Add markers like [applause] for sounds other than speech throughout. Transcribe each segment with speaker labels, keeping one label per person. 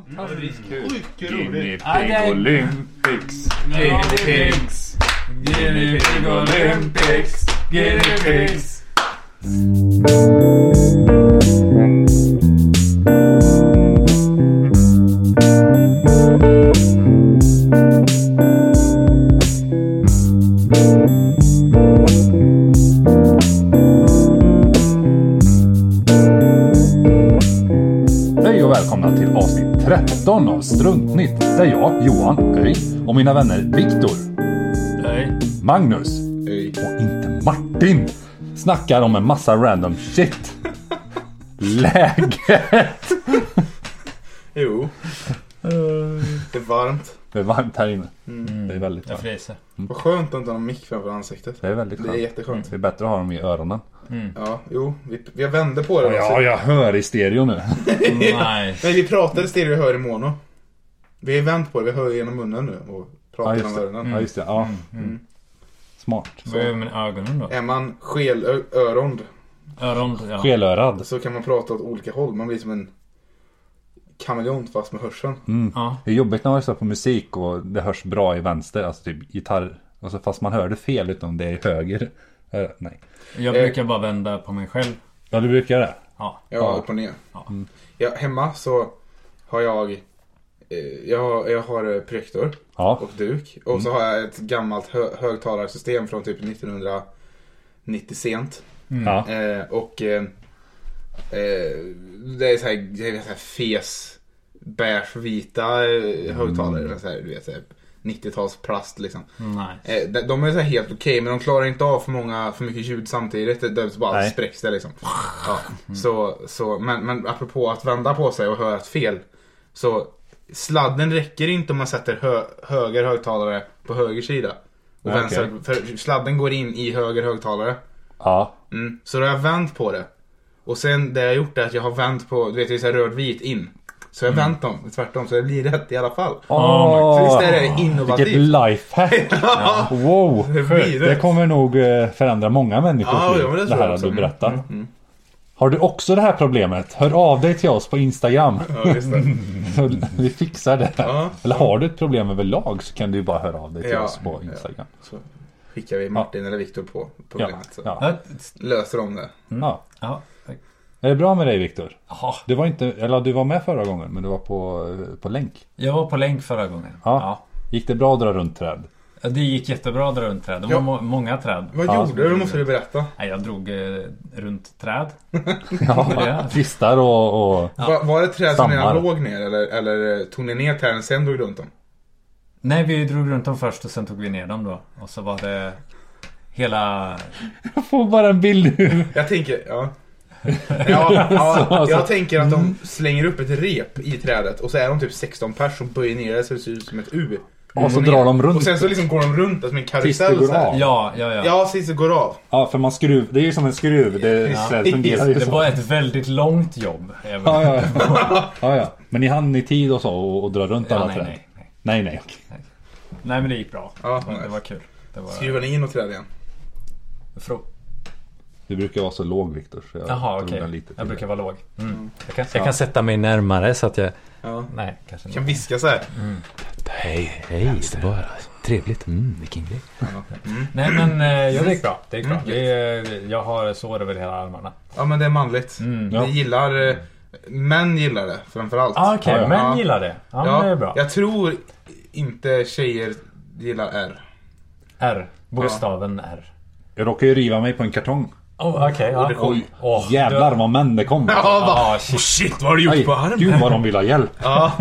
Speaker 1: Fantastiskt kul.
Speaker 2: Mycket
Speaker 3: Guinea
Speaker 2: roligt.
Speaker 3: Pig Olympics. Guinea Pigs. Guinea Pig Olympics. Guinea Pigs. Hej och välkomna till avsnitt 13 av Struntnytt. Där jag, Johan Öj och mina vänner Viktor,
Speaker 1: Nej.
Speaker 3: Magnus och inte Martin snackar om en massa random shit. Läget!
Speaker 2: Jo. Det är varmt.
Speaker 3: Det är varmt här inne. Det är väldigt
Speaker 1: Jag
Speaker 3: varmt.
Speaker 1: fryser.
Speaker 2: Vad skönt att inte ha en mick framför ansiktet.
Speaker 3: Det är väldigt
Speaker 2: Det är
Speaker 3: skönt.
Speaker 2: jätteskönt.
Speaker 3: Det är bättre att ha dem i öronen.
Speaker 2: Ja, jo. Vi, vi vände på det.
Speaker 3: Ja,
Speaker 2: också.
Speaker 3: jag hör i stereo nu.
Speaker 1: Nej.
Speaker 2: Men vi pratade stereo och hör i mono. Vi har vänt på det. Vi hör genom munnen nu och pratar
Speaker 3: Ja, just det.
Speaker 2: genom
Speaker 3: Mm.
Speaker 2: öronen.
Speaker 3: Ja, just det. Ja. Smart.
Speaker 1: Vad gör jag med ögonen då?
Speaker 2: Är man skelörond
Speaker 1: Öron? Ja.
Speaker 3: Skelörad.
Speaker 2: så kan man prata åt olika håll. Man blir som en kameleont fast med hörseln.
Speaker 3: Mm.
Speaker 1: ja.
Speaker 3: Det är jobbigt när man lyssnar på musik och det hörs bra i vänster, alltså typ gitarr. Alltså fast man hör det fel utom det är höger. Eh, nej.
Speaker 1: Jag
Speaker 2: Eh.
Speaker 1: brukar bara vända på mig själv.
Speaker 3: Ja, du brukar det.
Speaker 1: Ja.
Speaker 2: Ja,
Speaker 3: Ja. Mm.
Speaker 2: upp och ner.
Speaker 1: Ja.
Speaker 2: Ja, hemma så har jag, eh, jag, har- jag har eh, projektor.
Speaker 3: Ja.
Speaker 2: och duk. Och så har jag ett gammalt hö- högtalarsystem från typ 1990 sent.
Speaker 3: ja.
Speaker 2: Eh, och eh, eh, det är så här, det är så här fes, bärsvita eh, högtalare. Så här, du vet, så här 90-tals plast liksom.
Speaker 1: Nej.
Speaker 2: Eh, de- de är så här helt okej men de klarar inte av för, många, för mycket ljud samtidigt. Det, det bara
Speaker 3: Nej.
Speaker 2: spräcks det liksom. Ja, så, så, men, men apropå att vända på sig och höra ett fel. Så sladden räcker inte om man sätter hö, höger högtalare på höger sida. Och
Speaker 3: Nej,
Speaker 2: vänster, för sladden går in i höger högtalare.
Speaker 3: Ja.
Speaker 2: Mm. Så då har jag vänt på det. Och sen det jag har gjort är att jag har vänt på, du vet det är så här röd-vit in. Så jag har vänt dem tvärtom så det blir rätt i alla fall.
Speaker 3: Åh,
Speaker 2: Så visst är det innovativt.
Speaker 3: Vilket lifehack!
Speaker 2: [laughs] Ja.
Speaker 3: Wow!
Speaker 2: Det blir det.
Speaker 3: Det kommer nog eh, förändra många människors
Speaker 2: Ja,
Speaker 3: liv.
Speaker 2: ja, men det
Speaker 3: det,
Speaker 2: tror
Speaker 3: här
Speaker 2: jag också. Mm,
Speaker 3: du berättar. Har du också det här problemet? Hör av dig till oss på Instagram.
Speaker 2: Ja, just det.
Speaker 3: Vi fixar det.
Speaker 2: Mm. Ja.
Speaker 3: Eller har du ett problem överlag så kan du ju bara höra av dig till
Speaker 2: Ja.
Speaker 3: oss på Instagram.
Speaker 2: Så skickar vi Martin eller Viktor på problemet. Så.
Speaker 3: Ja. Mm.
Speaker 1: Ja.
Speaker 2: löser de det.
Speaker 3: Ja.
Speaker 1: Ja.
Speaker 3: Är det bra med dig Viktor?
Speaker 1: Jaha.
Speaker 3: Du var inte, eller du var med förra gången men du var på, på länk.
Speaker 1: Jag var på länk förra gången.
Speaker 3: Ja. Gick det bra att dra runt träd?
Speaker 1: Ja. Det gick jättebra att dra runt träd. Det var
Speaker 2: Ja.
Speaker 1: må- många träd.
Speaker 2: Vad
Speaker 3: Ja,
Speaker 2: gjorde du? Det måste du berätta.
Speaker 1: Nej, jag drog eh, runt träd.
Speaker 3: Ja,
Speaker 1: Ja.
Speaker 3: kvistar och, och...
Speaker 2: Va, var det ett träd som
Speaker 3: Stammar.
Speaker 2: redan låg ner eller, eller eh, tog ni ner träden och sen drog runt dem?
Speaker 1: Nej, vi drog runt dem först och sen tog vi ner dem då. Och så var det hela...
Speaker 3: Jag får bara en bild nu.
Speaker 2: Jag tänker,
Speaker 3: [laughs]
Speaker 2: ja. Ja, ja,
Speaker 3: Så, alltså. Mm. så.
Speaker 2: jag tänker att de slänger upp ett rep i trädet och så är de typ 16 pers som böjer ner det så det ser ut som ett U.
Speaker 3: Och så
Speaker 2: ner.
Speaker 3: drar de runt.
Speaker 2: Och sen så liksom går de runt det som en
Speaker 3: Tills det
Speaker 2: karusell.
Speaker 3: går
Speaker 2: så här.
Speaker 3: av.
Speaker 1: Ja, ja, ja.
Speaker 2: Ja, tills det går av.
Speaker 3: Ja, för man skruv, det är ju som en skruv. Det
Speaker 2: Ja.
Speaker 3: det fungerar ju
Speaker 1: Det
Speaker 3: så.
Speaker 1: var ett väldigt långt jobb. även-
Speaker 3: Ja, ja, ja. ja, ja. Men ni hann i tid och så och, och dra runt
Speaker 1: Ja,
Speaker 3: alla
Speaker 1: nej,
Speaker 3: träd?
Speaker 1: nej, nej.
Speaker 3: nej, nej. okej.
Speaker 1: Nej, men det gick bra.
Speaker 2: Ja,
Speaker 1: det, var,
Speaker 2: nice.
Speaker 1: det var kul. Det var...
Speaker 2: Skruvar ni in något träd igen?
Speaker 1: Fro...
Speaker 3: Du brukar vara så låg Viktor. så jag
Speaker 1: Jaha,
Speaker 3: drog
Speaker 1: okej.
Speaker 3: den lite
Speaker 1: Jag
Speaker 3: till.
Speaker 1: brukar vara låg. Mm. Jag, kan, jag kan sätta mig närmare så att jag...
Speaker 2: Ja.
Speaker 1: Nej, kanske inte.
Speaker 2: Kan viska så här.
Speaker 4: Hej, hej, det var trevligt. Mm, vilken grej.
Speaker 1: Nej, men eh, jag, det gick bra. Det gick bra. Det, är- jag har sår över hela armarna.
Speaker 2: Ja men det är manligt.
Speaker 3: Ja.
Speaker 2: Det gillar, eh, män gillar det framförallt.
Speaker 1: Ah, Okej,
Speaker 3: Ja, ja.
Speaker 1: män
Speaker 2: Ja.
Speaker 1: gillar det. Ja, men det är bra.
Speaker 2: Jag tror inte tjejer gillar R.
Speaker 1: R. Bokstaven R.
Speaker 3: Jag råkade ju riva mig på en kartong.
Speaker 1: Oh, Okej, ja.
Speaker 2: det kom-
Speaker 1: Oj. Åh,
Speaker 3: Jävlar
Speaker 1: du-
Speaker 3: vad män det kom.
Speaker 2: Ja, bara,
Speaker 1: Ah, shit.
Speaker 2: shit vad har du gjort
Speaker 3: Aj,
Speaker 2: på armen?
Speaker 3: gud vad de vill ha hjälp.
Speaker 2: Ja,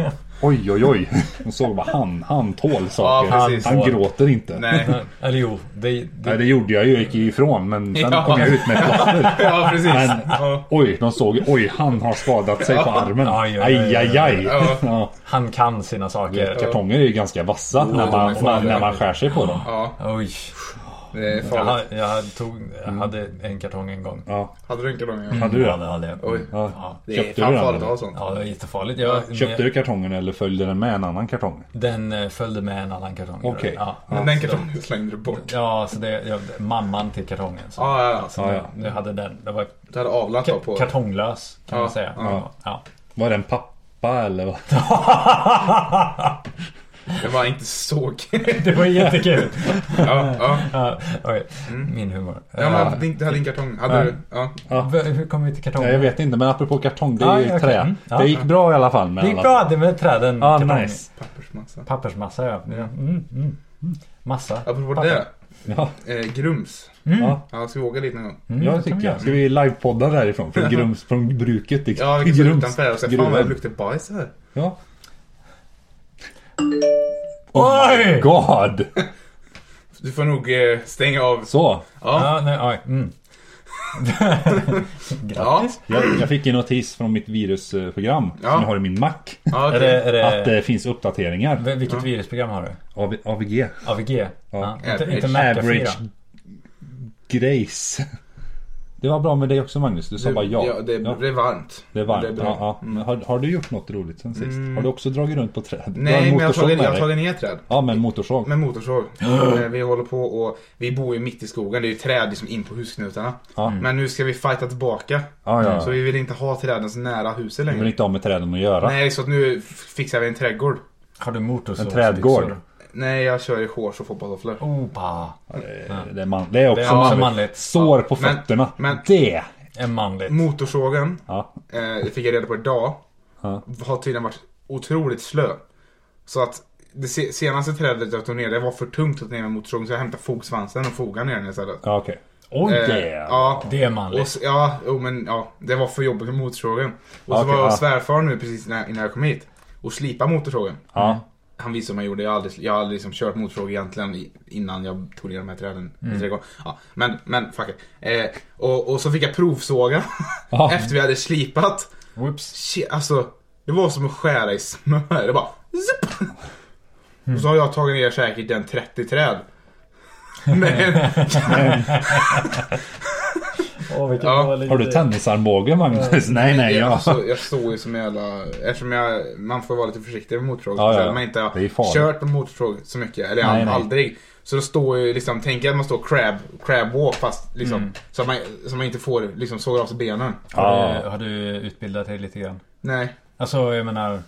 Speaker 3: Oj, oj, oj. De såg bara han, han tål saker.
Speaker 2: Ja, precis.
Speaker 3: han gråter inte. Nej.
Speaker 2: nej.
Speaker 1: [laughs] Eller jo, det... det...
Speaker 3: det gjorde jag ju. Jag gick ju ifrån men sen
Speaker 2: Ja.
Speaker 3: kom jag ut med ett plaster.
Speaker 2: [laughs] Ja, precis.
Speaker 3: Men
Speaker 2: Ja.
Speaker 3: oj, de såg oj, han har skadat sig på armen.
Speaker 1: Aj,
Speaker 3: Aj,
Speaker 1: aj, aj,
Speaker 3: aj, aj.
Speaker 2: Ja.
Speaker 3: Ja.
Speaker 1: Han kan sina saker. Typ.
Speaker 3: Kartonger är ju ganska vassa när, man,
Speaker 2: de är farliga.
Speaker 3: när man skär sig på dem.
Speaker 2: Ja,
Speaker 1: Oj.
Speaker 2: det är
Speaker 1: Jag,
Speaker 2: farligt.
Speaker 1: ha- jag, tog, jag hade en kartong en gång.
Speaker 3: Ja.
Speaker 2: Hade du en kartong? ja.
Speaker 3: Hade du
Speaker 1: Ja,
Speaker 3: det?
Speaker 1: det hade jag.
Speaker 2: Oj.
Speaker 3: Ja.
Speaker 2: Det är
Speaker 3: Köpte
Speaker 2: fan
Speaker 3: du den?
Speaker 2: farligt att
Speaker 3: eller?
Speaker 2: ha sånt.
Speaker 1: Ja, det var jättefarligt. Jag,
Speaker 3: Köpte du kartongen eller följde den med en annan kartong?
Speaker 1: Den eh, följde med en annan kartong.
Speaker 3: Okej.
Speaker 1: Ja.
Speaker 2: Men den kartongen slängde du bort.
Speaker 1: ja, så det jag, mamman till kartongen. Så,
Speaker 2: Ja, ja,
Speaker 1: så
Speaker 2: ja.
Speaker 3: Ah, Ja, ja.
Speaker 1: Nu hade den. Det var
Speaker 2: Du hade avlat då
Speaker 1: ka-
Speaker 2: på...
Speaker 1: kartonglös kan
Speaker 2: Ja,
Speaker 1: man säga.
Speaker 2: ja.
Speaker 1: Ja.
Speaker 3: Var den papp pappa eller vad?
Speaker 2: Det var inte så [laughs] kul.
Speaker 5: Det var jättekul.
Speaker 2: Ja, ja.
Speaker 5: Ja, Okej, min humor.
Speaker 2: Mm. ja
Speaker 5: Eh,
Speaker 2: men din- du hade din kartong. Hade du? Ja.
Speaker 3: Ja.
Speaker 5: v- Hur kom vi till kartongen?
Speaker 3: Nej, jag vet inte, men apropå kartong, det är
Speaker 5: Ah,
Speaker 3: ju
Speaker 5: okej.
Speaker 3: trä.
Speaker 5: Mm. Ja.
Speaker 3: Det gick bra i alla fall med
Speaker 5: Det gick
Speaker 3: alla-
Speaker 5: bra, det med träden.
Speaker 3: Ja,
Speaker 5: kartong.
Speaker 3: Ah, nice.
Speaker 2: Pappersmassa.
Speaker 5: Pappersmassa ja. Mm, mm, mm. Massa.
Speaker 2: Apropå
Speaker 5: Papper.
Speaker 2: det.
Speaker 3: Ja,
Speaker 2: Eh, Grums.
Speaker 3: ja.
Speaker 2: Ja, ska vi åka dit någon gång?
Speaker 5: Mm,
Speaker 3: jag
Speaker 5: det kan
Speaker 3: tycker
Speaker 5: vi göra.
Speaker 3: jag. Ska vi livepodda därifrån?
Speaker 2: [laughs]
Speaker 3: Från, grums, från bruket liksom.
Speaker 2: Ja, vi kan stå
Speaker 3: Grums
Speaker 2: utanför och säga fan
Speaker 3: gruvan.
Speaker 2: vad det luktar bajs här.
Speaker 3: Ja. Oh
Speaker 5: Oj!
Speaker 3: God!
Speaker 2: Du får nog eh, stänga av.
Speaker 3: Så.
Speaker 2: Ja.
Speaker 5: Ja, nej, oj. Mm.
Speaker 2: Ja.
Speaker 5: Grattis.
Speaker 3: Jag, jag fick en notis från mitt virusprogram
Speaker 2: Ja.
Speaker 3: som jag har i min Mac.
Speaker 2: Ja,
Speaker 5: Är
Speaker 2: okej.
Speaker 5: det, är det,
Speaker 3: Att det finns uppdateringar.
Speaker 5: v- vilket virusprogram har du?
Speaker 3: AV, AVG.
Speaker 5: AVG? Ja. Inte,
Speaker 2: Average.
Speaker 5: inte McAfee
Speaker 3: Average
Speaker 5: då?
Speaker 3: Grace. [laughs] Det var bra med dig också Magnus. Du sa
Speaker 2: Du-
Speaker 3: bara ja.
Speaker 2: ja det,
Speaker 3: Ja,
Speaker 2: det är varmt.
Speaker 3: det är varmt.
Speaker 2: Det är bra. Mm.
Speaker 3: ja, ja. Men Har, har du gjort något roligt sen sist? Har du också dragit runt på träd? Du har en
Speaker 2: Nej, men jag har
Speaker 3: motorsåg
Speaker 2: tagit,
Speaker 3: med
Speaker 2: jag
Speaker 3: dig.
Speaker 2: har tagit ner träd.
Speaker 3: Ja, men motorsåg. [gasps]
Speaker 2: Med motorsåg. Eh, vi håller på och vi bor ju mitt i skogen. Det är ju träd liksom in på husknutarna. Mm.
Speaker 3: Ja.
Speaker 2: Men nu ska vi fighta tillbaka.
Speaker 3: Ja, ja.
Speaker 2: Så vi vill inte ha träden så nära huset
Speaker 3: Jag vill
Speaker 2: längre.
Speaker 3: inte ha med träden att göra.
Speaker 2: Nej, så att nu f- fixar vi en trädgård.
Speaker 5: Har du motorsåg?
Speaker 3: En trädgård.
Speaker 2: Nej, jag kör i shorts och fotbollstofflor.
Speaker 3: Oh.
Speaker 5: Opa!
Speaker 3: Eh, Det är, man, det är också
Speaker 5: Det är också
Speaker 3: manligt.
Speaker 5: manligt.
Speaker 3: Sår på
Speaker 2: Men-
Speaker 3: fötterna.
Speaker 2: men-
Speaker 3: Det!
Speaker 5: En manligt.
Speaker 2: Motorsågen,
Speaker 3: Ja.
Speaker 2: eh, det fick jag reda på idag,
Speaker 3: Ja.
Speaker 2: har tydligen varit otroligt slö. Så att det se- senaste trädet jag tog ner, det var för tungt att ta ner med motorsågen så jag hämtade fogsvansen och fogade ner den istället.
Speaker 3: Ja, okej.
Speaker 5: Oj!
Speaker 2: Eh, ja.
Speaker 5: Det är
Speaker 2: Och
Speaker 5: manligt.
Speaker 2: s- ja, jo, men ja, det var för jobbigt med motorsågen. Och så
Speaker 3: Okej,
Speaker 2: var jag
Speaker 3: ja.
Speaker 2: hos svärfar nu precis när, innan jag kom hit och slipade motorsågen.
Speaker 3: Ja.
Speaker 2: Han visade mig hur jag gjorde. Jag har aldrig, jag har aldrig liksom kört motorsåg egentligen i- innan jag tog ner de här träden.
Speaker 3: Mm.
Speaker 2: i trädgården. Ja, men, men fuck it. Eh, och, och så fick jag provsåga
Speaker 3: Ja.
Speaker 2: [laughs] efter vi hade slipat.
Speaker 5: Whoops.
Speaker 2: Shit, alltså, det var som att skära i smör. Det bara zup. Och så har jag tagit ner säkert en
Speaker 3: [laughs]
Speaker 2: 30 träd. Men,
Speaker 5: Åh, vilken
Speaker 2: Ja.
Speaker 5: dålig
Speaker 3: Har du
Speaker 5: grej.
Speaker 3: tennisarmbåge Magnus? Nej, nej.
Speaker 2: jag, [laughs]
Speaker 3: Ja.
Speaker 2: alltså, jag står ju som en jävla... Eftersom jag, man får vara lite försiktig med motorsåg.
Speaker 3: Ja, ja,
Speaker 2: så
Speaker 3: ja.
Speaker 2: att Man inte
Speaker 3: Det är ju
Speaker 2: har
Speaker 3: farligt.
Speaker 2: kört med motorsåg så mycket. Eller
Speaker 3: Nej, nej.
Speaker 2: aldrig. Så då står ju liksom, tänk att man står crab, crab walk fast liksom. Så, att man, så att man inte får liksom såga av sig benen.
Speaker 5: Har
Speaker 3: Mm. Ja.
Speaker 5: du, har du utbildat dig lite grann?
Speaker 2: Nej.
Speaker 5: Alltså, jag menar...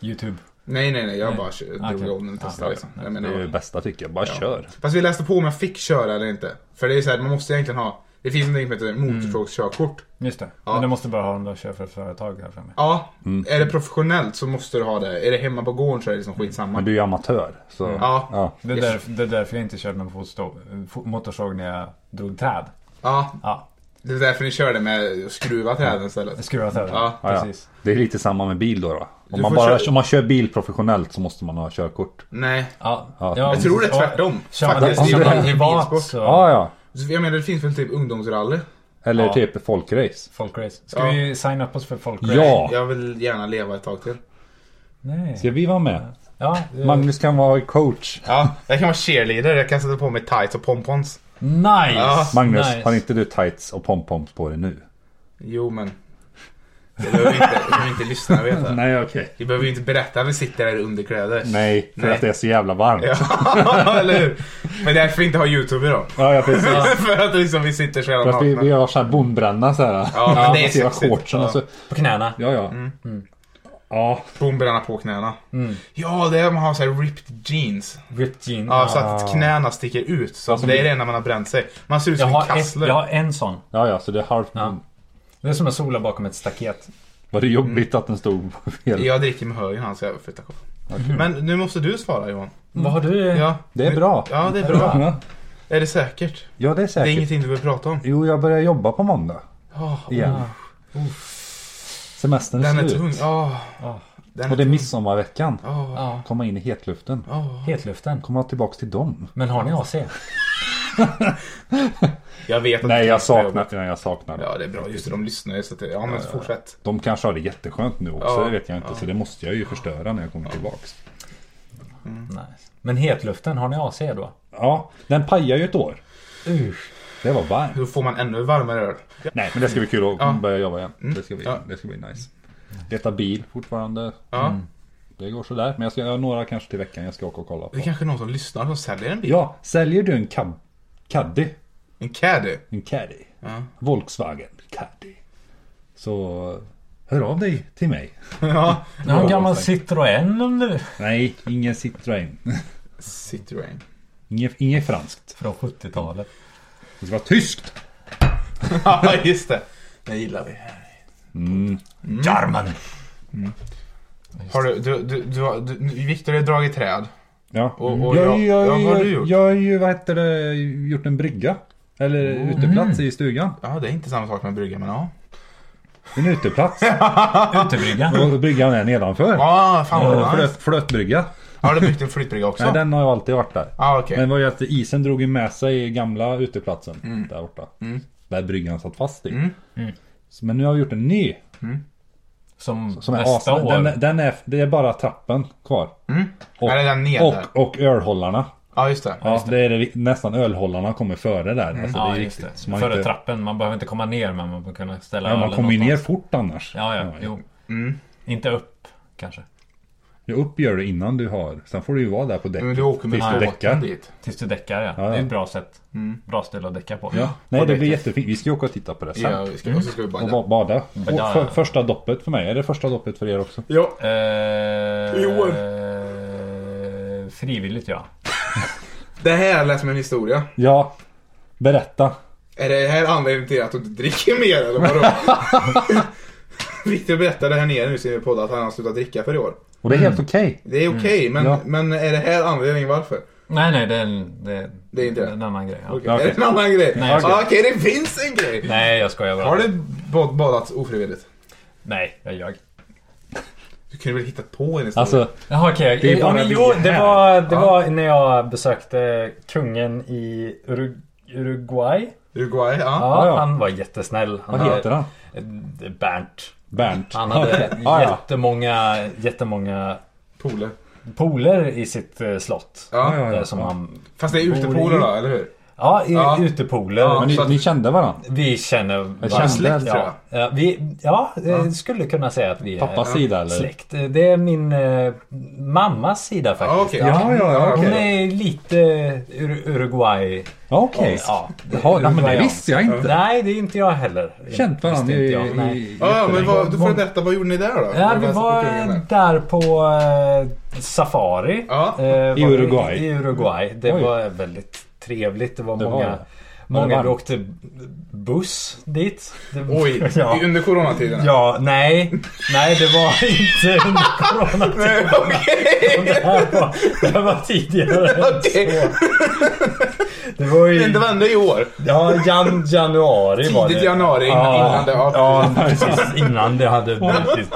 Speaker 5: YouTube.
Speaker 2: Nej nej nej, jag
Speaker 5: Nej.
Speaker 2: bara kö- drog
Speaker 5: Okej.
Speaker 2: igång den och
Speaker 5: Ja,
Speaker 2: testade
Speaker 5: ja,
Speaker 2: liksom.
Speaker 5: ja.
Speaker 2: Jag
Speaker 3: Det
Speaker 2: menar,
Speaker 3: är det bästa tycker jag. Bara kör.
Speaker 2: Fast vi läste på om jag fick köra eller inte. För det är så här, man måste egentligen ha, det finns någonting som heter motorsågskörkort.
Speaker 5: Just det.
Speaker 2: Ja.
Speaker 5: Men du måste bara ha den där köra för ett företag här framme.
Speaker 2: Ja, är det professionellt så måste du ha det. Är det hemma på gården så är det liksom skitsamma.
Speaker 3: Men du är ju amatör. Så.
Speaker 2: Mm. Ja.
Speaker 3: Mm. Ja.
Speaker 5: Det är, därför, det är därför jag inte körde med fotstå- fot- motorsåg när jag drog träd.
Speaker 2: Ja,
Speaker 5: Ja,
Speaker 2: det är därför ni körde med att skruva träden istället.
Speaker 5: skruva träd.
Speaker 2: Ja.
Speaker 3: Ja, ja.
Speaker 5: precis.
Speaker 3: Det är lite samma med bil då. då. Om,
Speaker 2: Du
Speaker 3: man
Speaker 2: får
Speaker 3: bara,
Speaker 2: köra-
Speaker 3: om man kör bil professionellt så måste man ha körkort.
Speaker 2: Nej.
Speaker 5: Ja.
Speaker 3: Ja.
Speaker 2: Jag tror det är tvärtom.
Speaker 5: Kör man,
Speaker 2: Faktiskt,
Speaker 5: om
Speaker 2: det är
Speaker 5: man
Speaker 2: ju
Speaker 5: är
Speaker 2: en
Speaker 5: privat
Speaker 2: bilsport.
Speaker 5: så...
Speaker 3: Ja, ja.
Speaker 2: Så Jag menar det finns väl typ ungdomsrally?
Speaker 3: Eller
Speaker 5: Ja.
Speaker 3: typ folkrace.
Speaker 5: Folkrace. Ska
Speaker 2: Ja.
Speaker 5: vi signa upp oss för folkrace?
Speaker 3: Ja!
Speaker 2: Jag vill gärna leva ett tag till.
Speaker 5: Nej.
Speaker 3: Ska vi vara med?
Speaker 5: Ja, eh,
Speaker 3: Magnus kan vara coach.
Speaker 2: Ja, jag kan vara cheerleader. Jag kan sätta på mig tights och pompons.
Speaker 5: nice!
Speaker 2: Ja.
Speaker 3: Magnus,
Speaker 5: nice.
Speaker 3: har inte du tights och pompoms på dig nu?
Speaker 2: Jo men. Det behöver inte, det behöver inte lyssna
Speaker 3: [laughs]
Speaker 2: veta.
Speaker 3: Nej, okej.
Speaker 2: Vi behöver ju inte berätta att vi sitter här i underkläder.
Speaker 3: Nej, för
Speaker 2: Nej.
Speaker 3: att det är så jävla varmt. Ja,
Speaker 2: Ja, [laughs] eller hur? Men därför inte ha YouTube idag.
Speaker 3: ja, precis.
Speaker 2: [laughs] För att liksom vi sitter så jävla
Speaker 3: För att vi,
Speaker 2: nakna.
Speaker 3: vi har så här bondbränna så här.
Speaker 2: Ja, men det är
Speaker 3: Man ser
Speaker 2: sexigt. Mm.
Speaker 3: shortsen och så.
Speaker 5: På knäna.
Speaker 3: Ja, ja. Ja,
Speaker 2: Bomberna på knäna.
Speaker 3: Mm.
Speaker 2: Ja, det är man har så här ripped jeans.
Speaker 5: Ripped jeans.
Speaker 2: Ja, så
Speaker 3: Ah.
Speaker 2: att knäna sticker ut. Så
Speaker 3: Alltså,
Speaker 2: det är det enda man har bränt sig. Man ser ut
Speaker 5: jag,
Speaker 2: som en
Speaker 5: har en,
Speaker 2: kassler.
Speaker 5: jag har en sån.
Speaker 3: ja, ja, så det är halvt
Speaker 5: Ja. Det är som en sola bakom ett staket.
Speaker 3: Var det
Speaker 2: Mm.
Speaker 3: jobbigt att den stod på fel?
Speaker 2: Jag dricker med höger hand så jag flyttar kopp. Men nu måste du svara Johan.
Speaker 5: Vad har du?
Speaker 2: Mm. Ja,
Speaker 3: Det är bra.
Speaker 2: ja det är bra.
Speaker 3: Ja,
Speaker 2: Är det säkert?
Speaker 3: Ja, det är
Speaker 2: Det är
Speaker 3: säkert.
Speaker 2: ingenting du vill prata om.
Speaker 3: Jo, jag börjar jobba på måndag.
Speaker 2: Åh,
Speaker 3: Igen. Semestern
Speaker 2: den
Speaker 3: är
Speaker 2: är
Speaker 3: slut.
Speaker 2: tung. Åh,
Speaker 5: Ja.
Speaker 2: den
Speaker 3: Och det är
Speaker 2: tung.
Speaker 3: midsommarveckan.
Speaker 2: Åh,
Speaker 5: Ja.
Speaker 3: Komma in i hetluften.
Speaker 2: åh.
Speaker 5: Hetluften.
Speaker 3: Komma tillbaks till dem.
Speaker 5: Men har ni AC?
Speaker 2: Jag vet att
Speaker 3: Nej,
Speaker 2: du
Speaker 3: jag
Speaker 2: ska jobba.
Speaker 3: saknar, nej, jag saknar dem.
Speaker 2: Ja, det är bra. Just det, de lyssnar ju. Så att det, ja, men fortsätt.
Speaker 3: De kanske har det jätteskönt nu också,
Speaker 2: Ja.
Speaker 3: det vet jag inte. Så det måste jag ju förstöra när jag kommer tillbaks.
Speaker 2: Mm.
Speaker 5: Nice. Men hetluften, har ni AC då?
Speaker 3: Ja, den pajar ju ett år.
Speaker 5: Usch.
Speaker 3: Det var varmt.
Speaker 2: Då får man ännu varmare öl.
Speaker 3: Nej, men det ska bli kul att
Speaker 2: Ja. Mm.
Speaker 3: börja jobba igen. Det ska bli,
Speaker 2: Ja.
Speaker 3: det ska bli nice. Leta bil fortfarande.
Speaker 2: Ja.
Speaker 3: Mm. Det går sådär. Men jag ska jag har några kanske till veckan jag ska åka och kolla
Speaker 2: Det
Speaker 3: på.
Speaker 2: är kanske någon som lyssnar som säljer en bil.
Speaker 3: Ja, säljer du en cab, caddy? [laughs]
Speaker 2: En caddy.
Speaker 3: En caddy?
Speaker 2: Ja.
Speaker 3: Volkswagen caddy. Så Hör av dig till
Speaker 2: [laughs]
Speaker 3: mig.
Speaker 2: ja.
Speaker 5: Jag har en gammal Citroën om du...
Speaker 3: Nej, ingen Citroën.
Speaker 2: Citroën. [laughs]
Speaker 3: Inget, inget franskt.
Speaker 5: Från 70-talet.
Speaker 3: Det ska vara tyskt!
Speaker 2: ja, just det. Det gillar vi. Mm.
Speaker 5: Jarman!
Speaker 2: Har du, du, du, du, har- du Viktor har dragit träd.
Speaker 3: Ja. Mm.
Speaker 2: Och- och
Speaker 3: jag,
Speaker 2: jag-
Speaker 3: jag,
Speaker 2: ja, vad har
Speaker 3: jag,
Speaker 2: du gjort?
Speaker 3: jag har ju, vad heter det, gjort en brygga. Eller
Speaker 2: Mm.
Speaker 3: uteplats i stugan.
Speaker 2: Ja, det är inte samma sak med brygga, men ja.
Speaker 3: En
Speaker 2: [laughs]
Speaker 3: uteplats.
Speaker 5: Utebryggan.
Speaker 3: och bryggan är nedanför.
Speaker 2: Ja, ah, fan
Speaker 3: Ja,
Speaker 2: vad nice.
Speaker 3: Flöt, flötbrygga.
Speaker 2: Har du byggt en flyttbrygga också?
Speaker 3: Nej, den har ju alltid varit där.
Speaker 2: Ja, Ah, okej.
Speaker 3: Men det var ju att isen drog ju med sig gamla uteplatsen
Speaker 2: Mm.
Speaker 3: där borta. Där bryggan satt fast i.
Speaker 5: Mm.
Speaker 3: Så- Men nu har vi gjort en ny.
Speaker 5: Som,
Speaker 3: Som är
Speaker 5: nästa
Speaker 3: asen.
Speaker 5: år.
Speaker 3: Den, är- den är, det är bara trappen kvar.
Speaker 2: Mm.
Speaker 3: Och,
Speaker 2: Är det den ner där?
Speaker 3: och, och ölhållarna.
Speaker 2: Ja, just det.
Speaker 3: Ja, det är det, vi- nästan ölhållarna kommer före där. Alltså, det
Speaker 5: Mm. Ja,
Speaker 3: är
Speaker 5: just
Speaker 3: riktigt.
Speaker 5: det.
Speaker 3: Så man
Speaker 5: Före
Speaker 3: inte-
Speaker 5: trappen. Man behöver inte komma ner men man behöver kunna ställa
Speaker 3: Ja, man
Speaker 5: ölen
Speaker 3: kommer ju ner
Speaker 5: någonstans.
Speaker 3: fort annars.
Speaker 5: Ja, ja. Jo.
Speaker 2: Mm.
Speaker 5: Inte upp kanske.
Speaker 3: Jag uppgör det innan du har. Sen får du ju vara där på däcket.
Speaker 2: Men du åker med
Speaker 3: tills du
Speaker 2: båten
Speaker 3: däckar.
Speaker 2: dit.
Speaker 5: Tills du däckar ja.
Speaker 3: ja.
Speaker 5: Det är ett bra sätt.
Speaker 3: Mm.
Speaker 5: Bra ställe att däcka på.
Speaker 3: Ja. Nej, det blir
Speaker 2: däcket.
Speaker 3: jättefint. Vi ska ju åka och titta på det sen.
Speaker 2: Ja, vi ska, och så ska vi
Speaker 3: Och
Speaker 2: bada.
Speaker 3: ba- bada.
Speaker 5: Bada.
Speaker 3: Och för, första doppet för mig. Är det första doppet för er också?
Speaker 2: Ja.
Speaker 5: Eh,
Speaker 2: I år.
Speaker 5: eh, frivilligt ja.
Speaker 2: Det här lät som en historia.
Speaker 3: Ja. Berätta.
Speaker 2: Är det här anledningen till att du inte dricker mer
Speaker 3: [laughs]
Speaker 2: eller vadå? Viktor berättade här nere nu sen vi poddade att han har slutat dricka för i år.
Speaker 3: Och det är helt okej.
Speaker 2: Det är okej, men,
Speaker 3: Ja.
Speaker 2: men är det här anledningen varför?
Speaker 5: Nej nej det är en, det,
Speaker 2: Det är inte det.
Speaker 5: en annan grej. Ja.
Speaker 2: Okej,
Speaker 3: Ja,
Speaker 2: Är det en annan grej?
Speaker 5: Nej,
Speaker 2: Ah,
Speaker 5: okej.
Speaker 2: okej, det finns en grej!
Speaker 5: Nej jag skojar bara.
Speaker 2: Har du bad, badat ofrivilligt?
Speaker 5: Nej jag ljög.
Speaker 2: Du kunde väl hittat på en historia?
Speaker 3: Alltså,
Speaker 5: Jaha okej.
Speaker 3: Det är
Speaker 1: Ja,
Speaker 3: bara
Speaker 1: men
Speaker 3: vi
Speaker 1: jo, det
Speaker 3: här.
Speaker 1: var, det var när jag besökte kungen i Uru- Uruguay.
Speaker 2: Uruguay, ja.
Speaker 1: Ja,
Speaker 3: Ja, ja.
Speaker 1: Han var jättesnäll. Han
Speaker 3: vad heter han?
Speaker 1: hade, eh, Bernt.
Speaker 3: Bernt.
Speaker 1: Han hade
Speaker 3: [laughs] Ja, ja.
Speaker 1: jättemånga, jättemånga
Speaker 2: Pooler.
Speaker 1: pooler i sitt eh, slott.
Speaker 2: Ja.
Speaker 3: Ja, ja,
Speaker 1: Där
Speaker 3: ja.
Speaker 1: som han,
Speaker 2: Fast det är utepooler då, eller hur?
Speaker 1: ja, i,
Speaker 2: Ja.
Speaker 1: utepooler.
Speaker 2: Ja.
Speaker 3: Men
Speaker 2: Så
Speaker 3: ni,
Speaker 2: att-
Speaker 3: ni kände varandra?
Speaker 1: Vi känner
Speaker 3: känner
Speaker 1: varandra.
Speaker 3: släkt,
Speaker 2: tror jag.
Speaker 1: ja. Ja, vi, ja, eh, skulle kunna säga att vi
Speaker 3: Pappas
Speaker 1: är
Speaker 3: sida eller?
Speaker 1: släkt. Det är min eh, mammas sida
Speaker 2: Ja,
Speaker 1: faktiskt.
Speaker 2: okej.
Speaker 3: Ja, ja, ja.
Speaker 1: Hon
Speaker 3: Okej.
Speaker 1: är lite Ur- Uruguay.
Speaker 3: Ja, okej.
Speaker 1: Ja.
Speaker 3: Jaha, nej, men det visste jag inte.
Speaker 1: Nej, det är inte jag heller.
Speaker 3: Känt varandra
Speaker 1: Visste
Speaker 3: i...
Speaker 1: inte jag. Nej.
Speaker 3: i
Speaker 2: Ja, ja, men vad, du får berätta, vad gjorde ni där då?
Speaker 1: Ja,
Speaker 2: När
Speaker 1: vi
Speaker 2: du
Speaker 1: var
Speaker 2: på kungen där.
Speaker 1: där på eh, safari.
Speaker 2: Ja.
Speaker 1: Eh, var vi
Speaker 3: Uruguay.
Speaker 1: I Uruguay. Det
Speaker 3: Oj.
Speaker 1: var väldigt trevligt. Det var
Speaker 3: Det var
Speaker 1: många.
Speaker 3: det. Var det
Speaker 1: Många vi
Speaker 3: varmt?
Speaker 1: åkte buss dit. Det- [laughs]
Speaker 2: Oj,
Speaker 1: ja.
Speaker 2: under coronatiderna?
Speaker 1: Ja, nej. Nej, det var [laughs] inte under coronatiden.
Speaker 2: Nej, [laughs] Okej!
Speaker 1: Det här var, det här var tidigare.
Speaker 2: Okej.
Speaker 1: Det var ju...
Speaker 2: Det var ändå i år.
Speaker 1: Ja, jan, januari var det.
Speaker 2: Tidigt januari innan,
Speaker 1: Ja.
Speaker 2: innan det...
Speaker 1: Ja, precis innan det hade brutit,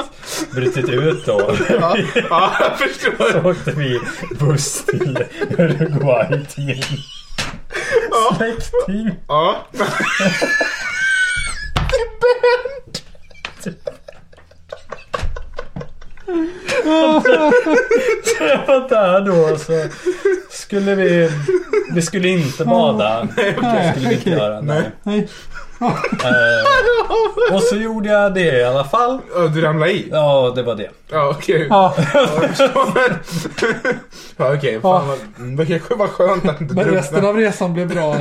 Speaker 1: brutit ut då.
Speaker 2: [laughs] Ja, ja, jag förstår.
Speaker 1: Så åkte vi buss till Uruguay till en släkting.
Speaker 2: Ja.
Speaker 1: Jag var där då så skulle vi... Vi skulle inte bada. Det skulle vi inte göra. Nej. Eh, Och så gjorde jag det i alla fall.
Speaker 2: Ja, Du ramlade i?
Speaker 1: Ja, det var det.
Speaker 2: Ja, okej.
Speaker 3: [laughs]
Speaker 2: Ja, jag förstår. Ja, okej. Fan vad... mm, Det kanske var skönt att inte drunkna.
Speaker 3: av resan blev [laughs] bra.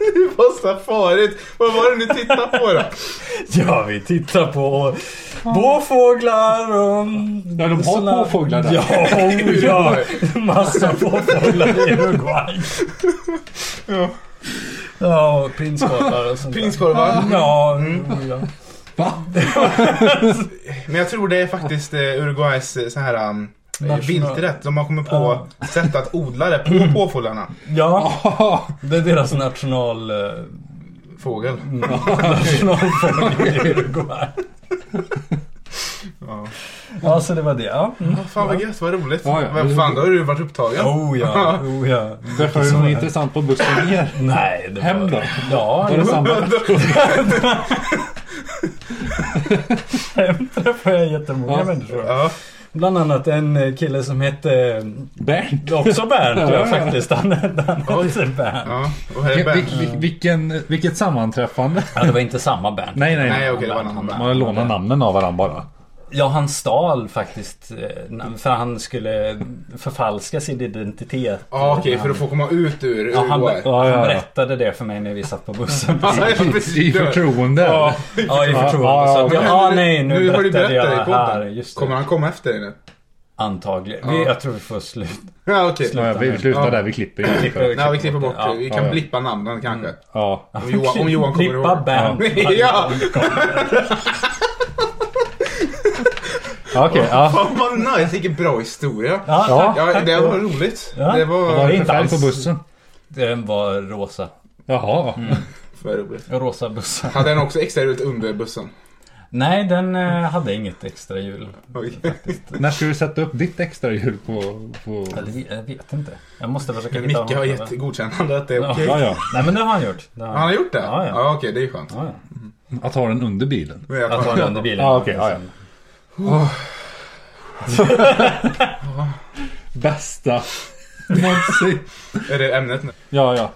Speaker 2: Det var så farligt. Vad var det ni tittade på då?
Speaker 1: Ja, vi tittar på påfåglar och...
Speaker 3: Ja, de har
Speaker 1: såna-
Speaker 3: påfåglar där.
Speaker 1: Ja, [laughs] oh, ja.
Speaker 2: Uruguay.
Speaker 1: Massa påfåglar i Uruguay.
Speaker 2: Ja.
Speaker 1: Ja, och prinskorvar och sånt där.
Speaker 2: Prinskorvar.
Speaker 1: Ja, oh, ja.
Speaker 2: Men jag tror det är faktiskt eh, Uruguays eh, så här um,
Speaker 1: National-
Speaker 2: vilträtt. De har kommit på sätt att odla det på påfåglarna.
Speaker 1: ja. Det är deras national... eh,
Speaker 2: Fågel.
Speaker 1: Mm. Nationalfågel i Uruguay.
Speaker 2: Ja.
Speaker 1: Ja, så det var det. Ja. Mm.
Speaker 2: Fan vad gött, vad roligt.
Speaker 3: Ja, ja.
Speaker 2: Vad fan, då har du varit upptagen.
Speaker 1: Oh ja, oh ja.
Speaker 3: Träffade du något intressant på bussen ner?
Speaker 1: [laughs] Nej, det var...
Speaker 3: Hem då?
Speaker 1: Ja,
Speaker 3: Var det samma?
Speaker 1: [laughs] hem träffade jag jättemånga
Speaker 3: Ja.
Speaker 1: människor.
Speaker 2: Ja.
Speaker 1: Bland annat en eh, kille som hette
Speaker 3: Bernt?
Speaker 1: också Bernt
Speaker 3: Ja.
Speaker 1: ja, faktiskt. Han, han hette Bernt.
Speaker 2: ja. Och här är
Speaker 3: Vil,
Speaker 2: Bernt.
Speaker 3: vil, vilken, vilket sammanträffande?
Speaker 1: Ja, det var inte samma Bernt.
Speaker 3: Nej, nej,
Speaker 2: Nej,
Speaker 3: nej.
Speaker 2: okej, det var en annan.
Speaker 3: Man lånar namnen av varandra bara.
Speaker 1: Ja, han stal faktiskt. eh, na- För han skulle förfalska sin identitet.
Speaker 2: Ja, okej, för att få komma ut ur
Speaker 1: Ja, han,
Speaker 2: Uruguay.
Speaker 3: Ja, ja, ja.
Speaker 1: han berättade det för mig när vi satt på bussen.
Speaker 2: [laughs] Ja,
Speaker 3: I
Speaker 2: precis.
Speaker 3: förtroende.
Speaker 2: Ja.
Speaker 1: Ja, i
Speaker 3: Ja,
Speaker 1: förtroende.
Speaker 3: ja,
Speaker 1: Så att
Speaker 2: Men
Speaker 1: jag, ah, nej, nu,
Speaker 2: har du
Speaker 1: berättade
Speaker 2: berättat det i
Speaker 1: jag här.
Speaker 2: podden.
Speaker 1: Just
Speaker 2: Kommer
Speaker 1: det.
Speaker 2: han komma efter dig nu?
Speaker 1: Antagligen. Vi,
Speaker 2: Ja.
Speaker 1: jag tror vi får slut.
Speaker 2: Ja, typ. okej.
Speaker 3: Ja, vi slutar
Speaker 2: Ja.
Speaker 3: där, vi klipper. ju.
Speaker 2: Nej, vi klipper bort
Speaker 1: Ja.
Speaker 2: det. Vi
Speaker 3: Ja,
Speaker 2: kan
Speaker 3: ja.
Speaker 2: blippa namnen kanske.
Speaker 3: Ja.
Speaker 2: Om Johan, om Johan kommer
Speaker 1: Klippa
Speaker 2: ihåg.
Speaker 1: band.
Speaker 2: [laughs] Ja!
Speaker 3: Ja, Okej, ja.
Speaker 2: Fan vad nice, vilken bra historia.
Speaker 1: Ja,
Speaker 3: Ja.
Speaker 1: tack.
Speaker 2: Ja, det var roligt.
Speaker 1: Ja.
Speaker 2: Det
Speaker 3: Vad var
Speaker 2: var
Speaker 3: det
Speaker 1: inte
Speaker 3: för färg
Speaker 1: alls.
Speaker 3: på bussen? Mm.
Speaker 1: Den var rosa.
Speaker 3: Jaha.
Speaker 2: för roligt.
Speaker 1: Rosa bussen.
Speaker 2: Hade han också extra ut under bussen?
Speaker 1: Nej, den eh, hade inget extra hjul.
Speaker 2: Oj.
Speaker 3: När ska du sätta upp ditt extra hjul på... på...
Speaker 1: Eller, Jag vet inte. Jag måste försöka hitta
Speaker 2: Micke
Speaker 1: honom.
Speaker 2: har gett godkännande att det är
Speaker 1: Ja.
Speaker 2: okej.
Speaker 3: Ja, ja.
Speaker 1: Nej, men det har han gjort. Det har
Speaker 2: Han har gjort det?
Speaker 1: Ja, ja.
Speaker 2: ja okej, det är ju skönt.
Speaker 1: Ja, ja.
Speaker 3: Att ha den under bilen.
Speaker 2: Men jag
Speaker 1: Jag
Speaker 2: tar-
Speaker 1: tar den under bilen.
Speaker 3: Ja, okej, ja, ja. Bästa någonsin.
Speaker 2: [laughs] Är det ämnet nu?
Speaker 3: [laughs] Ja, ja.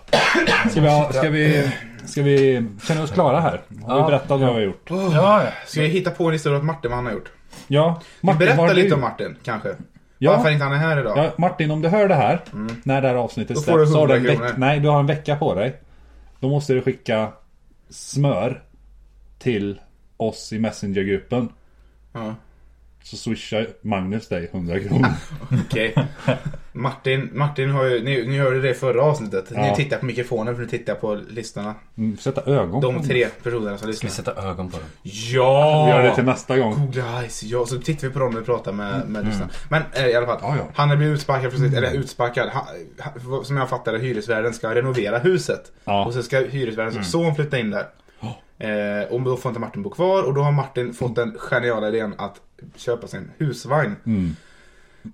Speaker 3: Ska vi, ha- ska vi, ska vi känna oss klara här? Har vi
Speaker 1: Ja.
Speaker 3: berättat vad vi har gjort?
Speaker 1: Ja, ja.
Speaker 2: Ska jag hitta på en historia om Martin, vad han har gjort?
Speaker 3: Ja. Martin, vad
Speaker 2: Berätta
Speaker 3: har du
Speaker 2: lite om
Speaker 3: gjort?
Speaker 2: Martin, kanske.
Speaker 3: Ja.
Speaker 2: Varför inte han är här idag?
Speaker 3: Ja, Martin, om du hör det här, när det här avsnittet
Speaker 2: Mm. Då får du
Speaker 3: släpps, så har du en
Speaker 2: 100
Speaker 3: veck-
Speaker 2: kronor.
Speaker 3: Nej, du har en vecka på dig. Då måste du skicka smör till oss i Messengergruppen.
Speaker 2: Ja.
Speaker 3: Så swishar Magnus dig 100 kronor.
Speaker 2: Okej. Martin, Martin har ju, ni, ni hörde det i förra avsnittet.
Speaker 3: Ja.
Speaker 2: Ni tittar på mikrofonen för ni tittar på listorna.
Speaker 3: Mm, Sätta ögon på
Speaker 2: De
Speaker 3: den.
Speaker 2: tre personerna som
Speaker 1: Ska
Speaker 2: lyssnar.
Speaker 1: vi sätta ögon på den?
Speaker 2: Ja!
Speaker 3: Vi gör det till nästa gång.
Speaker 2: Googla eyes, ja. Så tittar vi på dem när vi pratar med, med lyssnarna. Men eh, i alla fall.
Speaker 3: Ja, Mm. ja.
Speaker 2: Han har blivit utsparkad från sitt, eller utsparkad. Han, han, som jag fattar det, hyresvärden ska renovera huset.
Speaker 3: Ja. Mm.
Speaker 2: Och så ska hyresvärdens son flytta in där. Eh, och då får inte Martin bo kvar och då har Martin fått
Speaker 3: Mm.
Speaker 2: den geniala idén att köpa sig en husvagn.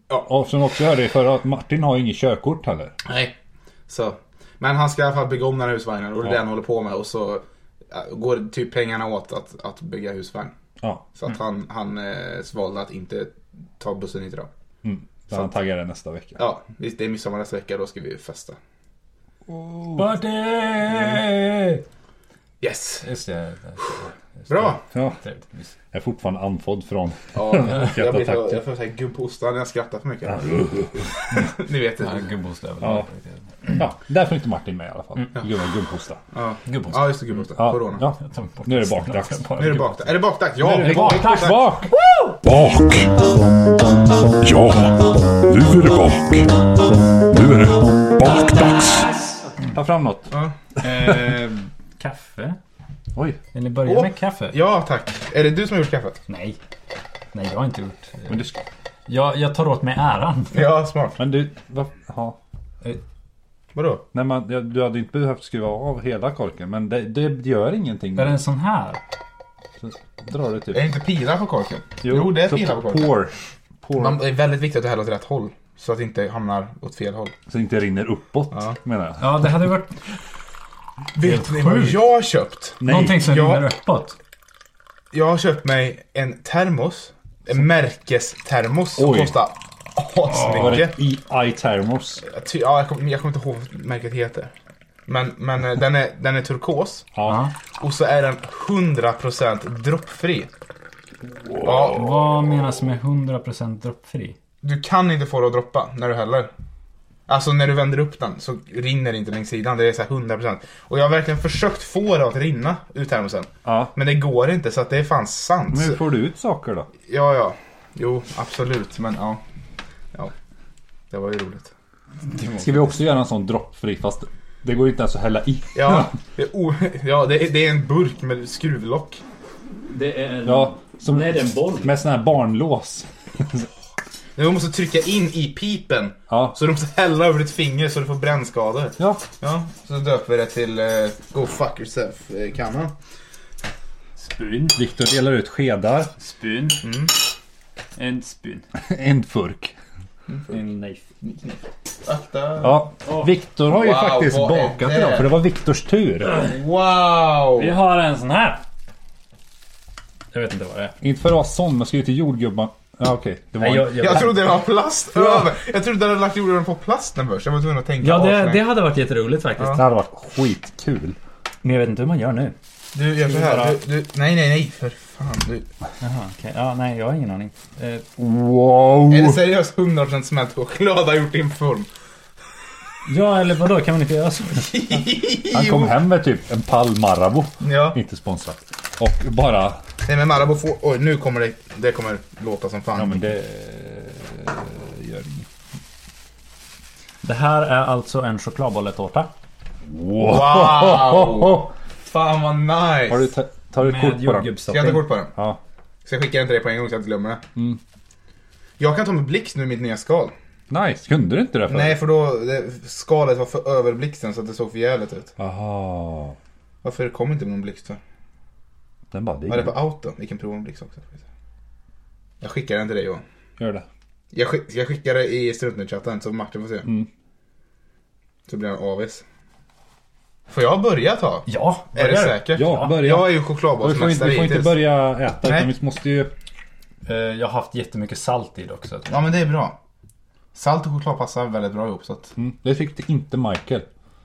Speaker 3: Och som också hörde i förra, Martin har ju inget körkort heller.
Speaker 2: Nej. Så. Men han ska i alla fall bygga om den här husvagnen och det är det han håller på med. Och så eh, går typ pengarna åt att, att bygga husvagn.
Speaker 3: Ja,
Speaker 2: Så att han, han eh, valde att inte ta bussen hit idag.
Speaker 3: så han taggar det nästa vecka.
Speaker 2: Ja, visst, det är midsommar nästa vecka. Då ska vi festa.
Speaker 1: Party!
Speaker 2: Yes!
Speaker 1: Just det.
Speaker 2: Bra!
Speaker 3: Ja,
Speaker 1: Trevligt. Visst.
Speaker 3: jag är fortfarande andfådd från...
Speaker 2: Ja, jag, blir,
Speaker 3: Hjärtattack.
Speaker 2: jag, jag får säga gubbostar när jag skrattar för mycket. [laughs] Ni vet
Speaker 1: Ja,
Speaker 2: det.
Speaker 1: Gubbostövel.
Speaker 3: Ja. Ja, därför är inte Martin med i alla fall. På grund av gubbhosta.
Speaker 2: Ja,
Speaker 1: Gubbostövel.
Speaker 2: Mm. ja just det. Gubbostar.
Speaker 3: Ja,
Speaker 2: Corona.
Speaker 3: ja. Nu är det bakdags.
Speaker 2: Nu är det bakdags. Är det bakdags? Ja!
Speaker 3: Nu är det bakdags. Bak!
Speaker 6: Bak! Ja, nu är det bak. Nu är det bakdags.
Speaker 3: Ta fram något.
Speaker 5: Eh, kaffe?
Speaker 3: Oj,
Speaker 5: Vill ni börja
Speaker 2: Åh.
Speaker 5: med kaffe?
Speaker 2: Ja, tack. Är det du som har gjort kaffet?
Speaker 5: Nej. Nej, jag har inte gjort.
Speaker 3: men du...
Speaker 5: Jag, jag tar åt mig äran.
Speaker 2: Ja, smart.
Speaker 3: Men du... Va, ja.
Speaker 2: Vadå?
Speaker 3: Nej, man, ja, du hade inte behövt skruva av hela korken. Men det, det gör ingenting.
Speaker 5: Är det en sån här?
Speaker 3: Så drar du typ...
Speaker 2: Är det inte pilar på korken? Jo, det är
Speaker 3: så
Speaker 2: pilar på korken.
Speaker 3: Pour. Pour.
Speaker 2: Man, det är väldigt viktigt att du häller åt rätt håll. Så att det inte hamnar åt fel håll.
Speaker 3: Så det inte rinner uppåt,
Speaker 2: Ja.
Speaker 3: menar jag.
Speaker 5: Ja, det hade
Speaker 1: [laughs]
Speaker 5: ju varit
Speaker 2: Vet ni vad jag har köpt?
Speaker 5: någonting som
Speaker 2: Ja.
Speaker 5: rinner uppåt.
Speaker 2: Jag har köpt mig en termos. En märkestermos som
Speaker 3: Oj.
Speaker 2: kostar
Speaker 3: Var det
Speaker 2: asmycket.
Speaker 3: i termos?
Speaker 2: Jag ty- Ja, jag kommer jag kommer inte ihåg vad märket heter. Men, men eh, den, är, den är turkos
Speaker 3: Ja.
Speaker 2: och så är den 100% droppfri. Ja,
Speaker 5: Vad menas med 100% droppfri?
Speaker 2: du kan inte få det att droppa när du häller. Alltså när du vänder upp den så rinner det inte längs sidan. Det är så här 100%. Och jag har verkligen försökt få det att rinna ur termosen.
Speaker 3: ja.
Speaker 2: Men det går inte så att det är fan sant.
Speaker 3: Men hur får du ut saker då?
Speaker 2: Ja, ja. Jo, absolut. Men ja. ja. Det var ju roligt.
Speaker 3: Ska vi också göra en sån droppfri fast det går inte ens att hälla i?
Speaker 2: Ja, det är, o- ja, det är, det är en burk med skruvlock.
Speaker 7: Det är en...
Speaker 3: Ja, som,
Speaker 7: Nej, det är en boll.
Speaker 3: Med sån här barnlås.
Speaker 2: Du måste trycka in i pipen.
Speaker 3: Ja.
Speaker 2: Så du måste hälla över ditt finger så du får brännskador.
Speaker 3: Ja.
Speaker 2: Ja, så döper vi det till eh, Go fuck eh, yourself-kannan.
Speaker 7: Spyn.
Speaker 3: Viktor delar ut skedar. [laughs]
Speaker 7: Spyn. En spyn.
Speaker 3: En furk.
Speaker 7: En knife.
Speaker 2: Akta.
Speaker 3: Ja. Viktor har ju
Speaker 2: Wow,
Speaker 3: faktiskt
Speaker 2: vad är
Speaker 3: bakat
Speaker 2: det?
Speaker 3: idag för det var Viktors tur.
Speaker 2: Wow!
Speaker 7: Vi har en sån här. Jag vet inte vad det är.
Speaker 3: inte för att vara sån men ska ju till jordgubbar. Ja okej. Det var
Speaker 7: Nej,
Speaker 3: en...
Speaker 7: jag, jag,
Speaker 2: Jag trodde det var plast över. Jag trodde den hade lagt jorden på plasten först. Jag var tvungen att tänka
Speaker 7: ja, det,
Speaker 2: avsnitt.
Speaker 7: det hade varit jätteroligt faktiskt.
Speaker 3: Det hade varit skitkul.
Speaker 7: Men jag vet inte hur man gör nu.
Speaker 2: Du gör så här. Du, du, nej, nej, nej. För Fan, du.
Speaker 3: Oh.
Speaker 7: Jaha, okej. Ja, nej, jag har ingen aning. Eh,
Speaker 3: Wow!
Speaker 2: Är det seriöst 100% smält choklad har gjort din form?
Speaker 7: ja, eller vadå? Kan man inte göra så?
Speaker 3: [laughs] Han kom hem med typ en pall Marabou.
Speaker 2: Ja.
Speaker 3: Inte sponsrat. Och bara...
Speaker 2: Nej men Marabou får... Oj, nu kommer det... Det kommer låta som fan.
Speaker 3: Ja men det... eh, Gör inget.
Speaker 7: Det här är alltså en chokladbolletårta.
Speaker 3: [laughs]
Speaker 2: Wow! Fan vad nice!
Speaker 3: Har du ta- tar du ett
Speaker 7: Med
Speaker 3: kort på den?
Speaker 2: Ska jag ta
Speaker 7: jordgubbsstopping.
Speaker 2: kort på den?
Speaker 3: Ja.
Speaker 2: Ska jag skicka den till dig på en gång så jag inte glömmer det?
Speaker 3: Mm.
Speaker 2: Jag kan ta med blixt nu i mitt nya skal.
Speaker 3: Nice, kunde du inte det förut?
Speaker 2: Nej för då, det, skalet var för över blixten så att det såg för jävligt ut.
Speaker 3: Aha.
Speaker 2: Varför kom inte någon blixt för?
Speaker 3: Den bara
Speaker 2: Vad är det
Speaker 3: ligger.
Speaker 2: för out då? Vi kan prova en blixt också. Jag skickar den till dig Johan.
Speaker 3: Gör det.
Speaker 2: Jag, skick, jag skickar det i struntnutchatten så Martin får se.
Speaker 3: Mm.
Speaker 2: Så blir han avis. Får jag börja ta?
Speaker 7: Ja,
Speaker 2: är det säkert?
Speaker 3: Ja, börja.
Speaker 2: Jag är
Speaker 3: Och Vi får
Speaker 2: ju
Speaker 3: inte,
Speaker 2: chokladbollsmästare
Speaker 3: vi får inte
Speaker 2: hittills.
Speaker 3: börja äta
Speaker 2: Nej.
Speaker 3: utan vi måste ju...
Speaker 7: Eh, Jag har haft jättemycket salt i det också.
Speaker 2: Ja men det är bra. Salt och choklad passar väldigt bra ihop så att...
Speaker 3: Mm, det tyckte inte Michael.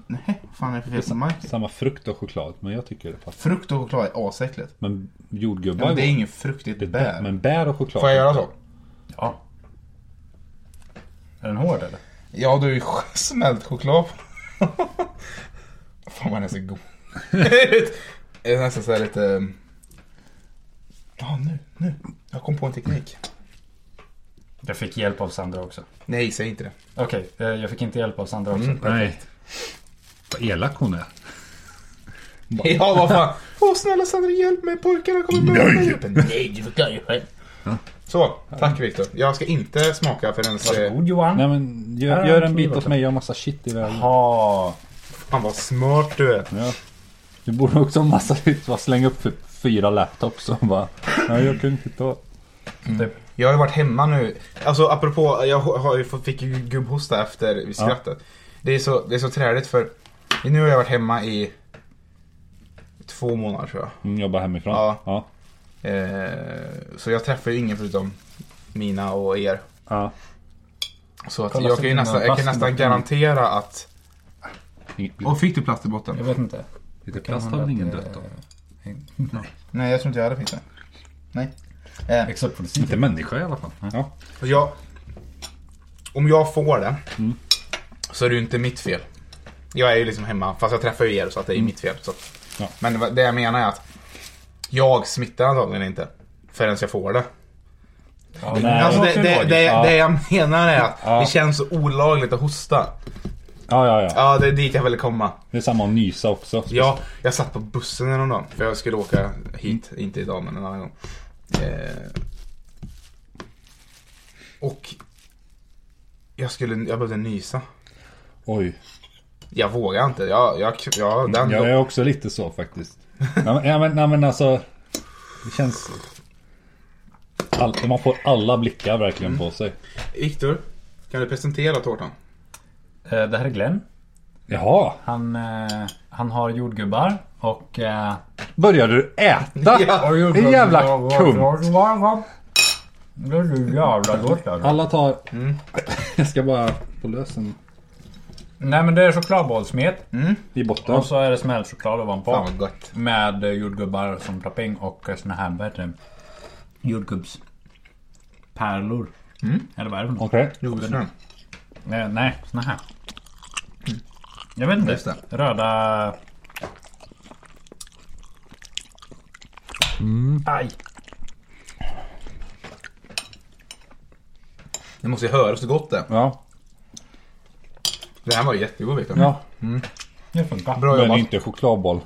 Speaker 2: Nej, vad fan är det för fel på Mike?
Speaker 3: Samma frukt och choklad, men jag tycker det passar.
Speaker 2: Frukt och choklad är asäckligt.
Speaker 3: Men
Speaker 2: Ja,
Speaker 3: jordgubbar
Speaker 2: men det är
Speaker 3: går.
Speaker 2: ingen fruktigt
Speaker 3: Det är bä-
Speaker 2: bär.
Speaker 3: Men bär och choklad.
Speaker 2: Får jag göra så?
Speaker 7: Ja. Är den hård eller?
Speaker 2: Ja, du är ju [laughs] smält choklad. [laughs] Fan vad den är så god. det är nästan såhär lite... ehm, Ja, nu, nu. Jag kom på en teknik.
Speaker 7: Jag fick hjälp av Sandra också.
Speaker 2: Nej, säg inte det.
Speaker 7: Okej, eh, jag fick inte hjälp av Sandra också.
Speaker 2: Mm.
Speaker 3: Nej. Vad elak hon är.
Speaker 2: [laughs] Ja, vad fan. Åh, snälla Sandra, hjälp mig. Pojkarna kommer med mig. Nej, du får klara dig
Speaker 7: eh,
Speaker 2: själv. Så, tack Viktor. Jag ska inte smaka förrän... eh,
Speaker 7: Varsågod Johan.
Speaker 3: Nej men gör,
Speaker 7: Ja,
Speaker 3: gör
Speaker 7: jag
Speaker 3: en bit
Speaker 7: tror
Speaker 3: åt
Speaker 7: det.
Speaker 3: mig, jag har massa shit i vägen.
Speaker 7: Jaha.
Speaker 2: Fan vad smart du är.
Speaker 3: Ja. Du borde också ha massa shit, bara slänga upp för fyra laptops och bara... Nej jag kan inte ta.
Speaker 2: Mm. Jag har ju varit hemma nu. Alltså apropå, jag har ju fått- fick ju gubbhosta efter skrattet. Det, är så, det är så träligt för nu har jag varit hemma i två månader tror jag.
Speaker 3: Mm, jobba hemifrån.
Speaker 2: Ja.
Speaker 3: Ja.
Speaker 2: Eh, så jag träffar ju ingen förutom mina och er.
Speaker 3: ja.
Speaker 2: Så att
Speaker 7: Kolla
Speaker 2: jag
Speaker 7: så
Speaker 2: kan ju
Speaker 7: dina
Speaker 2: nästan, jag kan
Speaker 7: plast i
Speaker 2: nästan
Speaker 7: botten.
Speaker 2: garantera att...
Speaker 3: I-
Speaker 2: Och fick du plast i botten?
Speaker 7: Jag vet inte.
Speaker 3: Lite
Speaker 7: kan
Speaker 3: plast har
Speaker 7: hända
Speaker 3: väl ingen
Speaker 7: att det-
Speaker 3: dött av?
Speaker 2: Nej, jag tror inte jag hade fick det. Nej.
Speaker 7: Except for the
Speaker 3: Inte människa i alla fall. Ja.
Speaker 2: Och jag, om jag får det
Speaker 3: Mm.
Speaker 2: så är det ju inte mitt fel. Jag är ju liksom hemma, fast jag träffar ju er så att det är mitt fel. Så. att-
Speaker 3: Mm. Ja.
Speaker 2: Men det var- det jag menar är att jag smittar antagligen inte förrän jag får det.
Speaker 3: nej.
Speaker 2: alltså det,
Speaker 3: låter
Speaker 2: det,
Speaker 3: ju
Speaker 2: det,
Speaker 3: logiskt.
Speaker 2: det,
Speaker 3: Ja.
Speaker 2: jag menar är att
Speaker 3: Ja.
Speaker 2: det känns så olagligt att hosta.
Speaker 3: Ja, ja, ja.
Speaker 2: Ja, det är dit jag ville komma.
Speaker 3: Det är samma att nysa också.
Speaker 2: Ja, jag satt på bussen häromdagen för jag skulle åka hit, inte idag men en annan gång. Eh, och jag, skulle, jag behövde nysa.
Speaker 3: Oj.
Speaker 2: Jag vågar inte. Jag, jag, jag, den,
Speaker 3: Jag är också lite så faktiskt. nej, men, ja, men, nej men alltså. Det känns... All, man får alla blickar verkligen på sig.
Speaker 2: Viktor, kan du presentera tårtan?
Speaker 7: Eh, Det här är Glenn.
Speaker 3: Jaha.
Speaker 7: Han, eh, han har jordgubbar och... eh,
Speaker 3: Började du [laughs] äta?
Speaker 2: Ja.
Speaker 3: Det är jävla kumt.
Speaker 7: Det är ju jävla gott alltså.
Speaker 3: Alla tar... [laughs] Jag ska bara få lös en
Speaker 7: Nej men det är chokladbollsmet
Speaker 3: i botten.
Speaker 7: och så är det smält choklad ovanpå.
Speaker 2: Fan vad gott.
Speaker 7: Med eh, jordgubbar som topping och eh, såna här, vad heter det? Jordgubbspärlor. Eller vad är det för något?
Speaker 3: Okej.
Speaker 2: Jordgubbssnö.
Speaker 7: Eh, nej, såna här. Jag vet inte.
Speaker 2: Just det.
Speaker 7: Röda... Aj!
Speaker 2: Det måste ju höras så gott det.
Speaker 3: Ja.
Speaker 2: Det här var ju jättegod Viktor.
Speaker 3: ja.
Speaker 7: Det funkar.
Speaker 2: Bra
Speaker 3: Men
Speaker 2: jobbat.
Speaker 3: inte chokladboll.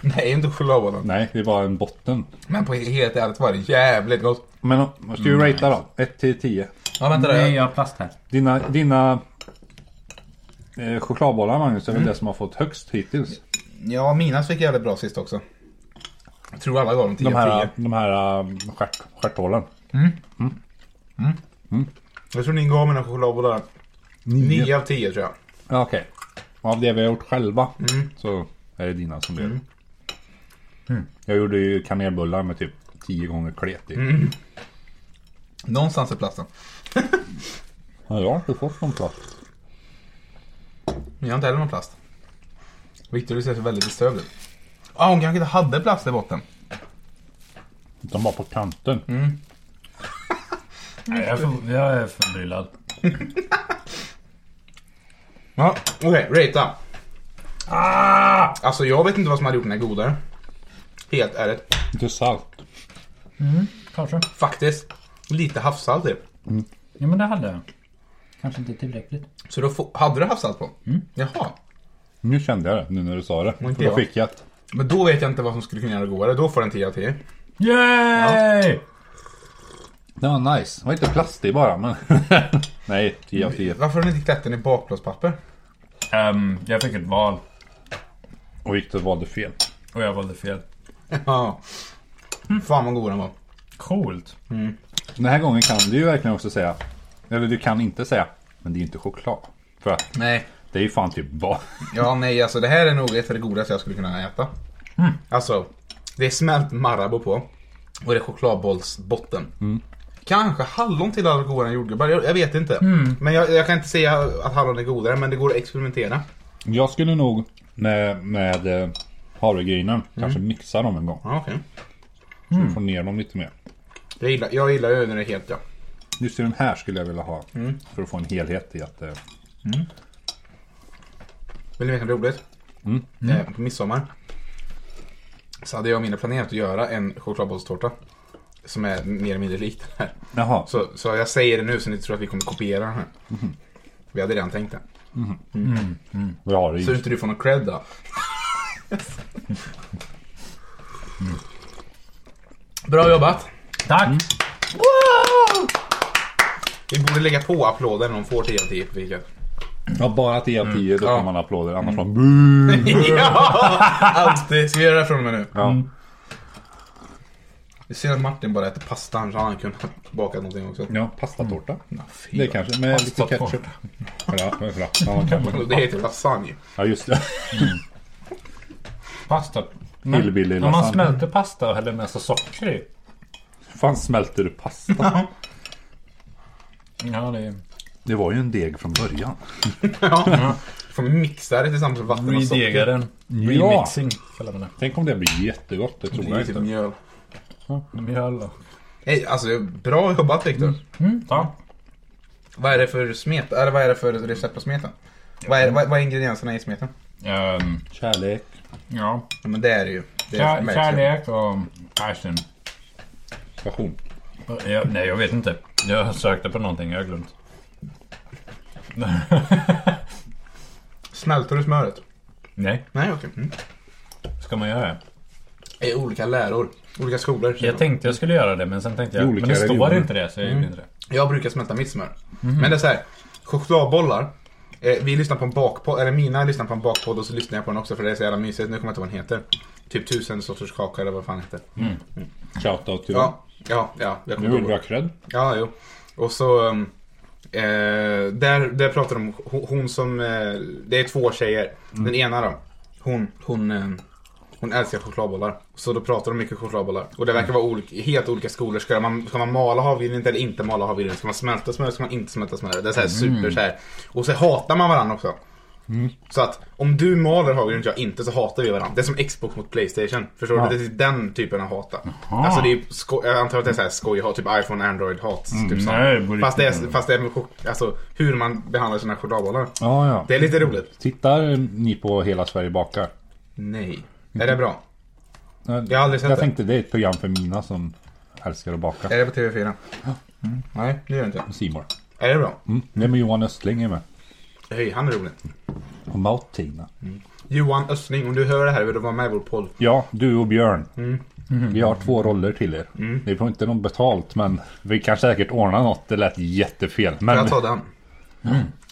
Speaker 2: Nej, inte chokladbollen.
Speaker 3: Nej, det är bara en botten.
Speaker 2: Men på helt ärligt var det jävligt gott.
Speaker 3: Men om- vad ska vi ratea då? 1 till 10.
Speaker 2: Ja, vänta
Speaker 7: Nej, jag har plast här.
Speaker 3: Dina, dina eh, chokladbollar Magnus är väl det som har fått högst hittills?
Speaker 2: Ja, mina fick jävligt bra sist också. Jag tror alla gav dem 10
Speaker 3: De
Speaker 2: av
Speaker 3: här,
Speaker 2: 10.
Speaker 3: de här um, stjärt, stjärthålen.
Speaker 2: Jag tror ni gav mina chokladbollar 9 av 10 tror jag.
Speaker 3: Ja, Okej. Av det vi har gjort själva
Speaker 2: Mm.
Speaker 3: så är det dina som blir det. Jag gjorde ju kanelbullar med typ 10 gånger klet i.
Speaker 2: Mm. Någonstans är plasten.
Speaker 3: Ja, jag har inte fått någon plats.
Speaker 2: Men jag har inte heller någon plast. Ah, Viktor, du ser så väldigt bestövd ut. Ja, hon kanske inte hade plast i botten.
Speaker 3: Utan bara på kanten.
Speaker 2: Mm.
Speaker 5: Nej, jag, är för, jag är förbryllad.
Speaker 2: Ja, okej. Ratea. Ah! Alltså jag vet inte vad som hade gjort den här godare. Helt ärligt.
Speaker 3: Lite salt.
Speaker 5: Kanske.
Speaker 2: Faktiskt. Lite havssalt typ.
Speaker 5: Ja men det hade jag.
Speaker 7: Kanske inte tillräckligt.
Speaker 2: Så då få- hade du havssalt på? Jaha.
Speaker 3: Nu kände jag det, nu när du sa det.
Speaker 2: inte
Speaker 3: För då
Speaker 2: jag.
Speaker 3: fick jag ett.
Speaker 2: Men då vet jag inte vad som skulle kunna göra det godare. Då får den 10 av 10.
Speaker 5: Yay!
Speaker 3: Det var nice. Det var inte plastig bara men... [laughs] Nej, 10 av 10.
Speaker 2: Varför har ni inte klätt den i bakplåtspapper?
Speaker 5: Ehm, jag fick ett val
Speaker 3: Och Viktor valde fel.
Speaker 5: och jag valde fel.
Speaker 2: Ja. Fan vad god den var.
Speaker 5: Coolt.
Speaker 3: Den här gången kan du ju verkligen också säga. Eller du kan inte säga. Men det är ju inte choklad. För att
Speaker 2: Nej.
Speaker 3: det är ju fan typ bara...
Speaker 2: Ja, nej alltså det här är nog ett av det godaste jag skulle kunna äta. Alltså, det är smält Marabou på och det är chokladbollsbotten. Kanske hallon till alla godare än jordgubbar, jag, jag vet inte. Men jag, jag kan inte säga att hallon är godare, men det går att experimentera.
Speaker 3: Jag skulle nog med, med eh, havregrynen
Speaker 2: Mm.
Speaker 3: kanske mixa dem en gång.
Speaker 2: Ja, okej.
Speaker 3: Så
Speaker 2: Mm.
Speaker 3: vi får ner dem lite mer.
Speaker 2: Jag gillar, jag gillar ju när det är helt ja.
Speaker 3: Just i den här skulle jag vilja ha.
Speaker 2: Mm.
Speaker 3: För att få en helhet i att... eh,
Speaker 2: Vill ni veta något roligt? Eh, på midsommar så hade jag och mina planerat att göra en chokladbollstårta. Som är mer eller mindre lik den här.
Speaker 3: Jaha.
Speaker 2: Så, så jag säger det nu så ni tror att vi kommer kopiera den här. Vi hade redan tänkt det.
Speaker 3: Vi har det
Speaker 2: Så
Speaker 3: ju.
Speaker 2: inte du får någon cred då. Bra jobbat.
Speaker 5: Tack!
Speaker 2: Vi borde lägga på applåder när de får 10 av 10 på vilket.
Speaker 3: Ja, bara 10 av 10 då
Speaker 2: Mm. Ja. Mm.
Speaker 3: får man applåder. Annars får man bu.
Speaker 2: [laughs] Ja! Alltid. Ska vi göra det från och med nu?
Speaker 3: Ja.
Speaker 2: Det är synd att Martin bara äter pasta, annars hade han kunnat baka någonting också.
Speaker 3: Ja, pastatårta.
Speaker 2: Ja, fy
Speaker 3: Det
Speaker 2: vad-
Speaker 3: kanske, med lite ketchup. Ja, ja, ja. Ja, kanske.
Speaker 2: Det heter lasagne.
Speaker 3: ja, just det.
Speaker 5: Pasta.
Speaker 2: Mm.
Speaker 3: Hillbilly
Speaker 5: om man
Speaker 3: lasagne.
Speaker 5: smälter pasta och häller med sig socker i.
Speaker 3: Hur fan smälter du pasta?
Speaker 5: Ja, det är...
Speaker 3: Det var ju en deg från början.
Speaker 2: Ja. Får mixa det tillsammans med vatten och
Speaker 5: Redegar
Speaker 2: socker.
Speaker 5: den. Remixing kallar man det.
Speaker 3: Tänk om det blir jättegott, det tror
Speaker 2: Det
Speaker 3: jag
Speaker 2: är typ
Speaker 3: inte.
Speaker 2: mjöl.
Speaker 5: Mjöl och...
Speaker 2: Nej, alltså bra jobbat Viktor.
Speaker 5: Ja.
Speaker 2: Vad är det för smet? Eller vad är det för recept på smeten? Vad är, vad, vad är ingredienserna i smeten?
Speaker 5: Ehm,
Speaker 3: Kärlek.
Speaker 5: ja.
Speaker 2: Ja, men det är det ju. Det är
Speaker 5: Kär,
Speaker 2: märks ju.
Speaker 5: kärlek och passion.
Speaker 3: Passion.
Speaker 5: Jag, nej, jag vet inte. Jag sökte på någonting, jag har glömt. [laughs]
Speaker 2: Smälter du smöret?
Speaker 5: Nej,
Speaker 2: Nej, okej. Mm.
Speaker 5: ska man göra det?
Speaker 2: Det är olika läror. Olika skolor. säger
Speaker 5: Jag
Speaker 2: de.
Speaker 5: tänkte jag skulle göra det, men sen tänkte
Speaker 3: I
Speaker 5: jag...
Speaker 3: olika
Speaker 5: Men det står
Speaker 3: religioner.
Speaker 5: inte det, så jag gjorde inte det.
Speaker 2: Jag brukar smälta mitt smör. Men det är så här. Chokladbollar. Eh, vi lyssnar på en bakpodd, eller mina lyssnar på en bakpodd och så lyssnar jag på den också för det är så jävla mysigt. Nu kommer jag inte ihåg vad den heter. Typ tusen sorters kaka eller vad fan det heter.
Speaker 3: Shoutout till
Speaker 2: Ja, ja, ja. Jag
Speaker 3: Nu
Speaker 2: kommer
Speaker 3: vill
Speaker 2: ihåg.
Speaker 3: vi ha cred.
Speaker 2: Ja, jo. Och så... ehm, Eh, där, där pratar de om ho- hon som... Eh, det är två tjejer. Den ena då. Hon, hon, eh, hon älskar chokladbollar. Så då pratar de mycket chokladbollar. Och det verkar vara olika, helt olika skolor. Ska man, ska man mala havregrynet eller inte mala havregrynet? Ska man smälta smör ska man inte smälta smör? Det är så här super så här. Och så hatar man varandra också. Så att om du maler havregrynet och jag inte så hatar vi varandra. Det är som Xbox mot Playstation. Förstår du? Det är den typen av hata. Alltså det är sko- jag antar att det är så här skojhat, typ iPhone, Android hat. typ så.
Speaker 5: nej, det borde
Speaker 2: fast, det är,
Speaker 5: inte vara.
Speaker 2: fast det är med chok- alltså, hur man behandlar sina chokladbollar.
Speaker 3: Ja, ja.
Speaker 2: Det är lite roligt.
Speaker 3: Tittar ni på Hela Sverige bakar?
Speaker 2: Nej. Är det bra?
Speaker 3: Nej,
Speaker 2: Jag har aldrig sett
Speaker 3: Jag
Speaker 2: det.
Speaker 3: tänkte det är ett program för mina som älskar att baka.
Speaker 2: Är det på TV4? Mm. Nej, det gör det inte.
Speaker 3: C More.
Speaker 2: Är det bra?
Speaker 3: Mm. Det är med Johan Östling är med.
Speaker 2: Hej, han är rolig.
Speaker 3: Och Mautina.
Speaker 2: Johan Östling, om du hör det här vill du vara med i vår podd.
Speaker 3: Ja, du och Björn.
Speaker 2: Mm.
Speaker 3: Vi har två roller till er. Vi får inte någon betalt men vi kan säkert ordna något. Det lät jättefel. Men...
Speaker 2: Jag tar den.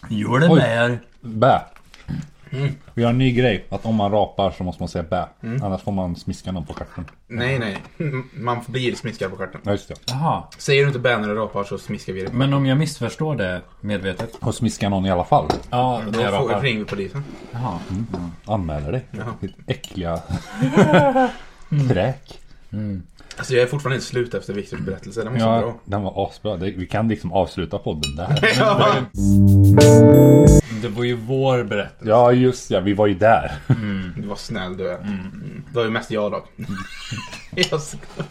Speaker 5: Gjorde
Speaker 3: Oj.
Speaker 5: mer.
Speaker 3: Bä.
Speaker 2: Mm.
Speaker 3: Vi har en ny grej. Att om man rapar så måste man säga bä. Annars får man smiska någon på stjärten.
Speaker 2: Nej, nej. [laughs] Man blir smiskad på stjärten.
Speaker 3: Ja, just det.
Speaker 5: Jaha.
Speaker 2: Säger du inte bä när du rapar så smiskar vi dig.
Speaker 5: Men om jag missförstår det medvetet?
Speaker 3: Och smiska någon i alla fall.
Speaker 5: Ja, det
Speaker 2: Då får,
Speaker 5: är
Speaker 2: ringer vi polisen.
Speaker 3: Anmäler dig.
Speaker 2: Ja.
Speaker 3: Ditt
Speaker 2: [laughs]
Speaker 3: äckliga kräk.
Speaker 2: Alltså jag är fortfarande inte slut efter Viktors berättelse. Den var så
Speaker 3: Ja,
Speaker 2: bra. [laughs]
Speaker 3: den var asbra. Det- Vi kan liksom avsluta podden där.
Speaker 2: Ja.
Speaker 5: Det var ju vår
Speaker 3: [laughs]
Speaker 5: berättelse.
Speaker 3: Ja, just ja. Vi var ju där.
Speaker 2: Mm. [laughs] Du var snäll du är. Det var ju mest jag dock. jag skojar.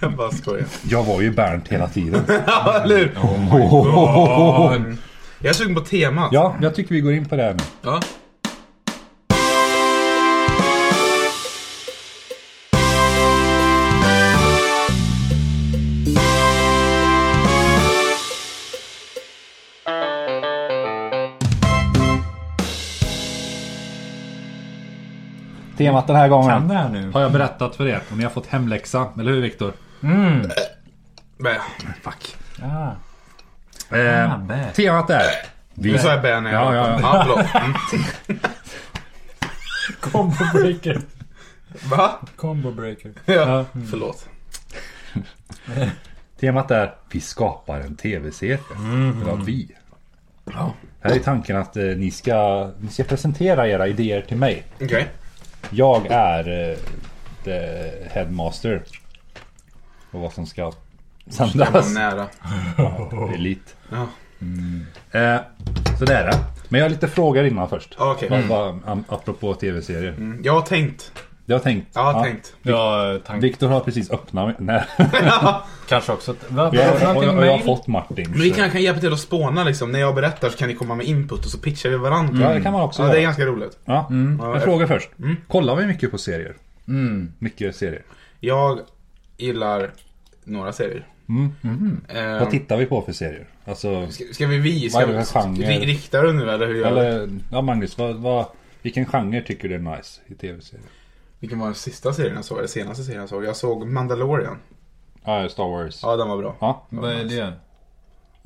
Speaker 2: Jag bara skojar.
Speaker 3: [laughs] Jag var ju Bernt hela tiden.
Speaker 2: [laughs] Ja, eller hur? Oh,
Speaker 3: Ohohohoho.
Speaker 2: Jag är sugen på temat.
Speaker 3: [laughs] Ja, jag tycker vi går in på det här nu.
Speaker 2: Ja.
Speaker 3: Temat den här
Speaker 1: Kan
Speaker 3: gången.
Speaker 1: det här nu?
Speaker 8: Har jag berättat för er? Och ni har fått hemläxa, eller hur Viktor?
Speaker 2: Bä.
Speaker 8: Fuck.
Speaker 1: Ah,
Speaker 8: Eh,
Speaker 3: Mm.
Speaker 1: fan,
Speaker 3: [laughs]
Speaker 1: bä.
Speaker 8: temat är... Vi...
Speaker 2: Nu sa jag bä när
Speaker 8: Ja,
Speaker 2: jag
Speaker 8: ja, ja.
Speaker 2: [laughs] ja förlåt. Mm.
Speaker 9: Combo breaker.
Speaker 2: Va? [laughs]
Speaker 9: Combo breaker.
Speaker 2: Ja. Förlåt.
Speaker 8: Temat är Vi skapar en tv-serie.
Speaker 3: Mm.
Speaker 8: Eller vi.
Speaker 3: Här är tanken att eh, ni, ska, ni ska presentera era idéer till mig.
Speaker 2: Okej.
Speaker 3: Jag är eh, the headmaster. Och vad som ska
Speaker 2: Jag var
Speaker 3: sändas.
Speaker 2: nära.
Speaker 3: Elit.
Speaker 2: Ja.
Speaker 3: Eh, så det är det. Men jag har lite frågor innan först.
Speaker 2: Ja, Ah, Okej.
Speaker 3: Vad- vad- am- Apropå tv-serier.
Speaker 2: Mm. Jag har tänkt.
Speaker 3: Jag har tänkt.
Speaker 2: Jag har
Speaker 3: ja.
Speaker 2: tänkt. [laughs]
Speaker 1: Ja, tank...
Speaker 3: Viktor har precis öppnat. Nej.
Speaker 1: Kanske också... Va, var
Speaker 3: Jag,
Speaker 1: det
Speaker 3: och, och,
Speaker 1: någonting
Speaker 3: och jag har
Speaker 1: mail?
Speaker 3: fått Martins.
Speaker 2: Men vi kan, kan hjälpa till att spåna liksom. När jag berättar så kan ni komma med input och så pitchar vi varandra.
Speaker 3: Mm. Ja, det kan man också
Speaker 2: Ja, det är
Speaker 3: göra.
Speaker 2: ganska roligt.
Speaker 3: Ja.
Speaker 2: Ja, Mm.
Speaker 3: En
Speaker 2: jag-
Speaker 3: fråga först. Kollar vi mycket på serier?
Speaker 1: Mm.
Speaker 3: Mycket serier.
Speaker 2: Jag gillar några serier.
Speaker 3: Mm,
Speaker 2: Ehm,
Speaker 3: Vad tittar vi på för serier? Alltså,
Speaker 2: ska, ska vi vi? Ska
Speaker 3: mhm. Vad är det
Speaker 2: vi
Speaker 3: för genre?
Speaker 2: ri- riktar du nu eller hur gör Eller...
Speaker 3: eller, ja Magnus, vad, vad, vilken genre tycker du är nice i tv-serier?
Speaker 2: Vilken var den sista serien jag såg? Eller senaste serien jag såg? Jag såg Mandalorian.
Speaker 3: Ja, Star Wars.
Speaker 2: Ja, den var bra.
Speaker 3: Ja.
Speaker 1: Vad är det?
Speaker 2: Det är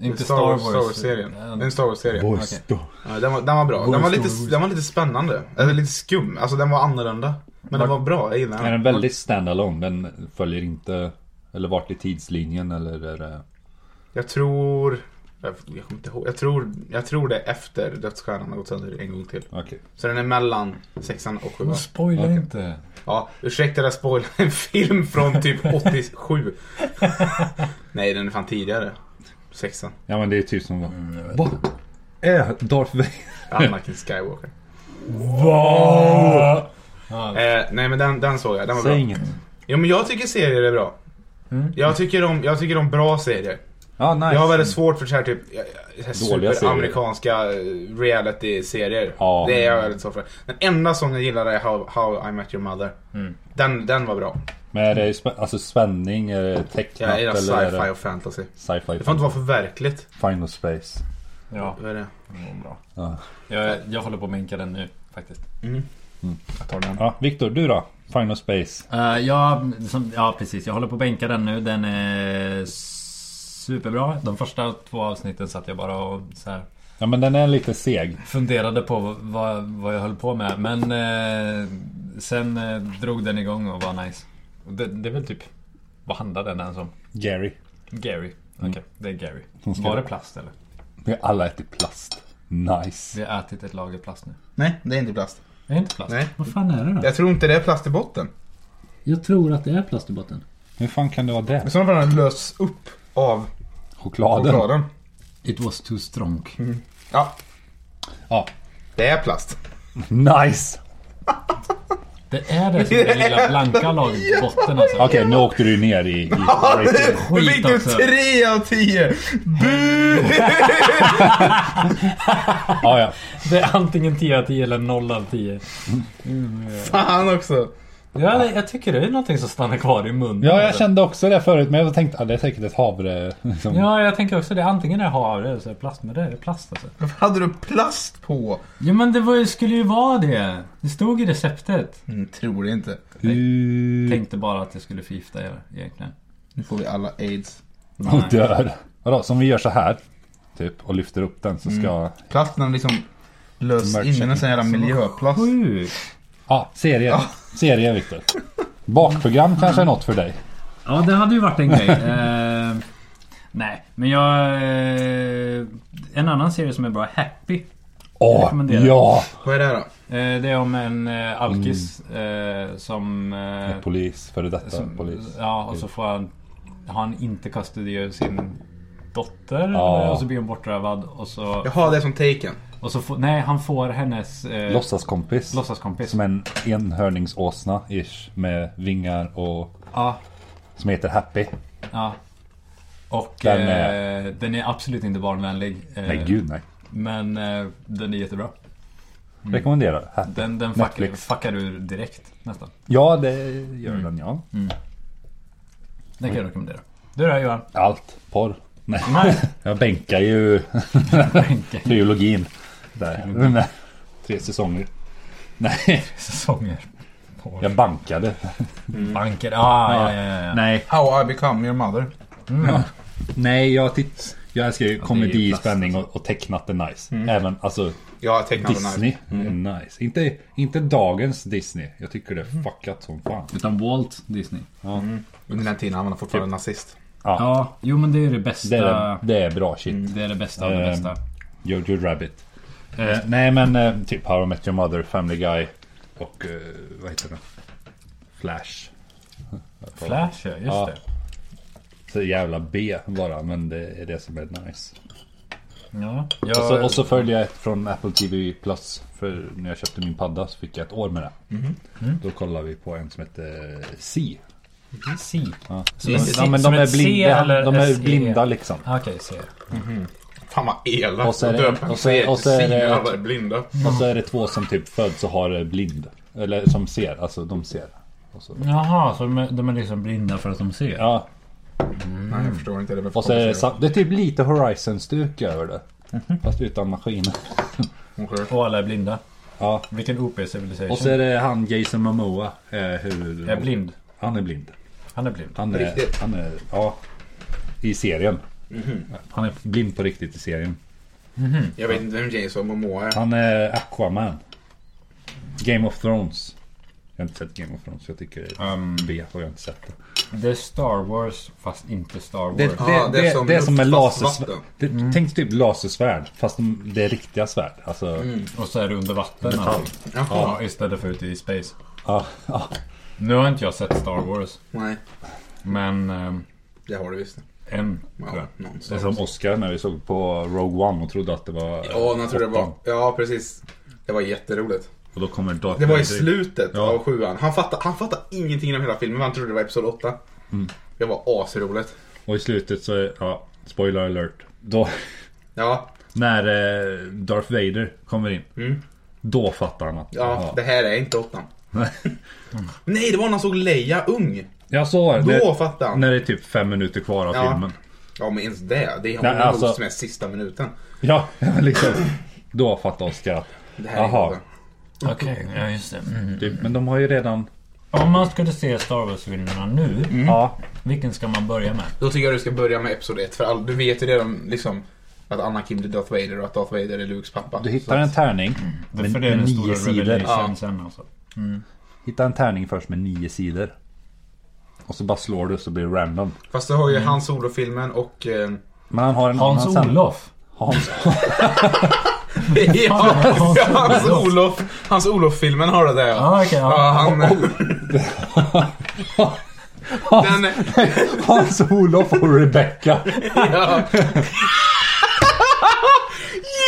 Speaker 1: Inte Star Wars?
Speaker 2: Star Wars-serien. Det är en Star Wars-serie.
Speaker 1: Boys.
Speaker 2: Ja, den, var, den var bra. Den var, lite,
Speaker 1: Boys, boys.
Speaker 2: den var lite spännande. Eller lite skum. Alltså den var annorlunda. Men den var bra. Jag gillar
Speaker 3: Är
Speaker 2: den.
Speaker 3: den väldigt standalone? Den följer inte... Eller vart i tidslinjen eller är det...
Speaker 2: Jag tror... Jag jag kommer inte ihåg. Jag tror, jag tror det är efter Dödsstjärnan har gått sönder en gång till.
Speaker 3: Okej.
Speaker 2: Så den är mellan sexan och sjuan.
Speaker 1: Spoila inte.
Speaker 2: Ja, ursäkta att jag spoilar en film från typ 87. Nej, den är fan tidigare. Sexan.
Speaker 3: Ja men det är typ som... Vad är Darth Vader?
Speaker 2: Anakin Skywalker. Eh, nej men den, den såg jag, den var
Speaker 3: Säg
Speaker 2: bra.
Speaker 3: inget.
Speaker 2: Jo men jag tycker serier är bra. Jag, tycker om, jag tycker om bra serier.
Speaker 3: Ja, nice.
Speaker 2: Jag har väldigt svårt för så här typ jag- jag-
Speaker 3: Dåliga serier.
Speaker 2: superamerikanska eh, reality-serier.
Speaker 3: Ja.
Speaker 2: Det är jag väldigt svårt för. Den enda som jag gillar är How, How I Met Your Mother.
Speaker 3: Mm.
Speaker 2: Den, den var bra.
Speaker 3: Men är det spä- alltså spänning, är det tecknat
Speaker 2: Jag gillar
Speaker 3: eller är
Speaker 2: sci-fi
Speaker 3: det
Speaker 2: och fantasy.
Speaker 3: sci-fi?
Speaker 2: Det får inte vara för verkligt.
Speaker 3: Final Space.
Speaker 1: Ja,
Speaker 2: Vad är det?
Speaker 1: jag, jag håller på att minka den nu faktiskt. Jag tar den.
Speaker 3: Ja, Viktor, du då? Final Space.
Speaker 1: Eh, ja, som, ja, precis. Jag håller på att bänka den nu. Den är superbra. De första två avsnitten satt jag bara och så här
Speaker 3: Ja, men den är lite seg.
Speaker 1: funderade på vad, vad jag höll på med. Men eh, sen eh, drog den igång och var nice. Och Det, det är väl typ... Vad handlar den ens om?
Speaker 3: Gary.
Speaker 1: Gary. Okej, det är Gary.
Speaker 3: Hon ska-
Speaker 1: Var det plast eller?
Speaker 3: Vi har alla ätit plast. Nice.
Speaker 1: Vi har ätit ett lager plast nu.
Speaker 2: Nej, det är inte plast.
Speaker 1: Är det inte plast?
Speaker 2: Nej.
Speaker 8: Vad fan är det då?
Speaker 2: Jag tror inte det är plast i botten.
Speaker 8: Jag tror att det är plast i botten.
Speaker 3: Hur fan kan det vara
Speaker 2: I
Speaker 3: det?
Speaker 2: sådana fall har den lösts upp av
Speaker 3: Chokladen.
Speaker 2: chokladen.
Speaker 1: It was too strong.
Speaker 2: Ja,
Speaker 3: Ja.
Speaker 2: det är plast.
Speaker 3: Nice!
Speaker 1: Det är det som är det lilla blanka lagret på botten alltså.
Speaker 3: Okej, nu åkte du ner i... i
Speaker 2: Nu fick du
Speaker 1: alltså.
Speaker 2: tre av tio!
Speaker 3: [laughs] ja, ja.
Speaker 9: Det är antingen 10 av 10 eller 0 av 10.
Speaker 2: Fan också!
Speaker 9: Ja, det- jag tycker det är någonting som stannar kvar i munnen.
Speaker 3: ja, jag kände också det förut, men jag tänkte att det är säkert ett havre. Liksom.
Speaker 9: Ja, jag tänker också det. Antingen är det havre eller så är det plast. Men det är plast alltså.
Speaker 2: Varför hade du plast på?
Speaker 1: Ja men det var, ju- skulle ju vara det. Det stod i receptet.
Speaker 2: Mm, tror det inte.
Speaker 3: Hur...
Speaker 1: Tänkte bara att jag skulle förgifta er egentligen.
Speaker 2: Nu får vi alla aids.
Speaker 3: Och dör. Vadå, som vi gör så här. Typ, och lyfter upp den så ska...
Speaker 2: Plasten liksom lös
Speaker 3: Mörk
Speaker 2: in i en sån
Speaker 3: checking.
Speaker 2: jävla miljöplast.
Speaker 3: Ja, serier. Serier, Viktor. Bakprogram kanske är något för dig.
Speaker 1: Ja det hade ju varit en [laughs] grej. Eh, nej men jag... Eh, en annan serie som är bra, Happy.
Speaker 3: Åh,
Speaker 1: rekommenderar.
Speaker 3: ja!
Speaker 2: Vad är det här då?
Speaker 1: Eh, det är om en eh, alkis
Speaker 9: Mm.
Speaker 1: eh, som... Eh,
Speaker 3: Polis, före detta
Speaker 1: som
Speaker 3: polis.
Speaker 1: Ja och så får han... Han inte custody av sin dotter.
Speaker 3: Ja.
Speaker 1: Och så blir hon bortrövad. Och så...
Speaker 2: Jaha, det är som Taken.
Speaker 1: Och så får, nej han får hennes... Eh,
Speaker 3: Låtsaskompis.
Speaker 1: Låtsaskompis.
Speaker 3: Som en enhörningsåsna ish med vingar och
Speaker 1: Ja.
Speaker 3: Som heter Happy.
Speaker 5: Ja. Och
Speaker 3: Den
Speaker 5: den
Speaker 3: är-
Speaker 5: är, eh, den är absolut inte barnvänlig. Eh,
Speaker 3: Nej gud nej.
Speaker 5: Men eh, den är jättebra.
Speaker 3: Rekommenderar. Happy.
Speaker 5: Den, den fuckar,
Speaker 3: Netflix.
Speaker 5: fuckar ur direkt nästan.
Speaker 3: Ja det gör den ja.
Speaker 5: Den kan jag rekommendera. Du då Johan?
Speaker 3: Allt. Porr. Nej. [laughs]
Speaker 5: Nej.
Speaker 3: Jag bänkar ju [laughs] trilogin. Där. Nej. Tre säsonger. Nej,
Speaker 5: Säsonger.
Speaker 3: jag bankade.
Speaker 5: Banker. Ah, ja, ja, ja, ja.
Speaker 3: Nej,
Speaker 2: How I become your mother.
Speaker 3: nej jag, titt, jag älskar ju
Speaker 5: det är ju
Speaker 3: komedi,
Speaker 5: plast,
Speaker 3: spänning och, och tecknat är nice. Även alltså
Speaker 2: Jag har tecknat den här.
Speaker 3: Disney är nice. Inte, inte dagens Disney. Jag tycker det är fuckat som fan.
Speaker 7: Utan Walt Disney.
Speaker 2: Under den tiden han var
Speaker 3: Typ.
Speaker 2: fortfarande nazist.
Speaker 7: Ja, jo men det är det bästa.
Speaker 3: Det är, det är bra shit.
Speaker 7: Det är det bästa av det
Speaker 5: Ehm,
Speaker 3: Eh,
Speaker 7: bästa.
Speaker 3: Jojo Rabbit. Eh, nej men eh, typ How I Met Your Mother, Family Guy och eh, vad heter den? Flash.
Speaker 5: Flash ja, just
Speaker 3: Ja.
Speaker 5: det.
Speaker 3: Så jävla B bara men det är det som är nice.
Speaker 5: Ja.
Speaker 3: Och så,
Speaker 5: Jag,
Speaker 3: och så följde jag ett från Apple TV Plus. För när jag köpte min padda så fick jag ett år med det. Mhm. Då kollade vi på en som hette C.
Speaker 5: Si.
Speaker 3: Ja.
Speaker 5: Som ett-
Speaker 3: ja, men de
Speaker 5: som
Speaker 3: är
Speaker 5: ett C
Speaker 3: blinda,
Speaker 5: eller
Speaker 3: de är
Speaker 5: SE?
Speaker 3: blinda liksom.
Speaker 5: Ah, Okej, se.
Speaker 2: Fan vad elakt
Speaker 3: Och så är
Speaker 2: att
Speaker 3: det-
Speaker 2: döpa en
Speaker 3: och så är-
Speaker 2: serie
Speaker 3: och
Speaker 2: till
Speaker 3: så är det- Mm.
Speaker 2: Sina blinda.
Speaker 3: Och så är det två som typ föds och har blind. Eller som ser, alltså de ser. Och så,
Speaker 7: Jaha, så de är, de är liksom blinda för att de ser?
Speaker 3: ja,
Speaker 2: Nej jag förstår inte. Det är väl för
Speaker 3: och så är det,
Speaker 2: komplicerat.
Speaker 3: sam- Mhm. det är typ lite Horizon-stuk över det. Fast utan maskin.
Speaker 2: Kanske.
Speaker 5: Och alla är blinda.
Speaker 3: Ja.
Speaker 5: Vilken OP civilisation.
Speaker 3: Och så är det han Jason Momoa. Eh, hur,
Speaker 5: Är blind.
Speaker 3: Han är blind.
Speaker 5: Han är blind.
Speaker 3: Han
Speaker 2: Riktigt? Mhm.
Speaker 3: är, han är, ja. I serien. Han är blind på riktigt i serien.
Speaker 2: Jag vet inte vem Jason Momoa är.
Speaker 3: Han är Aquaman. Game of Thrones. Jag har inte sett Game of Thrones. Jag tycker det är
Speaker 2: Um,
Speaker 3: B och jag har inte sett det.
Speaker 5: Det är Star Wars fast inte Star Wars.
Speaker 3: Det, det,
Speaker 2: Ja,
Speaker 3: det, det, är som är
Speaker 2: ah, luftfast
Speaker 3: lasersvärd.
Speaker 2: vatten. Mm.
Speaker 3: Det, Tänk typ lasersvärd. Fast det är riktiga svärd. Alltså,
Speaker 2: Mm,
Speaker 5: Och så är det under vatten. Alltså.
Speaker 2: Jaha.
Speaker 5: Ja, istället för ute i space.
Speaker 3: ja, ja.
Speaker 5: Nu har inte jag sett Star Wars.
Speaker 2: Nej,
Speaker 5: Men ehm,
Speaker 2: det har du visst.
Speaker 5: en tror
Speaker 2: Ja,
Speaker 5: jag.
Speaker 3: Det är
Speaker 2: någonstans.
Speaker 3: som Oscar när vi såg på Rogue One och trodde att det var...
Speaker 2: Ja, jag tror det var.
Speaker 3: åttan.
Speaker 2: Ja, precis. Det var jätteroligt.
Speaker 3: Och då kommer Darth
Speaker 2: Det var i
Speaker 3: Vader.
Speaker 2: slutet
Speaker 3: Ja.
Speaker 2: av sjuan. Han fattade, han fattade ingenting inom hela filmen. Han trodde det var episod 8.
Speaker 3: Mm.
Speaker 2: Det var asroligt.
Speaker 3: Och i slutet så är... Ja, spoiler alert. Då...
Speaker 2: Ja,
Speaker 3: När eh, Darth Vader kommer in.
Speaker 2: Mm.
Speaker 3: Då fattar han att...
Speaker 2: ja, det här är inte åttan. [laughs] Nej, det var när han såg Leia ung.
Speaker 3: Jag sa det.
Speaker 2: Då
Speaker 3: När-
Speaker 2: fattade han.
Speaker 3: När det är typ fem minuter kvar av
Speaker 2: Ja.
Speaker 3: filmen.
Speaker 2: Ja, men ens det. Det är
Speaker 3: Nej,
Speaker 2: honom
Speaker 3: alltså-
Speaker 2: som är sista minuten.
Speaker 3: Ja, [laughs] liksom. Då fattar Oscar att...
Speaker 2: Det här är
Speaker 3: Jaha.
Speaker 2: inte åttan.
Speaker 7: Okej, ja just det. Mm.
Speaker 3: Typ, men de har ju redan...
Speaker 7: Om man skulle se Star Wars-filmerna nu,
Speaker 3: Ja.
Speaker 7: vilken ska man börja med?
Speaker 2: Då tycker jag du ska börja med episod 1. För all, du vet ju redan liksom att Anakin blir Darth Vader och att Darth Vader är Lukes pappa.
Speaker 3: Du hittar en tärning.
Speaker 7: Det,
Speaker 3: Med,
Speaker 7: för det är
Speaker 3: med
Speaker 7: den
Speaker 3: nio
Speaker 7: stora
Speaker 3: sidor.
Speaker 7: revelationen sen alltså.
Speaker 3: Hitta en tärning först med nio sidor. Och så bara slår du så blir det random.
Speaker 2: Fast du har
Speaker 3: Mm.
Speaker 2: ju hans solofilmen
Speaker 3: [laughs]
Speaker 2: och... Eh,
Speaker 3: Men han har en
Speaker 7: Hans
Speaker 1: Alltså,
Speaker 3: annan sen.
Speaker 7: Olof.
Speaker 3: Hans [laughs]
Speaker 2: ja, hans Olof. Hans Olof-filmen har det där ja.
Speaker 7: Ah, okej, ja.
Speaker 2: Ja,
Speaker 3: [laughs]
Speaker 2: han... [laughs] Den,
Speaker 3: Hans Olof och Rebecca.
Speaker 2: ja. [laughs]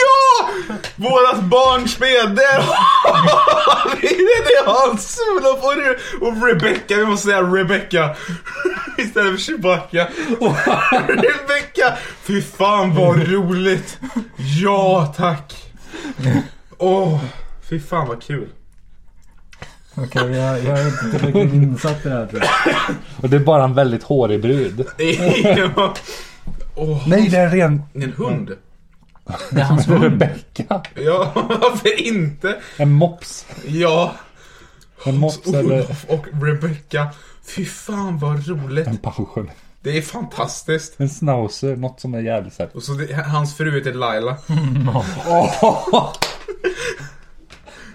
Speaker 2: ja! Vårat barnspel, där har vi det! Det är [laughs] Hans Olof och, Re- och Rebecca, vi måste säga Rebecca. [laughs] Istället för Chewbacca. Rebecca! Fy fan vad roligt! Ja, tack! Åh, fy fan vad kul. [laughs]
Speaker 7: Okej, jag, jag är inte tillräckligt insatt i det här tror jag.
Speaker 3: Och det är bara en väldigt hårig brud.
Speaker 2: Ja. Åh,
Speaker 3: Nej, det är ren
Speaker 2: en hund.
Speaker 7: Det är hans hund.
Speaker 3: [laughs] Rebecca.
Speaker 2: Ja, [laughs] varför inte?
Speaker 3: En mops.
Speaker 2: Ja,
Speaker 3: En mops eller
Speaker 2: Olof och Rebecca. Fy fan vad roligt.
Speaker 3: en passion.
Speaker 2: Det är fantastiskt.
Speaker 3: En schnauzer. Något som är jävligt såhär.
Speaker 2: Och så det, hans fru heter Laila.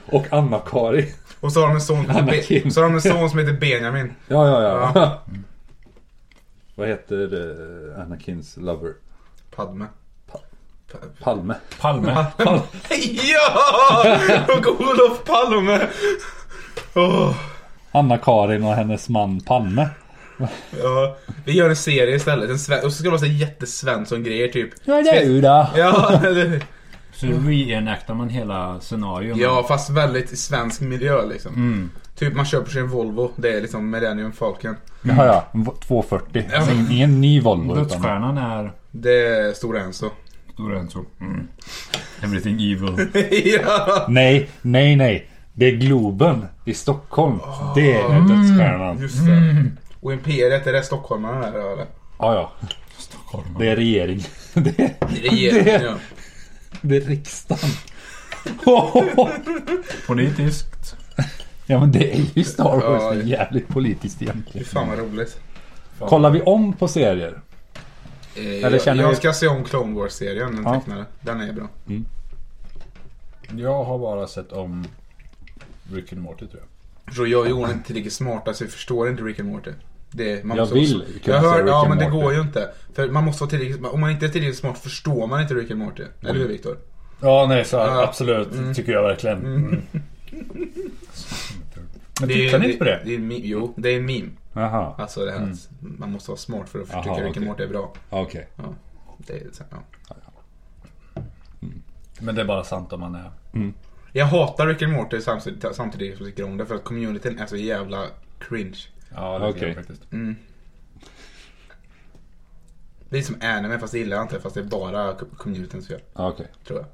Speaker 3: Och Anna-Kari.
Speaker 2: Och så har de en son,
Speaker 3: Anakin.
Speaker 2: Be, så har de en son som heter Benjamin.
Speaker 3: Ja, ja, ja. Vad heter uh, Anakins lover?
Speaker 2: Padme. [laughs]
Speaker 3: Palme.
Speaker 5: Palme.
Speaker 2: Ja! Och Olof Palme. Åh,
Speaker 3: Anna-Karin och hennes man Palme.
Speaker 2: ja. Vi gör en serie istället. En sve- och så ska det vara så jättesvensson-grejer typ.
Speaker 3: Ja, det är ju det.
Speaker 2: Ja, eller-
Speaker 7: Så reenactar man hela scenarion.
Speaker 2: ja, fast väldigt i svensk miljö liksom. Typ man köper sig en Volvo, det är liksom Millennium Falcon.
Speaker 3: Jaha ja, en vo- 240. Alltså, ingen, ingen ny Volvo utan...
Speaker 5: Dödsstjärnan är...
Speaker 2: Det är Stora Enso. [laughs]
Speaker 5: Stora Enso. Mm. Everything evil.
Speaker 2: ja!
Speaker 3: Nej, nej, nej. Det är Globen i Stockholm. Det är dödsstjärnan.
Speaker 2: Just det.
Speaker 3: Mm.
Speaker 2: Och Imperiet, är det stockholmarna där eller?
Speaker 3: Ja, ja.
Speaker 5: Stockholm.
Speaker 3: Det är regering. [laughs] Det är,
Speaker 2: [laughs] Regeringen ja.
Speaker 3: det är [laughs] riksdagen.
Speaker 5: Politiskt.
Speaker 3: Ja men det är ju Star Wars.
Speaker 2: Ja,
Speaker 3: Det är
Speaker 2: ja.
Speaker 3: jävligt politiskt
Speaker 2: Fy
Speaker 3: egentligen.
Speaker 2: fan vad roligt.
Speaker 3: Kollar vi om på serier?
Speaker 2: Eh,
Speaker 3: Eller
Speaker 2: jag,
Speaker 3: känner
Speaker 2: jag
Speaker 3: vi-
Speaker 2: ska se om Clone Wars-serien, den
Speaker 3: Ja.
Speaker 2: tecknade. Den är bra.
Speaker 1: Jag har bara sett om Rick and Morty tror jag.
Speaker 2: Jag tror jag är ju inte riktigt smart, alltså jag förstår inte Rick and Morty. Det, man
Speaker 3: Jag
Speaker 2: måste
Speaker 3: vill
Speaker 2: också,
Speaker 3: kunna
Speaker 2: jag
Speaker 3: säga
Speaker 2: hör,
Speaker 3: Rick
Speaker 2: Ja
Speaker 3: and
Speaker 2: men det
Speaker 3: Morty.
Speaker 2: går ju inte. För man måste vara tillräckligt, om man inte är tillräckligt smart förstår man inte Rick and Morty. Eller hur Viktor?
Speaker 1: Ja, nej, så
Speaker 2: Ja.
Speaker 1: absolut. Tycker jag verkligen. Mm. Men
Speaker 2: Det är-
Speaker 1: tittar ni inte på det?
Speaker 2: det är en meme, jo, det är en meme.
Speaker 3: Jaha,
Speaker 2: Alltså det här, att man måste vara smart för att
Speaker 3: Aha,
Speaker 2: tycka Rick and
Speaker 3: Mm. okej.
Speaker 2: Morty är bra.
Speaker 3: okej.
Speaker 2: Ja, det är, så- ja.
Speaker 1: Men det är bara sant om man är...
Speaker 2: Jag hatar Rick and Morty samtidigt, samtidigt som jag tycker om det för att communityn är så jävla cringe.
Speaker 1: Ja, det tycker
Speaker 3: Okej.
Speaker 1: jag faktiskt.
Speaker 2: Det är som anime fast det gillar jag inte fast det är bara co- communityns fel,
Speaker 3: Ja, Okej,
Speaker 2: tror jag.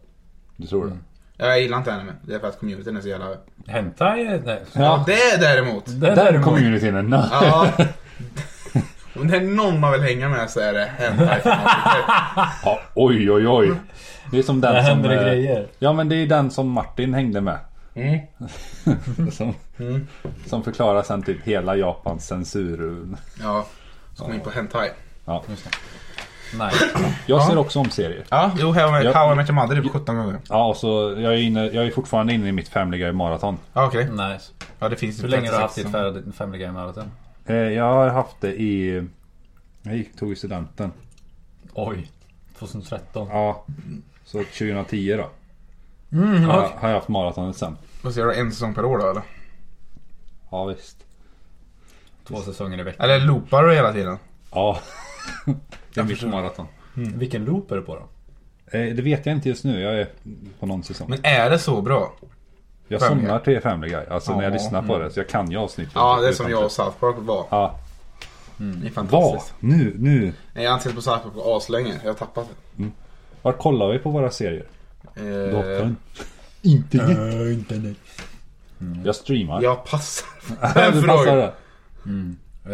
Speaker 3: du tror
Speaker 1: Mm.
Speaker 3: det?
Speaker 2: Ja, Jag gillar inte anime, det är för att communityn är så jävla...
Speaker 1: Hentai? Nej.
Speaker 2: Ja,
Speaker 3: Ja,
Speaker 2: det däremot!
Speaker 1: Det
Speaker 3: där
Speaker 1: däremot-
Speaker 3: kom ju till en nö.
Speaker 2: Ja. [laughs] Om det är någon man vill hänga med så är det hentai fanatiker.
Speaker 3: Ja, oj, oj, oj. Det är som den
Speaker 1: Det
Speaker 3: som...
Speaker 1: händer det
Speaker 3: eh,
Speaker 1: grejer.
Speaker 3: Ja, men det är den som Martin hängde med.
Speaker 2: Mm.
Speaker 1: Mm.
Speaker 3: som, som förklarar sen typ hela Japans censur.
Speaker 2: Ja, så kom vi in på hentai.
Speaker 3: Ja.
Speaker 1: Nej.
Speaker 3: Jag ser också om serier.
Speaker 2: Ja, jo, här med
Speaker 3: Ja.
Speaker 2: How I Met Your Mother typ 17 gånger.
Speaker 3: Ja, och så jag är, inne, jag är fortfarande inne i mitt Family Guy maraton.
Speaker 2: Ja, okej.
Speaker 1: Nice.
Speaker 2: Ja, det finns ju
Speaker 1: Hur länge har du haft
Speaker 2: 36
Speaker 1: ditt
Speaker 2: som-
Speaker 1: Fam- Family Guy Marathon?
Speaker 3: Eh, Jag har haft det i... Jag gick, tog ju studenten.
Speaker 1: Oj. 2013.
Speaker 3: Ja, så 2010 då.
Speaker 2: Mm,
Speaker 3: har, har jag haft maratonet sen.
Speaker 2: Vad säger du, en säsong per år då eller?
Speaker 3: Ja, visst.
Speaker 1: Två säsonger i veckan.
Speaker 2: Eller loopar du hela tiden?
Speaker 3: Ja. [laughs] det är mitt maraton.
Speaker 1: Vilken loop är du på då?
Speaker 3: Eh, det vet jag inte just nu. Jag är på någon säsong.
Speaker 2: Men är det så bra?
Speaker 3: jag
Speaker 2: Family
Speaker 3: somnar till Family Guy. Alltså när jag
Speaker 2: Ja, mm.
Speaker 3: lyssnar på det. Så jag kan ju avsnittet.
Speaker 2: Ja, det är som
Speaker 3: utan-
Speaker 2: jag och South Park var.
Speaker 3: Ja,
Speaker 2: Det är
Speaker 3: vad?
Speaker 2: fantastiskt.
Speaker 3: Nu, nu.
Speaker 2: Nej, Jag har inte sett på South Park på aslänge. Jag har tappat det.
Speaker 3: Vart kollar vi på våra serier?
Speaker 2: Eh,
Speaker 3: Datorn. Internet.
Speaker 1: internet.
Speaker 3: Jag streamar.
Speaker 2: Jag passar.
Speaker 3: [laughs] Ja, du
Speaker 2: frågar.
Speaker 3: passar det.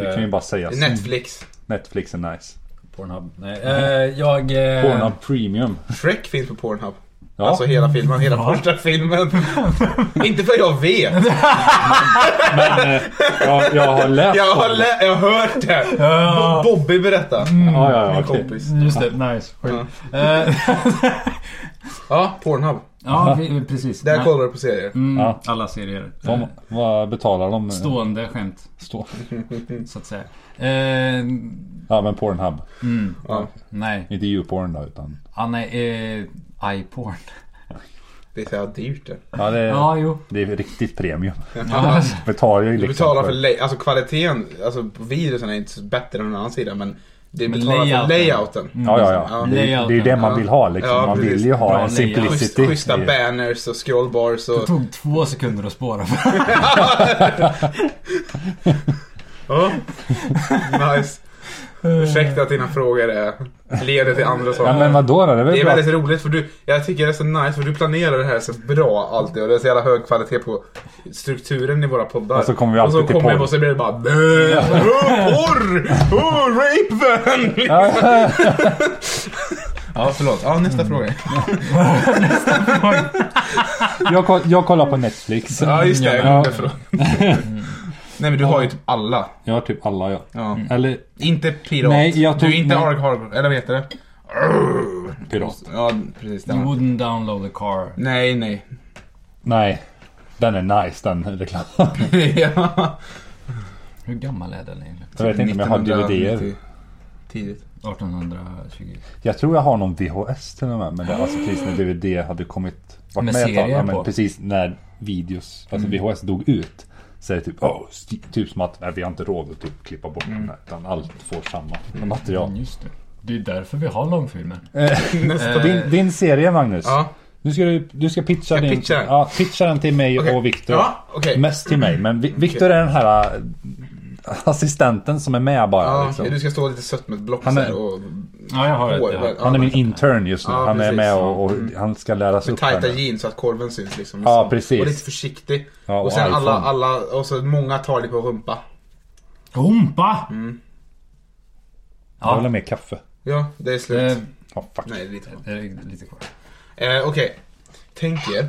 Speaker 3: Du kan ju bara säga
Speaker 2: Eh,
Speaker 3: så.
Speaker 2: Netflix.
Speaker 3: Netflix är nice.
Speaker 1: Pornhub. Nej. Eh, jag... Eh,
Speaker 3: Pornhub Premium.
Speaker 2: Shrek finns på Pornhub.
Speaker 3: Ja.
Speaker 2: Alltså hela filmen, hela
Speaker 3: [laughs]
Speaker 2: första filmen. inte för jag vet.
Speaker 3: jag, jag har läst
Speaker 2: Jag
Speaker 3: om
Speaker 2: har,
Speaker 3: det.
Speaker 2: lä- jag har hört det. Bo- Bobby berättade.
Speaker 3: Ja, Mm. ja, ja,
Speaker 2: Min
Speaker 3: okej.
Speaker 2: kompis.
Speaker 5: Just det, nice. Skit. Eh, [laughs]
Speaker 2: Ja, Pornhub.
Speaker 5: ja, vi, vi- precis.
Speaker 2: Där
Speaker 5: Nej.
Speaker 2: kollar du på serier.
Speaker 5: Mm,
Speaker 3: Ja.
Speaker 5: Alla serier. Eh,
Speaker 3: De, vad betalar de?
Speaker 5: Stående skämt,
Speaker 3: Stå.
Speaker 5: så att säga. Eh,
Speaker 3: Ja men Pornhub.
Speaker 2: Ja,
Speaker 5: nej.
Speaker 3: Inte YouPorn då utan.
Speaker 5: Ah, nej, eh, iPorn.
Speaker 2: det är så jävla dyrt det.
Speaker 3: Ja det är,
Speaker 5: Ja, jo.
Speaker 3: det är riktigt premium.
Speaker 5: Ja, alltså,
Speaker 3: Betalar ju
Speaker 2: Du
Speaker 3: liksom.
Speaker 2: betalar för lay- alltså kvaliteten, alltså på videosen är inte så bättre än någon annan sida men det
Speaker 5: Men
Speaker 2: betalar layouten. för
Speaker 5: layouten.
Speaker 2: layouten.
Speaker 3: Ja ja ja.
Speaker 2: Ja.
Speaker 3: Det, är- det är ju det man vill ha liksom.
Speaker 2: Ja,
Speaker 3: man
Speaker 2: precis.
Speaker 3: vill ju ha
Speaker 5: Bra
Speaker 3: en
Speaker 5: layout.
Speaker 2: Schysst,
Speaker 3: simplicity.
Speaker 2: schyssta
Speaker 3: i-
Speaker 2: banners och scrollbars
Speaker 5: [laughs] det
Speaker 2: och...
Speaker 5: tog två sekunder att spåra. [laughs]
Speaker 2: Ja. nice. Ursäkta att dina frågor är, leder till andra saker.
Speaker 3: Ja men vadå då? Det är
Speaker 2: Det
Speaker 3: väl
Speaker 2: är
Speaker 3: bra.
Speaker 2: väldigt roligt för du, jag tycker det är så nice för du planerar det här så bra alltid och det är så jävla hög kvalitet på strukturen i våra poddar.
Speaker 3: Och så kommer vi
Speaker 2: och så
Speaker 3: alltid till
Speaker 2: kommer vi
Speaker 3: porr.
Speaker 2: och så blir det bara "Bäh, oh, porr! Oh, rape
Speaker 3: [laughs]
Speaker 2: van! ja förlåt, ja nästa fråga.
Speaker 3: Jag, koll- jag kollar på Netflix.
Speaker 2: Ja just det,
Speaker 3: Ja,
Speaker 2: ja.
Speaker 3: [laughs]
Speaker 2: Nej men du har ju typ alla.
Speaker 3: jag har typ alla jag.
Speaker 2: Ja.
Speaker 3: Eller
Speaker 2: Inte pirat.
Speaker 3: Nej, jag tog-
Speaker 2: du är inte
Speaker 3: nej.
Speaker 2: arg hardcore, eller vad heter det?
Speaker 3: Pirat.
Speaker 2: Ja precis.
Speaker 5: You
Speaker 2: Det.
Speaker 5: wouldn't download the car.
Speaker 2: Nej nej. [laughs]
Speaker 3: Nej. Den är nice den reklamen.
Speaker 2: ja.
Speaker 5: Hur gammal är den egentligen?
Speaker 3: Jag vet inte om jag har DVD-er.
Speaker 2: 1990. Tidigt.
Speaker 5: 1820.
Speaker 3: Jag tror jag har någon VHS till och med. Men det, alltså precis när DVD hade kommit. Varit
Speaker 5: Med
Speaker 3: med ett tag.
Speaker 5: serier
Speaker 3: Ja, men
Speaker 5: på.
Speaker 3: precis när videos,
Speaker 2: Mm.
Speaker 3: alltså VHS dog ut. Så är det typ, åh, sti- typ som att nej, vi har inte råd att typ klippa bort den här. Utan allt får samma
Speaker 2: Mm.
Speaker 3: material. Eh,
Speaker 2: [laughs]
Speaker 5: Just det. Det är därför vi har långfilmer.
Speaker 3: Din, din serie Magnus.
Speaker 2: Ja.
Speaker 3: Du ska, du ska pitcha,
Speaker 2: Ska jag
Speaker 3: din,
Speaker 2: pitcha den?
Speaker 3: Ja, pitcha den till mig
Speaker 2: Okej.
Speaker 3: och Viktor.
Speaker 2: Ja, okej.
Speaker 3: Mest till mig. Men Vi- Viktor är den här äh, assistenten som är med bara.
Speaker 2: Ja,
Speaker 3: liksom.
Speaker 2: Du ska stå lite sött med ett block
Speaker 3: Han är-
Speaker 2: sen och...
Speaker 5: Ja, jag har ett.
Speaker 2: Hår,
Speaker 5: Jag
Speaker 2: väl?
Speaker 5: har.
Speaker 2: Ja,
Speaker 3: Han är
Speaker 2: men-
Speaker 3: min intern just nu.
Speaker 2: Ja,
Speaker 3: han är
Speaker 2: precis.
Speaker 3: med och, och han ska läras
Speaker 2: Med
Speaker 3: upp. här
Speaker 2: tajta
Speaker 3: nu.
Speaker 2: jeans så att korven syns liksom.
Speaker 3: Ja,
Speaker 2: Så-
Speaker 3: precis.
Speaker 2: Och lite försiktig.
Speaker 3: Ja,
Speaker 2: och,
Speaker 3: och
Speaker 2: sen alla,
Speaker 3: iPhone.
Speaker 2: alla, och så många tar dig på rumpa.
Speaker 5: Rumpa!
Speaker 3: Jag vill ha mer kaffe.
Speaker 2: Ja, det är slut.
Speaker 5: Eh,
Speaker 3: Ja, fuck.
Speaker 2: Nej, det är lite kvar.
Speaker 5: det är lite kvar.
Speaker 2: Eh, Okej. Tänk er.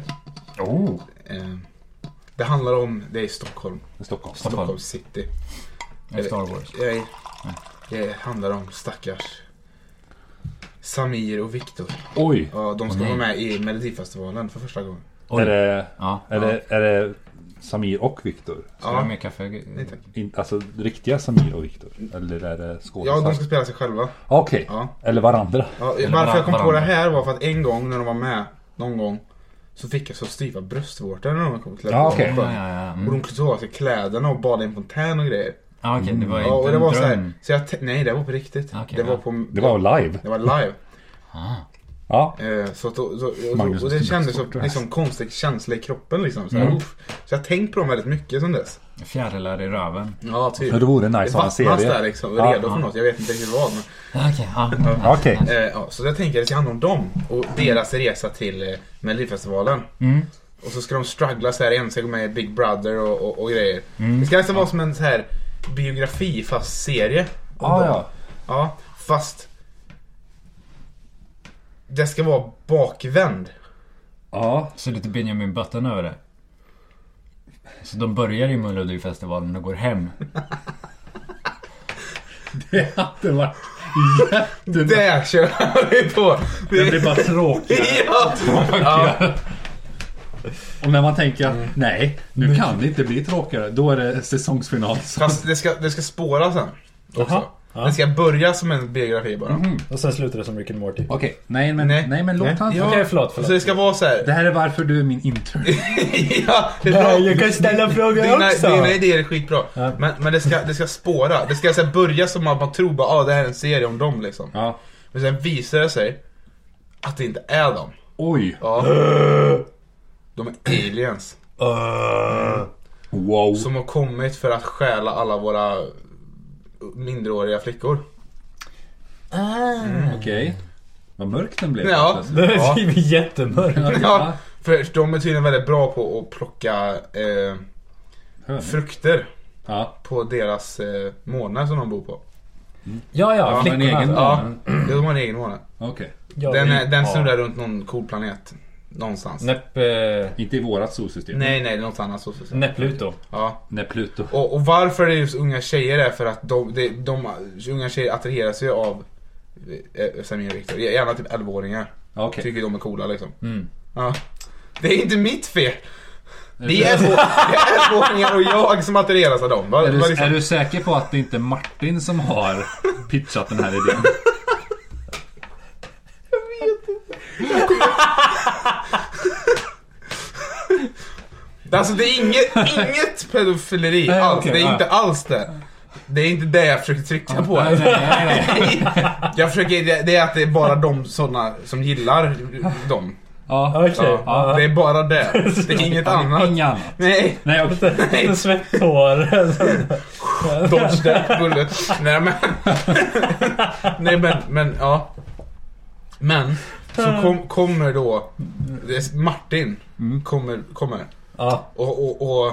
Speaker 5: Oh,
Speaker 2: Eh, det handlar om, det är i Stockholm.
Speaker 3: Stockholm.
Speaker 2: Stockholm city.
Speaker 5: det är Star Wars.
Speaker 2: Jag, det handlar om stackars Samir och Viktor.
Speaker 3: Oj!
Speaker 2: Ja, de ska vara med i Melodifestivalen för första gången.
Speaker 5: Oj.
Speaker 3: Är det,
Speaker 5: Ja.
Speaker 3: är, det, är det Samir och Viktor?
Speaker 5: Ska du ha mer kaffe?
Speaker 2: Nej, tack.
Speaker 3: In- Alltså riktiga Samir och Viktor? Eller är det
Speaker 2: Ja,
Speaker 3: skådisar?
Speaker 2: de ska spela sig själva.
Speaker 3: Okej.
Speaker 2: Ja.
Speaker 3: Eller varandra.
Speaker 2: Ja,
Speaker 5: Eller
Speaker 2: varför jag kom på det
Speaker 5: varandra.
Speaker 2: här var för att en gång när de var med, någon gång, så fick jag så styva bröstvårtor när de kom till
Speaker 3: Ja, okej.
Speaker 5: Ja, ja, ja.
Speaker 2: Och
Speaker 5: Mm.
Speaker 2: de tog av sig kläderna och badade i en fontän och grejer.
Speaker 5: Ja, okej, det var
Speaker 2: Ja, och
Speaker 5: inte
Speaker 2: det
Speaker 5: en
Speaker 2: var så här,
Speaker 5: dröm.
Speaker 2: så jag te- nej det var på riktigt.
Speaker 5: Okej,
Speaker 2: det, var
Speaker 5: ja.
Speaker 2: på,
Speaker 3: Det var live.
Speaker 2: det var live.
Speaker 3: Ja.
Speaker 2: Eh, Så, att- och, så, och,
Speaker 3: Magnus
Speaker 2: och det
Speaker 3: Stenbeck
Speaker 2: kändes som
Speaker 3: Sportdress.
Speaker 2: liksom, konstig känsla i kroppen liksom. Så, här,
Speaker 3: Mm.
Speaker 2: uff. så jag har tänkt på dem väldigt mycket sen dess.
Speaker 5: Fjärilar i röven.
Speaker 2: Ja, typ.
Speaker 3: Det vore nice att ha en
Speaker 2: fastnas
Speaker 3: serie.
Speaker 2: där liksom,
Speaker 3: Ja,
Speaker 2: redo för något. Jag vet inte riktigt vad. Men,
Speaker 5: Ja, Okej, ja.
Speaker 3: Ja, Okej.
Speaker 2: Eh, ja, så jag tänker att det ska handla om dem och deras resa till eh, Melodifestivalen.
Speaker 3: Mm.
Speaker 2: Och så ska de struggla så här igen, ska gå med i Big Brother och, och, och grejer.
Speaker 3: Mm.
Speaker 2: Det ska nästan vara som en så här biografi fast serie. om
Speaker 3: Ah,
Speaker 2: dem.
Speaker 3: ja.
Speaker 2: ja. Fast det ska vara bakvänd.
Speaker 3: Ja.
Speaker 1: [laughs]
Speaker 5: Så lite Benjamin Button över det. Så de börjar i Melodifestivalen och går hem.
Speaker 1: Det hade varit jätte...
Speaker 2: Det kör vi på!
Speaker 1: Det blir bara tråkigt.
Speaker 2: [laughs] Ja.
Speaker 1: Och när man tänker att nej, nu kan det inte bli tråkigare. Då är det säsongsfinal.
Speaker 2: Fast det ska, det ska spåra sen. Också.
Speaker 1: Ja. Mhm.
Speaker 2: Det ska börja som en biografi bara.
Speaker 1: Och sen slutar det som Rick and Morty. Okej,
Speaker 3: Okej. Nej, men, nej. men låt han.
Speaker 2: Ja.
Speaker 1: förlåt.
Speaker 2: Så det
Speaker 1: förlåt.
Speaker 2: ska vara så här. [laughs]
Speaker 3: Det här är varför du är min intern.
Speaker 2: ja, det är bra.
Speaker 1: Jag kan ställa frågor
Speaker 2: Dina,
Speaker 1: också.
Speaker 2: dina idéer är skitbra. Men, men det, ska, det ska spåra. Det ska så här börja som att man tror bara ah, det här är en serie om dem liksom.
Speaker 3: Ja.
Speaker 2: Men sen visar det sig att det inte är dem.
Speaker 3: Oj.
Speaker 2: Ja. De är aliens.
Speaker 1: Eh,
Speaker 3: Wow.
Speaker 2: Som har kommit för att stjäla alla våra mindreåriga flickor.
Speaker 5: Ah.
Speaker 3: Okej. Vad mörk den blev.
Speaker 2: Ja.
Speaker 1: Det
Speaker 2: Mm. Ja.
Speaker 1: är jättemörkt.
Speaker 2: Ja, för de är tydligen väldigt bra på att plocka eh,
Speaker 3: Hör ni?
Speaker 2: frukter
Speaker 3: Ja.
Speaker 2: på deras eh, månar som de bor på.
Speaker 1: Ja, ja,
Speaker 2: Ja,
Speaker 3: men
Speaker 1: flickorna.
Speaker 3: egen-
Speaker 2: Ja, de har en egen måne.
Speaker 3: Okej.
Speaker 1: Ja,
Speaker 2: Den, är, den
Speaker 1: ja.
Speaker 2: snurrar runt någon cool planet. Någonstans. Nej,
Speaker 1: Näpp, eh,
Speaker 3: Inte i vårat solsystem.
Speaker 2: nej, det är något annat så. så- så.
Speaker 1: Näppluto.
Speaker 2: Ja.
Speaker 3: Nej, Pluto.
Speaker 2: Och, och varför det är just unga tjejer är för att de, de, de unga tjejer attraheras ju av eh, Samir och Viktor. Gärna typ 11-åringar.
Speaker 3: Okej. Mm.
Speaker 2: Tycker de är coola liksom. Ja. Det är inte mitt fel. Det är
Speaker 3: Är,
Speaker 2: 11-åringar och jag som attraheras av dem. Va, va,
Speaker 3: du,
Speaker 2: liksom.
Speaker 3: är du säker på att det inte är Martin som har [laughs] pitchat den här idén?
Speaker 2: Alltså det är inget, inget pedofileri
Speaker 3: Nej,
Speaker 2: alls.
Speaker 3: okej,
Speaker 2: det är
Speaker 3: ja.
Speaker 2: inte alls det. Det är inte det jag försöker trycka på.
Speaker 5: Nej, nej, nej.
Speaker 2: Jag försöker, det, det är att det är bara de sådana som gillar dem.
Speaker 3: Ja.
Speaker 1: Okej.
Speaker 2: Ja,
Speaker 1: Ja.
Speaker 2: Det är bara det. Det är inget annat.
Speaker 3: Inget annat.
Speaker 2: Nej,
Speaker 3: Nej, okej.
Speaker 1: Lite Svetthår.
Speaker 2: dodge that bullet. Nej men. Nej men, men ja. Men,
Speaker 3: Mm.
Speaker 2: så kom, kommer då det är Martin
Speaker 3: Mm.
Speaker 2: kommer, kommer
Speaker 1: Ja.
Speaker 2: och, och, och,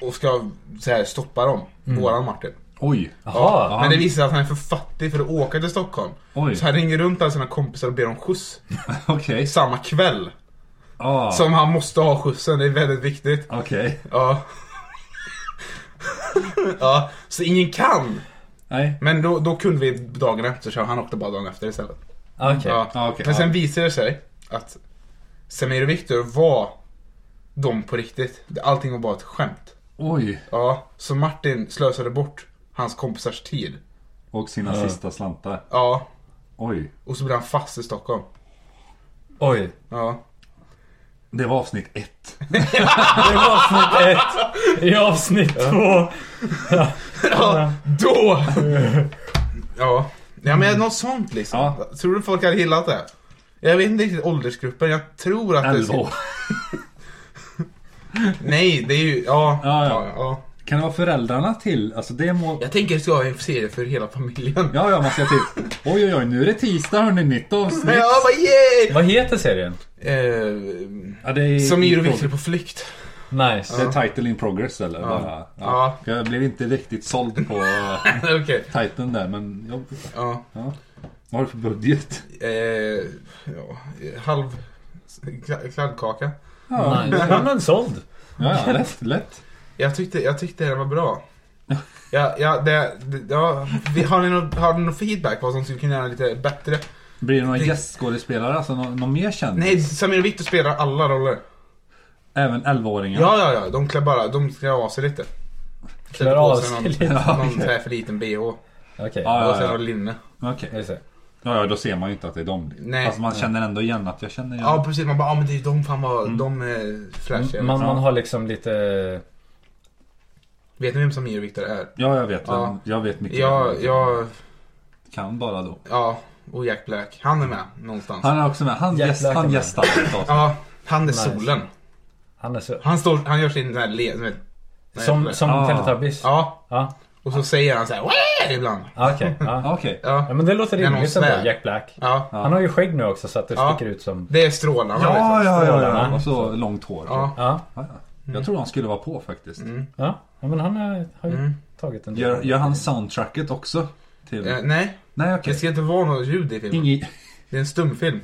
Speaker 2: och ska så här, stoppa dem.
Speaker 3: Mm.
Speaker 2: Våran Martin.
Speaker 3: [laughs] Oj.
Speaker 2: Ja,
Speaker 1: Jaha.
Speaker 2: men det visar sig att han är för fattig för att åka till Stockholm.
Speaker 3: Oj.
Speaker 2: Så han ringer runt alla sina kompisar och ber om skjuts.
Speaker 3: Okej.
Speaker 2: Samma kväll.
Speaker 3: Ja.
Speaker 2: Som han måste ha skjutsen, det är väldigt viktigt.
Speaker 3: Okej.
Speaker 2: Ja. ja, så ingen kan.
Speaker 3: Nej.
Speaker 2: Men då, då kunde vi dagen efter, så han åkte bara dagen efter istället.
Speaker 1: Okej.
Speaker 2: Ja.
Speaker 3: Ja, okej,
Speaker 2: Men sen
Speaker 3: ja.
Speaker 2: visade det sig att Samir och Viktor var de på riktigt. Allting var bara ett skämt.
Speaker 3: Oj.
Speaker 2: Ja, så Martin slösade bort hans kompisars tid.
Speaker 3: Och sina sista slantar.
Speaker 2: Ja,
Speaker 3: Oj.
Speaker 2: och så blev han fast i Stockholm.
Speaker 1: Oj.
Speaker 2: Ja.
Speaker 3: Det var avsnitt ett.
Speaker 1: Det var avsnitt ett. I avsnitt två.
Speaker 2: Ja, då! [laughs] Ja. Ja men något sånt liksom.
Speaker 3: Ja.
Speaker 2: Tror du folk hade gillat det? Jag vet inte riktigt åldersgruppen. Jag tror att det...
Speaker 1: 11
Speaker 2: ska-
Speaker 1: år.
Speaker 2: Nej, det är ju... Ja.
Speaker 1: Ja, ja.
Speaker 2: ja.
Speaker 1: Kan det vara föräldrarna till? Alltså det må...
Speaker 2: Jag tänker att det ska vara en serie för hela familjen.
Speaker 3: Ja, ja, man ska typ... Oj, oj, oj, nu är det tisdag hörni, nytt
Speaker 2: [laughs] Men
Speaker 3: avsnitt.
Speaker 2: jag bara yay!
Speaker 1: Vad heter serien?
Speaker 2: Eh,
Speaker 1: Ja, det är...
Speaker 2: Som är Viktor på flykt. [laughs]
Speaker 1: Nice.
Speaker 3: Det är title in progress eller? Bara,
Speaker 2: Ja.
Speaker 3: Jag blev inte riktigt såld på eh,
Speaker 2: Okej.
Speaker 3: titeln där, men jag,
Speaker 2: Ja.
Speaker 3: vad har du för budget?
Speaker 2: Eh, ja. Halv kla- kladdkaka.
Speaker 3: Ja,
Speaker 1: Ja men såld.
Speaker 3: ja, ja lätt, lätt.
Speaker 2: Jag tyckte, jag tyckte det var bra. Ja, ja, det, det, ja, vi, har, ni någon, har ni någon feedback på vad som skulle kunna göra lite bättre?
Speaker 3: Blir det några
Speaker 2: Det-
Speaker 3: gästskådespelare? Alltså någon, någon mer känd?
Speaker 2: Nej, Samir och Viktor spelar alla roller.
Speaker 3: Även 11-åringar?
Speaker 2: Ja, ja, ja. De klär bara, de klär av sig lite.
Speaker 1: Klär av sig
Speaker 2: någon,
Speaker 1: lite.
Speaker 2: någon så här för liten bh. Och
Speaker 1: Okej.
Speaker 3: Ja,
Speaker 2: sen
Speaker 3: ja,
Speaker 2: har linne.
Speaker 3: ja. Okej.
Speaker 1: Just det.
Speaker 3: Ja, ja, då ser man ju inte att det är dem. liksom.
Speaker 2: Nej.
Speaker 3: Fast man känner ändå igen att jag känner igen.
Speaker 2: Ja, precis. Man bara, ja men det är de fan vad, de är flashiga.
Speaker 1: Mm. Man, man har liksom lite...
Speaker 2: Vet ni vem Samir och Viktor är?
Speaker 3: Ja, jag vet.
Speaker 2: Ja.
Speaker 3: Jag vet mycket.
Speaker 2: Ja,
Speaker 3: väl.
Speaker 2: ja,
Speaker 3: Kan bara då.
Speaker 2: ja. Och Jack Black. Han är med någonstans.
Speaker 3: Han är också med. Han,
Speaker 1: Jäklar,
Speaker 3: gäst,
Speaker 1: kan
Speaker 3: han
Speaker 1: man.
Speaker 3: gästar.
Speaker 2: Ja, han är
Speaker 1: Nice.
Speaker 2: solen.
Speaker 1: Han är så...
Speaker 2: Han, står, han gör sin sån här le... Vet, nej,
Speaker 1: Som,
Speaker 2: jag-
Speaker 1: som
Speaker 3: Ah.
Speaker 1: Teletubbies?
Speaker 2: Ja,
Speaker 1: Ja.
Speaker 2: och så säger han så här "Wah!" ibland.
Speaker 1: Ah,
Speaker 3: [laughs]
Speaker 1: Okej. Ja.
Speaker 3: Ja, Okej.
Speaker 1: ja
Speaker 2: Ja,
Speaker 1: men det låter
Speaker 2: När någon
Speaker 1: rimligt ändå.
Speaker 2: svär.
Speaker 1: Jack Black.
Speaker 2: ja.
Speaker 1: Han har ju skägg nu också så att det
Speaker 2: Ja.
Speaker 1: sticker ut som...
Speaker 2: Det är strålarna
Speaker 3: Ja,
Speaker 2: liksom.
Speaker 3: ja, ja, ja.
Speaker 1: Strålarna.
Speaker 3: Och så långt hår.
Speaker 2: Ja. Mm.
Speaker 1: Ja.
Speaker 3: Ja, ja. Jag tror han skulle vara på faktiskt.
Speaker 1: Ja. ja men han har, har ju tagit en del.
Speaker 3: Mm. Gör, gör han soundtracket också? Till...
Speaker 2: Eh, nej,
Speaker 3: Nej,
Speaker 2: det
Speaker 3: okej.
Speaker 2: ska inte vara något ljud i filmen.
Speaker 3: Ingi...
Speaker 2: Det är en stumfilm.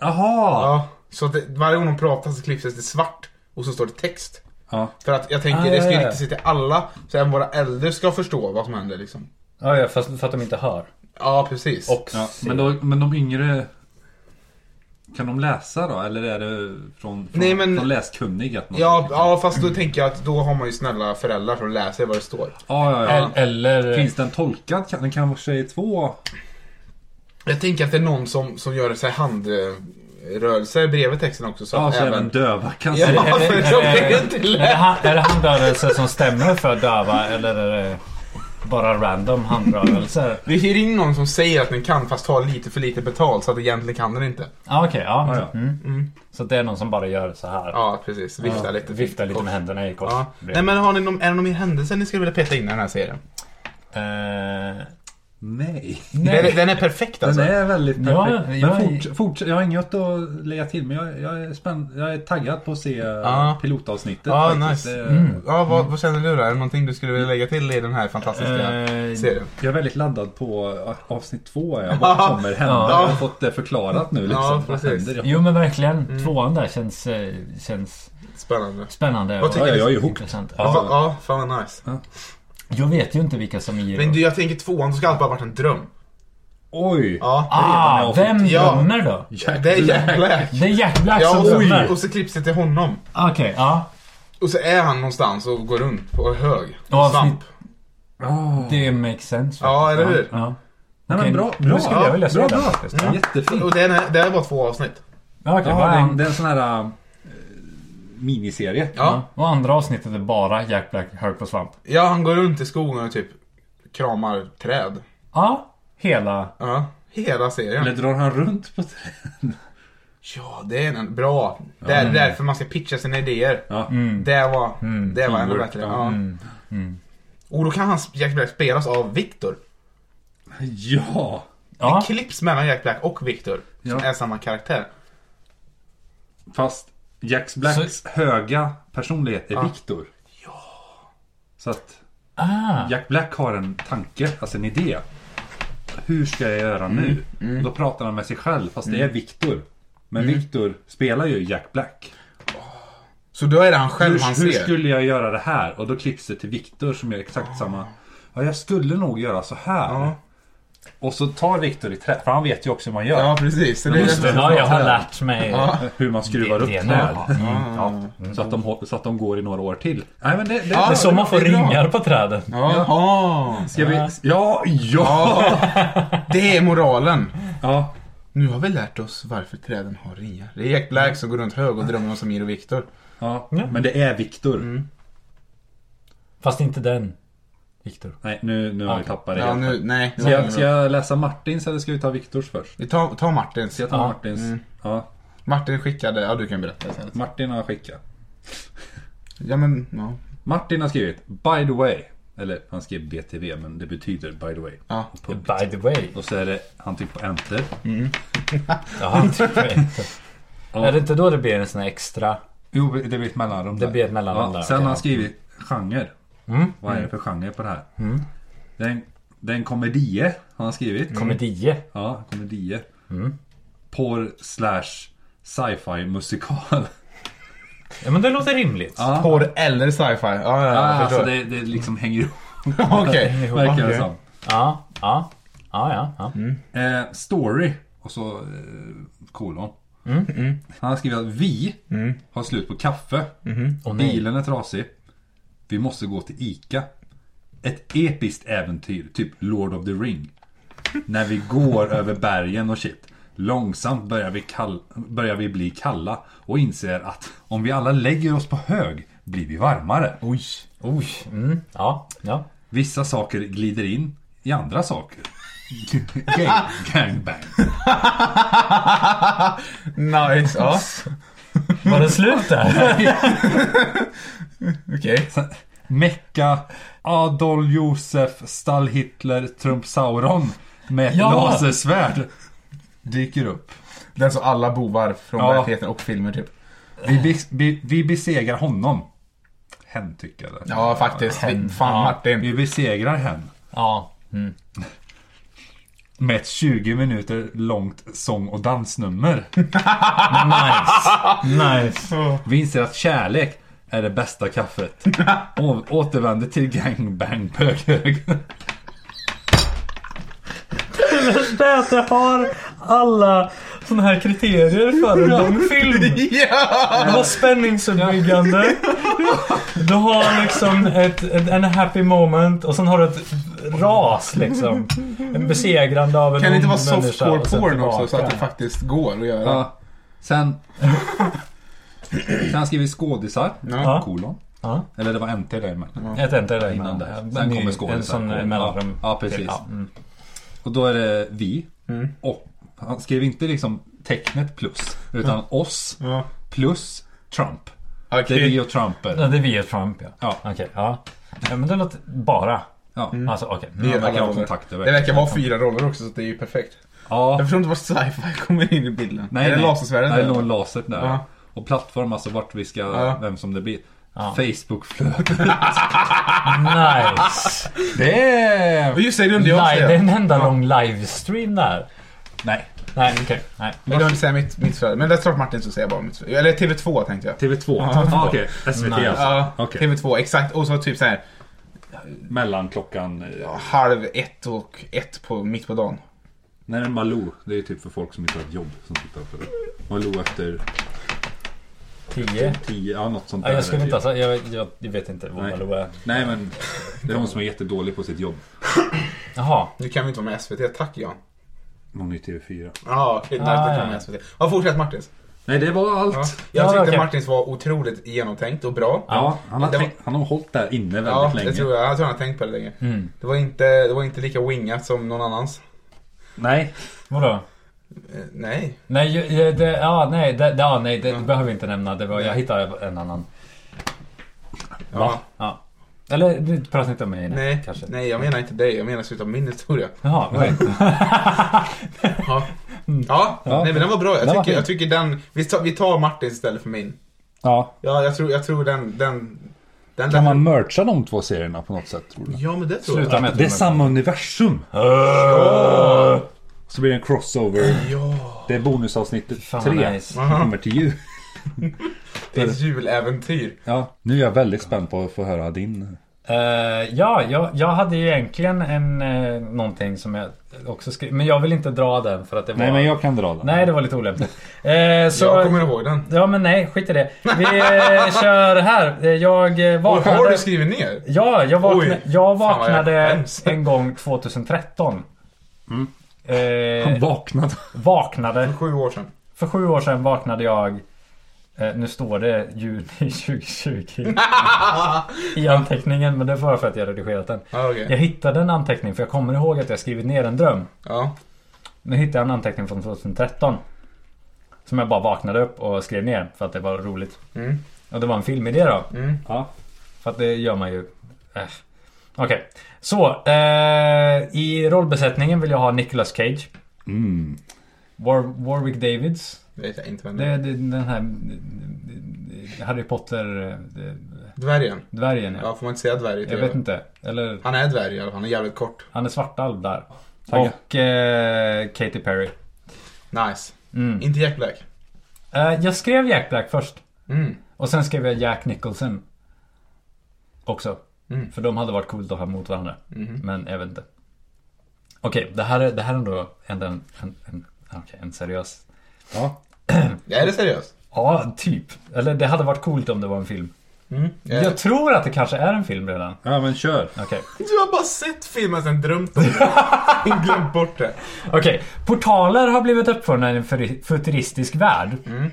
Speaker 3: Jaha!
Speaker 2: Ja. Så att det, varje gång de pratar så klipps det till svart och så står det text.
Speaker 3: Ja.
Speaker 2: För att jag tänker,
Speaker 1: Ah,
Speaker 2: det ska ju
Speaker 1: ja, ja.
Speaker 2: rikta sig till alla. Så även våra äldre ska förstå vad som händer liksom.
Speaker 1: Ja, ja fast för att de inte hör.
Speaker 2: Ja, precis.
Speaker 1: Och
Speaker 3: Ja,
Speaker 1: ser.
Speaker 3: men, då, men de yngre... Kan de läsa då? Eller är det från, från,
Speaker 2: Nej, men-
Speaker 3: från läskunnig? Att man-
Speaker 2: Ja, ja, fast då tänker jag att då har man ju snälla föräldrar som läser vad det står.
Speaker 3: ja, ja, ja.
Speaker 5: Eller...
Speaker 3: Finns den tolkad? Kan- Den kanske är två?
Speaker 2: Jag tänker att det är någon som, som gör så här handrörelser bredvid texten också. Så
Speaker 3: Ja,
Speaker 2: att
Speaker 3: så även döva kan se.
Speaker 2: Ja, för de blir ju inte
Speaker 5: Är det,
Speaker 2: läst.
Speaker 5: han, är det handrörelser som stämmer för döva eller är det bara random handrörelser?
Speaker 2: Vi hyr in någon som säger att den kan fast tar lite för lite betalt så att egentligen kan den inte.
Speaker 5: Ja, okej. ja.
Speaker 3: Ja, ja.
Speaker 5: Mm. Så det är någon som bara gör så här.
Speaker 2: Ja, precis. Vifta lite.
Speaker 5: Viftar lite med händerna i kors.
Speaker 2: Ja. Nej men har ni någon, är det någon mer händelse ni skulle vilja peta in i den här serien?
Speaker 5: Eh,
Speaker 3: Nej.
Speaker 2: Den, den är perfekt
Speaker 3: Den
Speaker 2: alltså.
Speaker 3: är väldigt perfekt.
Speaker 5: Ja, jag
Speaker 3: men
Speaker 5: är-
Speaker 3: fort, fort, jag har inget att lägga till men jag, jag, är, spänd, jag är taggad på att se
Speaker 2: Ja.
Speaker 3: pilotavsnittet.
Speaker 2: Ja,
Speaker 3: faktiskt. eh,
Speaker 2: nice. Mm.
Speaker 3: Det-
Speaker 5: Mm.
Speaker 2: Ja, vad, vad känner du då? Är det någonting du skulle vilja lägga till i den här fantastiska
Speaker 5: eh,
Speaker 2: serien?
Speaker 3: Jag är väldigt laddad på eh, avsnitt två.
Speaker 2: [laughs]
Speaker 3: Är jag. Vad kommer hända?
Speaker 5: Ja.
Speaker 3: Jag har fått det förklarat nu. Liksom.
Speaker 2: Ja,
Speaker 3: Vad
Speaker 2: precis.
Speaker 3: händer?
Speaker 5: jo men verkligen.
Speaker 2: Mm.
Speaker 5: Tvåan där känns, eh, känns
Speaker 2: Spännande.
Speaker 5: spännande.
Speaker 2: Vad
Speaker 5: och
Speaker 2: tycker Ja, ja,
Speaker 3: jag är hooked.
Speaker 5: intressant.
Speaker 2: Ja,
Speaker 5: Ja.
Speaker 2: ja fan vad nice.
Speaker 5: Jag vet ju inte vilka som är
Speaker 2: Men du, jag tänker tvåan så ska allt bara ha varit en dröm.
Speaker 3: Oj!
Speaker 2: Ja.
Speaker 5: Ah, vem
Speaker 2: Ja.
Speaker 5: drömmer då?
Speaker 2: Det är Jack
Speaker 3: Ah.
Speaker 2: Black.
Speaker 5: Det är Jack Black
Speaker 2: Ja,
Speaker 5: som
Speaker 2: och
Speaker 5: drömmer.
Speaker 2: så, och så klipps det till honom.
Speaker 5: Okej, ja.
Speaker 2: Och så är han någonstans och går runt på hög.
Speaker 5: Ja,
Speaker 2: Svamp.
Speaker 5: Det makes sense.
Speaker 2: Ja, eller hur?
Speaker 5: Ja.
Speaker 3: Nej,
Speaker 5: Okej,
Speaker 3: men bra,
Speaker 5: nu
Speaker 3: bra,
Speaker 5: skulle jag vilja se
Speaker 3: bra,
Speaker 5: den
Speaker 3: bra.
Speaker 5: faktiskt.
Speaker 3: Mm. Jättefint.
Speaker 2: Och det är, det är bara två avsnitt.
Speaker 5: Ja, okej.
Speaker 3: Ja,
Speaker 5: bara
Speaker 3: det, är,
Speaker 5: en-
Speaker 3: det är en sån här eh, miniserie.
Speaker 2: Ja.
Speaker 5: Och andra avsnittet är bara Jack Black hög på svamp.
Speaker 2: ja, han går runt i skogen och typ kramar träd.
Speaker 5: Ja, hela.
Speaker 2: Ja, hela serien.
Speaker 3: Eller drar han runt på [laughs] träd?
Speaker 2: Ja, det är en bra. Det är därför man ska pitcha sina idéer.
Speaker 3: Ja.
Speaker 5: Mm.
Speaker 2: Det var, det var ännu
Speaker 3: Teamwork,
Speaker 2: bättre.
Speaker 3: ja.
Speaker 2: Mm. Ja. Mm. Och då kan han, Jack Black spelas av Victor.
Speaker 3: Ja!
Speaker 5: Ja,
Speaker 2: Klipps mellan Jack Black och Victor, som
Speaker 3: Ja.
Speaker 2: är samma karaktär.
Speaker 3: Fast Jack Blacks höga personlighet är Viktor. Ja. Så att
Speaker 5: ah,
Speaker 3: Jack Black har en tanke, alltså en idé. Hur ska jag göra nu? Då pratar han med sig själv fast det är Viktor. Men Viktor spelar ju Jack Black.
Speaker 2: Så då är det han själv han
Speaker 3: Hur, hur
Speaker 2: ser.
Speaker 3: skulle jag göra det här? Och då klipps det till Viktor som gör exakt samma. Ja, jag skulle nog göra så här.
Speaker 2: Ja.
Speaker 3: Och så tar Viktor i trä, för han vet ju också hur man gör.
Speaker 2: Ja, precis. Så det är
Speaker 5: just det. Ja, jag har lärt mig. Ja.
Speaker 3: Hur man skruvar
Speaker 5: Det-
Speaker 3: upp
Speaker 5: det är
Speaker 3: träd.
Speaker 5: nog-
Speaker 3: Mm, ja. så, att de, hå- så att de går i några år till. Nej, men det, det,
Speaker 2: Ja,
Speaker 3: det
Speaker 1: Det är så man får
Speaker 2: Det är bra.
Speaker 1: ringar på träden.
Speaker 2: Ja. Ja.
Speaker 3: ska vi... Ja, ja!
Speaker 2: Det är moralen.
Speaker 3: ja.
Speaker 2: Nu har vi lärt oss varför träden har ringar. Det är Jack Black som går runt hög och drömmer om Samir och Viktor.
Speaker 3: ja. Mm. Men det är Viktor.
Speaker 5: Fast inte den. Viktor.
Speaker 3: Nej, nu, nu har vi
Speaker 5: Okej.
Speaker 3: tappat det
Speaker 2: Ja,
Speaker 3: helt.
Speaker 2: nu, nej.
Speaker 3: Ska jag, ska jag läsa Martins eller ska vi ta Viktors först?
Speaker 2: Vi tar, tar Martins.
Speaker 3: Ska jag ta Martins? Ja,
Speaker 2: Martin skickade, ja du kan berätta sen.
Speaker 3: Martin har skickat.
Speaker 2: Ja men, ja.
Speaker 3: Martin har skrivit By the way. Eller han skrev BTV men det betyder By the way.
Speaker 2: Ja.
Speaker 3: Och punkt.
Speaker 1: By the way.
Speaker 3: Och så är det, han trycker på enter.
Speaker 5: [laughs]
Speaker 1: Jaha, tycker inte.
Speaker 3: Ja.
Speaker 1: typ. Är det inte då det blir en sån här extra...
Speaker 3: Jo, det blir ett mellanrum
Speaker 1: Det
Speaker 3: där. Mm.
Speaker 1: blir ett mellanrum där,
Speaker 3: Sen har
Speaker 1: okej,
Speaker 3: han
Speaker 1: ja.
Speaker 3: skrivit genre. Vad är det för genre på det här? Det är en, det är en komedie har han skrivit.
Speaker 1: Komedie.
Speaker 3: Ja, komedie.
Speaker 2: Mm.
Speaker 3: Porr slash sci-fi
Speaker 2: [laughs]
Speaker 3: musikal.
Speaker 1: Ja men det låter rimligt.
Speaker 3: Ja.
Speaker 2: Porr eller sci-fi? Ja, ja,
Speaker 3: Ja,
Speaker 2: jag
Speaker 3: alltså
Speaker 2: förstår.
Speaker 3: det, det liksom hänger ihop
Speaker 2: [laughs] Okej.
Speaker 3: verkar det
Speaker 2: Okej.
Speaker 3: som.
Speaker 1: Ja, ja. Ja, ja. ja.
Speaker 5: Mm.
Speaker 3: Eh, story och så eh, kolon.
Speaker 2: Mm,
Speaker 3: Han har skrivit att vi har slut på kaffe.
Speaker 1: Och nej.
Speaker 3: Bilen är trasig. Vi måste gå till ICA. Ett episkt äventyr, typ Lord of the Ring. När vi går [laughs] över bergen och shit. Långsamt börjar vi, kall- börjar vi bli kalla och inser att om vi alla lägger oss på hög blir vi varmare.
Speaker 2: Oj.
Speaker 1: Oj. Mm. Ja, ja.
Speaker 3: Vissa saker glider in i andra saker. Gang, gangbang.
Speaker 2: Nice, ja.
Speaker 5: Mm.
Speaker 1: Var det slut
Speaker 5: [laughs]
Speaker 1: där?
Speaker 2: Okej.
Speaker 3: Mecka, Adolf Josef, Stall Hitler, Trump Sauron med ett
Speaker 1: Ja!
Speaker 3: lasersvärd dyker upp.
Speaker 2: Den som alla bovar från
Speaker 3: Ja.
Speaker 2: verkligheten och filmer typ.
Speaker 3: Vi, bes- vi, vi besegrar honom. Hen tycker jag det.
Speaker 2: Ja, faktiskt. Vi, fan
Speaker 3: Vi
Speaker 2: Martin.
Speaker 3: besegrar hen.
Speaker 1: Ja.
Speaker 3: Med ett 20 minuter långt sång och dansnummer.
Speaker 7: Nice.
Speaker 3: Vi inser att kärlek är det bästa kaffet. Å- återvänder till gangbang böghög.
Speaker 1: Det är att jag har alla såna här kriterier för en långfilm.
Speaker 2: [laughs] Ja!
Speaker 1: Du har spänningsuppbyggande. Du har liksom ett, ett, en happy moment och sen har du ett ras liksom. En besegrande av en
Speaker 2: Kan det inte
Speaker 1: ond
Speaker 2: vara
Speaker 1: människa
Speaker 2: softcore
Speaker 1: och sen
Speaker 2: porn också så
Speaker 1: tillbaka.
Speaker 2: att det faktiskt går att göra?
Speaker 3: Ja. Sen... Sen skriver vi skådisar.
Speaker 2: Ja.
Speaker 3: Kolon.
Speaker 1: Ja.
Speaker 3: Eller det var NT där med.
Speaker 1: Jag tänkte det där
Speaker 3: Innan
Speaker 1: innan.
Speaker 3: det här. Sen kommer skådisar.
Speaker 1: En sån eh, mellanrum.
Speaker 3: Ja, precis.
Speaker 1: Ja, mm.
Speaker 3: Och då är det vi. Och han skrev inte liksom tecknet plus. Utan oss
Speaker 2: Ja.
Speaker 3: plus Trump.
Speaker 2: Okej.
Speaker 3: Det är vi och Trump.
Speaker 1: Ja,
Speaker 3: är.
Speaker 1: det är via Trump ja.
Speaker 3: Ja.
Speaker 1: Okej, ja. ja. Men det låter bara.
Speaker 3: Ja.
Speaker 1: Alltså okej.
Speaker 2: Det är
Speaker 3: Han verkar
Speaker 2: alla
Speaker 3: ha
Speaker 2: roller.
Speaker 3: kontakter,
Speaker 2: Det
Speaker 3: verkligen.
Speaker 2: verkar vara fyra roller också så det är ju perfekt.
Speaker 3: Ja.
Speaker 2: Jag förstår inte var sci-fi kommer in i bilden.
Speaker 3: Nej,
Speaker 2: är det
Speaker 3: nej.
Speaker 2: lasersvärdet?
Speaker 3: Nej, det
Speaker 2: där?
Speaker 3: är nog lasert där.
Speaker 2: Ja.
Speaker 3: Och plattform, alltså vart vi ska,
Speaker 2: Ja.
Speaker 3: vem som det blir.
Speaker 1: Ja.
Speaker 3: Facebookflöde.
Speaker 1: Nice!
Speaker 3: Det är...
Speaker 2: Just det, det glömde jag
Speaker 1: Nej,
Speaker 2: säga.
Speaker 1: det är en enda lång livestream där.
Speaker 3: Nej.
Speaker 1: Nej, okej. Nej.
Speaker 2: Jag glömde säga mitt, mitt före. Men det är klart Martin så säger jag bara mitt före. Eller TV2 tänkte jag.
Speaker 3: TV2. Ah, Okej, SVT
Speaker 1: Nej.
Speaker 3: alltså.
Speaker 2: Ja,
Speaker 3: Okej.
Speaker 2: TV2 exakt. Och så typ så här
Speaker 3: Mellan klockan... eh,
Speaker 2: halv ett och ett på, mitt på dagen.
Speaker 3: Nej, det är Malou. Det är typ för folk som inte har ett jobb som tittar på det. Malou efter
Speaker 1: Tio?
Speaker 3: tio, ja något sånt
Speaker 1: Ja,
Speaker 3: där.
Speaker 1: jag skulle inte alltså, jag, jag, jag vet inte vad
Speaker 3: Nej.
Speaker 1: Malou är.
Speaker 3: Nej men, det är hon som är jättedålig på sitt jobb.
Speaker 1: Jaha.
Speaker 2: Nu kan vi inte vara med SVT. Tack Jan.
Speaker 3: Någon i TV4.
Speaker 2: Ja, okej.
Speaker 1: Ah,
Speaker 2: därför kan
Speaker 1: ja.
Speaker 2: vi vara med SVT. Ja, fortsätt Martins.
Speaker 3: Nej, det var allt.
Speaker 2: Ja.
Speaker 3: Ja,
Speaker 2: Jag
Speaker 1: Ja,
Speaker 2: tyckte
Speaker 1: okej.
Speaker 2: Martins var otroligt genomtänkt och bra.
Speaker 3: han, har
Speaker 2: Det var-
Speaker 3: tänkt, han har hållit där inne väldigt
Speaker 2: Ja,
Speaker 3: länge.
Speaker 2: det tror jag. Jag tror han har tänkt på det länge.
Speaker 1: Mm.
Speaker 2: Det, var inte, det var inte lika wingat som någon annans.
Speaker 3: Nej.
Speaker 1: Vadå?
Speaker 2: Eh, nej.
Speaker 1: Nej, ju- ju- det, ja, nej, det, ja, nej, det behöver vi inte nämna. Det var, jag hittade en annan.
Speaker 2: Ja.
Speaker 1: Ja. Eller, du pratar inte om mig nu,
Speaker 2: Nej,
Speaker 1: kanske.
Speaker 2: nej, jag menar inte dig. Jag menar slutet av min historia.
Speaker 1: Jaha,
Speaker 2: [laughs]
Speaker 1: nej.
Speaker 2: Ja, ja. nej men den var bra. Jag
Speaker 1: Mm. Den var
Speaker 2: tycker,
Speaker 1: fin.
Speaker 2: jag tycker den, vi tar, vi tar Martin istället för min.
Speaker 3: Ja.
Speaker 2: Ja, jag tror, jag tror den, den, den
Speaker 3: Kan
Speaker 2: den-
Speaker 3: man mercha de två serierna på något sätt tror du?
Speaker 2: Ja men det tror
Speaker 1: Sluta med att
Speaker 3: Det är samma universum. Så blir det en crossover.
Speaker 2: jag. Ja,
Speaker 3: Det är bonusavsnittet
Speaker 1: Fan, vad
Speaker 3: tre.
Speaker 1: nice.
Speaker 3: som kommer till jul.
Speaker 2: det är ett juläventyr.
Speaker 3: Ja, nu är jag väldigt spänd på att få höra din.
Speaker 1: Eh, ja, jag, jag hade ju egentligen en, eh, någonting som jag också skrev. Men jag vill inte dra den för att det var...
Speaker 3: Nej, men jag kan dra den.
Speaker 1: Nej, det var lite olämpligt. Eh, så...
Speaker 2: Jag kommer ihåg den.
Speaker 1: Ja, men nej, skit i det. Vi eh, kör här. Eh, Jag eh,
Speaker 2: Och har
Speaker 1: vaknade...
Speaker 2: du skrivit ner?
Speaker 1: Ja, jag, vakna,
Speaker 2: Oj.
Speaker 1: jag
Speaker 2: Fan, vad jag
Speaker 1: vaknade
Speaker 2: skäms. Mm.
Speaker 1: en gång 2013. Eh,
Speaker 3: Han vaknade.
Speaker 1: vaknade.
Speaker 2: Sju år sedan.
Speaker 1: För sju år sedan vaknade jag. Eh, nu står det juni [laughs] 2020
Speaker 2: [laughs]
Speaker 1: i anteckningen. Men det var för att jag redigerat den.
Speaker 2: Ja, okej.
Speaker 1: Jag hittade en anteckning för jag kommer ihåg att jag skrivit ner en dröm.
Speaker 2: Ja.
Speaker 1: Nu hittade jag en anteckning från 2013. Som jag bara vaknade upp och skrev ner för att det var roligt.
Speaker 2: Mm.
Speaker 1: Och det var en filmidé då.
Speaker 2: Mm.
Speaker 7: Ja.
Speaker 1: För att det gör man ju. Äh. Okej. Så. Eh, I rollbesättningen vill jag ha Nicolas Cage.
Speaker 3: Mm.
Speaker 1: War, Warwick Davids.
Speaker 2: Det vet jag inte vem det
Speaker 1: Det,
Speaker 2: är.
Speaker 1: det, den här eh, Harry Potter eh, eh,
Speaker 2: Dvärgen?
Speaker 1: dvärgen. Ja.
Speaker 2: Ja, får man inte säga dvärg?
Speaker 1: Jag vet inte. Eller
Speaker 2: Han är dvärg i alla fall, han är jävligt kort.
Speaker 1: han är svartalv där.
Speaker 3: Tagga.
Speaker 1: Och eh, Katy Perry.
Speaker 2: Nice.
Speaker 1: Mm.
Speaker 2: Inte Jack Black.
Speaker 1: Eh, jag skrev Jack Black först.
Speaker 2: Mm.
Speaker 1: Och sen skrev jag Jack Nicholson. Också.
Speaker 2: Mm.
Speaker 1: För de hade varit coolt att ha mot varandra.
Speaker 2: Mhm.
Speaker 1: Men jag vet inte. Okej, det, här är, det här är ändå en, en, en, en, okej, en seriös...
Speaker 3: Ja.
Speaker 2: Är det seriöst?
Speaker 1: Ja, typ. Eller det hade varit coolt om det var en film.
Speaker 2: Mm. Jag...
Speaker 1: Jag tror att det kanske är en film redan.
Speaker 3: ja, men kör.
Speaker 1: Okej.
Speaker 2: Du har bara sett filmen sen drömt om
Speaker 1: [laughs]
Speaker 2: det. Glömt bort det.
Speaker 1: Okej, portaler har blivit uppfunna i en furi- futuristisk värld.
Speaker 2: Mm.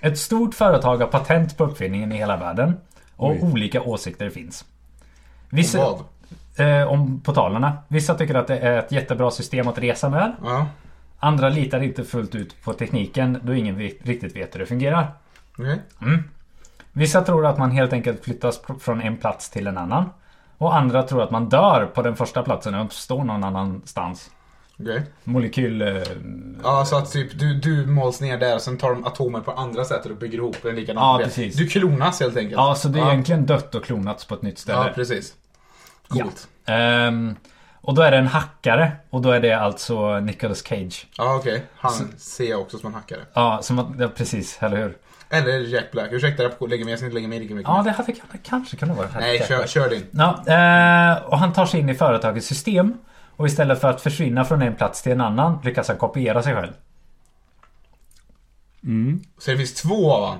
Speaker 1: Ett stort företag har patent på uppfinningen i hela världen. Och
Speaker 3: Oj.
Speaker 1: olika åsikter finns. Vissa,
Speaker 2: Vad?
Speaker 1: eh, om portalerna. Vissa tycker att det är ett jättebra system att resa med.
Speaker 2: Ja.
Speaker 1: Andra litar inte fullt ut på tekniken då ingen vi- riktigt vet hur det fungerar.
Speaker 2: Okej.
Speaker 1: Vissa tror att man helt enkelt flyttas pr- från en plats till en annan. Och andra tror att man dör på den första platsen och uppstår någon annanstans.
Speaker 2: Okej.
Speaker 1: Molekyl... Eh,
Speaker 2: Ja, så att typ du, du måls ner där och sen tar de atomer på andra sätt och bygger ihop en likadan
Speaker 1: Ja,
Speaker 2: idé.
Speaker 1: precis.
Speaker 2: Du klonas helt enkelt.
Speaker 1: ja, så det är
Speaker 2: ja.
Speaker 1: egentligen dött och klonats på ett nytt ställe.
Speaker 2: Ja, precis. Coolt.
Speaker 1: Ehm, och då är det en hackare och då är det alltså Nicolas Cage.
Speaker 2: Ja, okej. Han ser jag också som en hackare.
Speaker 1: Ja, som att, ja, precis, eller hur?
Speaker 2: Eller Jack Black. Ursäkta, jag lägger mig. Jag ska inte lägga mig lika mycket.
Speaker 1: Ja, det hade kan- kanske kunnat vara en hackare.
Speaker 2: Nej, kör, kör din.
Speaker 1: Ja, eh, och han tar sig in i företagets system. Och istället för att försvinna från en plats till en annan lyckas han kopiera sig själv.
Speaker 2: Så det finns två av han?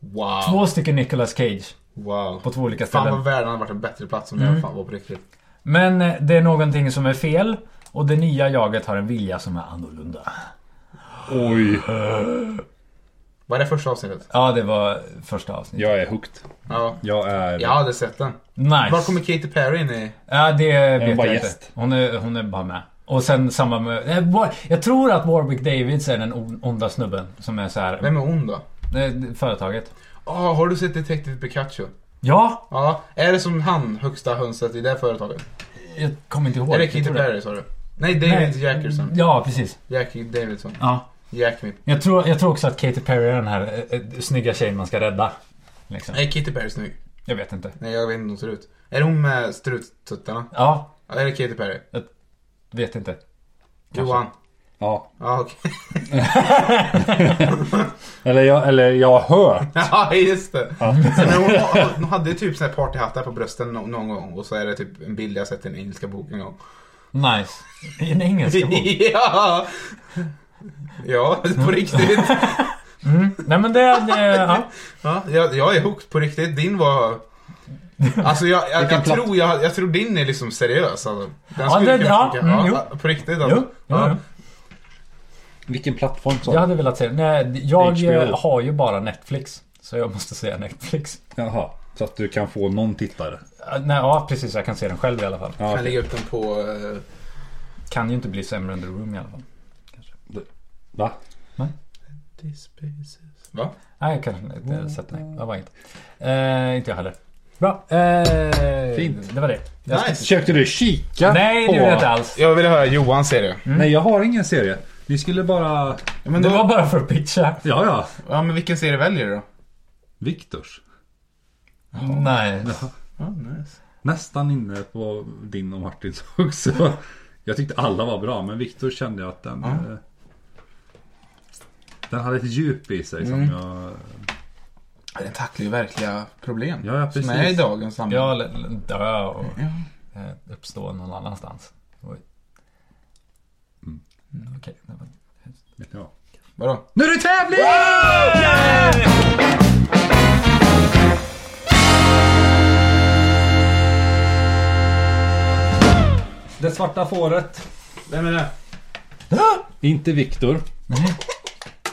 Speaker 2: Wow.
Speaker 1: Mm. Två stycken Nicolas Cage
Speaker 2: Wow.
Speaker 1: på två olika
Speaker 2: Fan
Speaker 1: ställen. Mm.
Speaker 2: vad världen hade varit en bättre plats om jag fan var på riktigt.
Speaker 1: Men eh, det är någonting som är fel. Och det nya jaget har en vilja som är annorlunda.
Speaker 3: Oj.
Speaker 2: Var det första avsnittet?
Speaker 1: Ja, det var första avsnittet.
Speaker 3: Jag är hooked.
Speaker 2: Ja.
Speaker 3: Jag är...
Speaker 2: Jag hade sett den. Var
Speaker 1: Nice.
Speaker 2: kommer Katy Perry in i?
Speaker 1: Ja, det vet
Speaker 3: bara
Speaker 1: jag inte.
Speaker 3: gäst.
Speaker 1: Hon är, hon är bara med. Och sen samma med... eh, War- Jag tror att Warwick Davids är den on- onda snubben som är så här...
Speaker 2: Vem är hon då?
Speaker 1: eh, Företaget.
Speaker 2: Ah, har du sett Detective Pikachu?
Speaker 1: Ja,
Speaker 2: Ja, är det som han, högsta hönset i det företaget?
Speaker 1: jag kommer inte ihåg.
Speaker 2: är det
Speaker 1: Jag
Speaker 2: Katy
Speaker 1: tror det.
Speaker 2: Perry sa du? Nej, David
Speaker 1: Nej. Mm,
Speaker 2: Jackerson.
Speaker 1: Ja, precis.
Speaker 2: Jackie Davidson.
Speaker 1: Ja.
Speaker 2: Jack me.
Speaker 1: Jag tror, jag tror också att Katy Perry är den här eh, eh, snygga tjejen man ska rädda. Liksom.
Speaker 2: Är Katy Perry snygg?
Speaker 1: Jag vet inte.
Speaker 2: Nej, jag vet inte hur hon ser ut. Är det hon med struttuttarna?
Speaker 1: Ja,
Speaker 2: Ja, Är det Katy Perry?
Speaker 1: vet inte.
Speaker 2: Johan?
Speaker 3: Ja.
Speaker 2: Ja, okej. [laughs]
Speaker 3: Eller, jag, eller jag har hört.
Speaker 2: Ja, just det. Sen när hon, hon hade ju typ såna här partyhattar på brösten no- någon gång och så är det typ en bild jag sett i den engelska boken en gång.
Speaker 1: Nice. I en
Speaker 2: [laughs]
Speaker 1: engelsk bok.
Speaker 2: ja! Ja, på riktigt.
Speaker 1: Nej men det... det ja.
Speaker 2: Ja, jag, jag är hooked på riktigt. Din var... Alltså jag, jag, jag, tror, jag, jag tror din är liksom seriös. Alltså. Den
Speaker 1: Ja,
Speaker 2: skulle
Speaker 1: den-
Speaker 2: kunna
Speaker 1: ja,
Speaker 2: funka.
Speaker 1: mm,
Speaker 2: ja, På riktigt alltså.
Speaker 1: Jo, jo,
Speaker 2: ja.
Speaker 1: jo.
Speaker 3: Vilken plattform sa
Speaker 1: Jag hade velat säga... Nej, jag eh,
Speaker 3: HBO.
Speaker 1: har ju bara Netflix. Så jag måste säga Netflix.
Speaker 3: Jaha. Så att du kan få någon tittare.
Speaker 1: Eh, Nej, ja precis. Jag kan se den själv i alla fall.
Speaker 3: Ja,
Speaker 2: Jag
Speaker 3: okej.
Speaker 2: lägger upp den på... eh,
Speaker 1: Kan ju inte bli sämre än The Room i alla fall.
Speaker 3: Va?
Speaker 2: Va?
Speaker 1: Nej, jag kanske inte
Speaker 2: Mm.
Speaker 1: har sett. Nej, det var inget. Eh, inte jag heller. Bra. Eh,
Speaker 3: Fint.
Speaker 1: Det var det. Jag ska-
Speaker 2: Nice.
Speaker 3: Försökte du kika
Speaker 1: Nej,
Speaker 3: på...
Speaker 1: det gjorde jag inte alls.
Speaker 2: Jag ville höra Johan serie.
Speaker 3: Nej, jag har ingen serie. Vi skulle bara...
Speaker 2: Ja, men,
Speaker 1: Det
Speaker 2: då,
Speaker 1: var bara för att pitcha.
Speaker 3: Ja, ja.
Speaker 2: ja, men vilken serie väljer du då?
Speaker 3: Viktors.
Speaker 1: Nej.
Speaker 2: Ja, nice.
Speaker 3: Nästan inne på din och Martins [laughs] också. Jag tyckte alla var bra, men Viktor kände jag att den... eh, Den hade ett djup i sig som jag...
Speaker 2: Den tacklar ju verkliga problem.
Speaker 3: Ja, ja, precis.
Speaker 2: Som är i dagens samhälle.
Speaker 1: Ja, eller eller dö och eh, uppstå någon annanstans. Oj. Mm. Okej. det var-
Speaker 3: Ja.
Speaker 2: Vadå?
Speaker 3: Nu är det tävling! Det svarta fåret.
Speaker 2: Vem är det?
Speaker 3: Inte Viktor.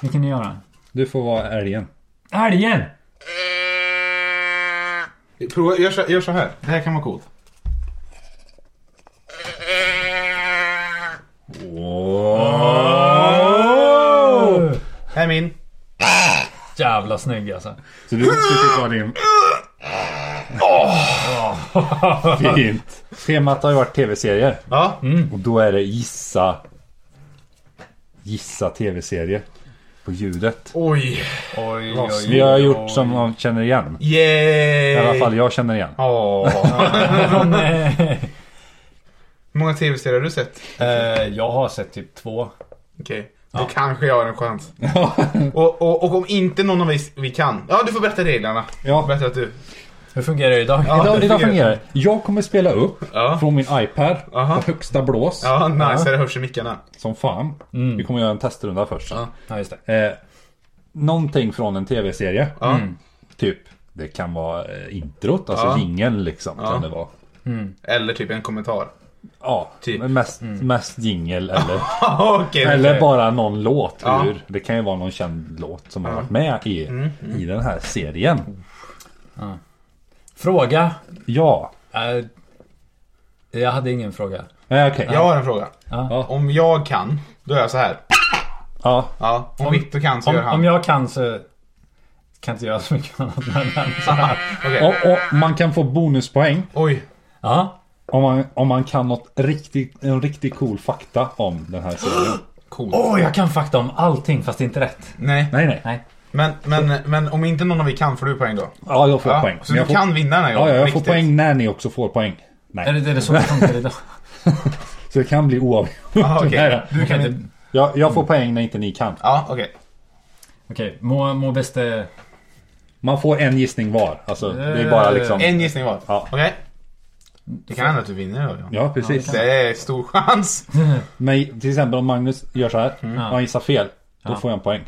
Speaker 1: Vilken ni göra?
Speaker 3: Du får vara älgen.
Speaker 1: Älgen!
Speaker 2: Prova, gör, så, gör så här. Det här kan vara coolt.
Speaker 3: Oh!
Speaker 2: Här är min.
Speaker 1: Jävla snygg
Speaker 5: [laughs]
Speaker 1: alltså.
Speaker 3: Så du måste typ vara din... [laughs] Fint. Temat har ju varit tv-serier.
Speaker 2: Ja.
Speaker 3: Och då är det gissa... Gissa tv-serier. På ljudet.
Speaker 2: Oj.
Speaker 1: Oj, oj, oj.
Speaker 3: Vi har gjort som man känner igen.
Speaker 2: Yay!
Speaker 3: I alla fall jag känner igen.
Speaker 2: Åh.
Speaker 1: Men, eh,
Speaker 2: Hur många tv-serier har du sett?
Speaker 5: Eh, jag har sett typ två.
Speaker 2: Okej. Då kanske jag har
Speaker 3: [laughs]
Speaker 2: en chans. och, och, och om inte någon av oss vi kan. Ja, du får berätta reglerna.
Speaker 3: Ja.
Speaker 2: Bättre att du.
Speaker 1: hur fungerar det idag?
Speaker 3: Idag, idag fungerar det. Jag kommer spela upp
Speaker 2: Ja.
Speaker 3: från min iPad
Speaker 2: Aha.
Speaker 3: på högsta blås.
Speaker 2: Ja, nice. Det hörs i mickarna.
Speaker 3: Som fan. Vi kommer göra en testrunda först.
Speaker 1: Ja, just det.
Speaker 3: Eh, någonting från en tv-serie. Typ. Det kan vara eh, introt, alltså
Speaker 2: Ja.
Speaker 3: jingeln liksom. Kan det vara.
Speaker 2: Eller typ en kommentar. [laughs]
Speaker 3: Ja,
Speaker 2: Typ.
Speaker 3: men mest, mest jingel
Speaker 2: [laughs]
Speaker 3: eller,
Speaker 2: Okej. okej.
Speaker 3: eller bara någon låt
Speaker 2: Ja. Mm,
Speaker 3: ur. Det kan ju vara någon känd låt som har varit med i, i den här serien.
Speaker 1: Fråga.
Speaker 3: Ja,
Speaker 1: Eh, jag hade ingen fråga.
Speaker 3: eh, okej.
Speaker 2: Jag har en fråga.
Speaker 3: Ja.
Speaker 2: Om jag kan, då är jag så här.
Speaker 3: Ja.
Speaker 2: Ja. Om,
Speaker 1: Om-
Speaker 2: Victor kan så
Speaker 1: Om,
Speaker 2: gör han.
Speaker 1: om jag kan så kan inte jag så mycket [laughs] annat än så här.
Speaker 2: Okej.
Speaker 3: Och, och man kan få bonuspoäng
Speaker 2: Oj.
Speaker 1: Ja.
Speaker 3: om man, om man kan något riktigt, en riktigt cool fakta om den här
Speaker 2: [gasps]
Speaker 3: serien.
Speaker 2: Coolt.
Speaker 1: Åh, jag kan fakta om allting fast det är inte rätt.
Speaker 2: Nej.
Speaker 3: Nej, nej.
Speaker 2: Men, men, men om inte någon av vi kan får du poäng då.
Speaker 3: Ja, jag får poäng.
Speaker 2: Så
Speaker 3: Men
Speaker 2: du
Speaker 3: jag får,
Speaker 2: kan vinna den här
Speaker 3: Ja, ja,
Speaker 2: gången,
Speaker 3: jag får
Speaker 2: riktigt.
Speaker 3: poäng när ni också får poäng.
Speaker 5: Är
Speaker 3: Nej,
Speaker 5: det, är det så det funkar idag?
Speaker 3: så det kan bli
Speaker 2: [laughs]
Speaker 3: oavgjort.
Speaker 2: Ah, okej.
Speaker 3: Nej, nej.
Speaker 5: Du kan inte...
Speaker 3: jag, jag får poäng när inte ni kan.
Speaker 2: Ja, okej.
Speaker 5: Okej, må, må bäste...
Speaker 3: Man får en gissning var. Alltså, det är bara liksom...
Speaker 2: En gissning var.
Speaker 3: Ja.
Speaker 2: Okej. Det kan hända att du vinner då. Ja.
Speaker 3: Ja, precis.
Speaker 2: Det är stor chans.
Speaker 3: Men till exempel om Magnus gör så här
Speaker 2: Mm.
Speaker 3: och han gissar fel. Då får jag en poäng.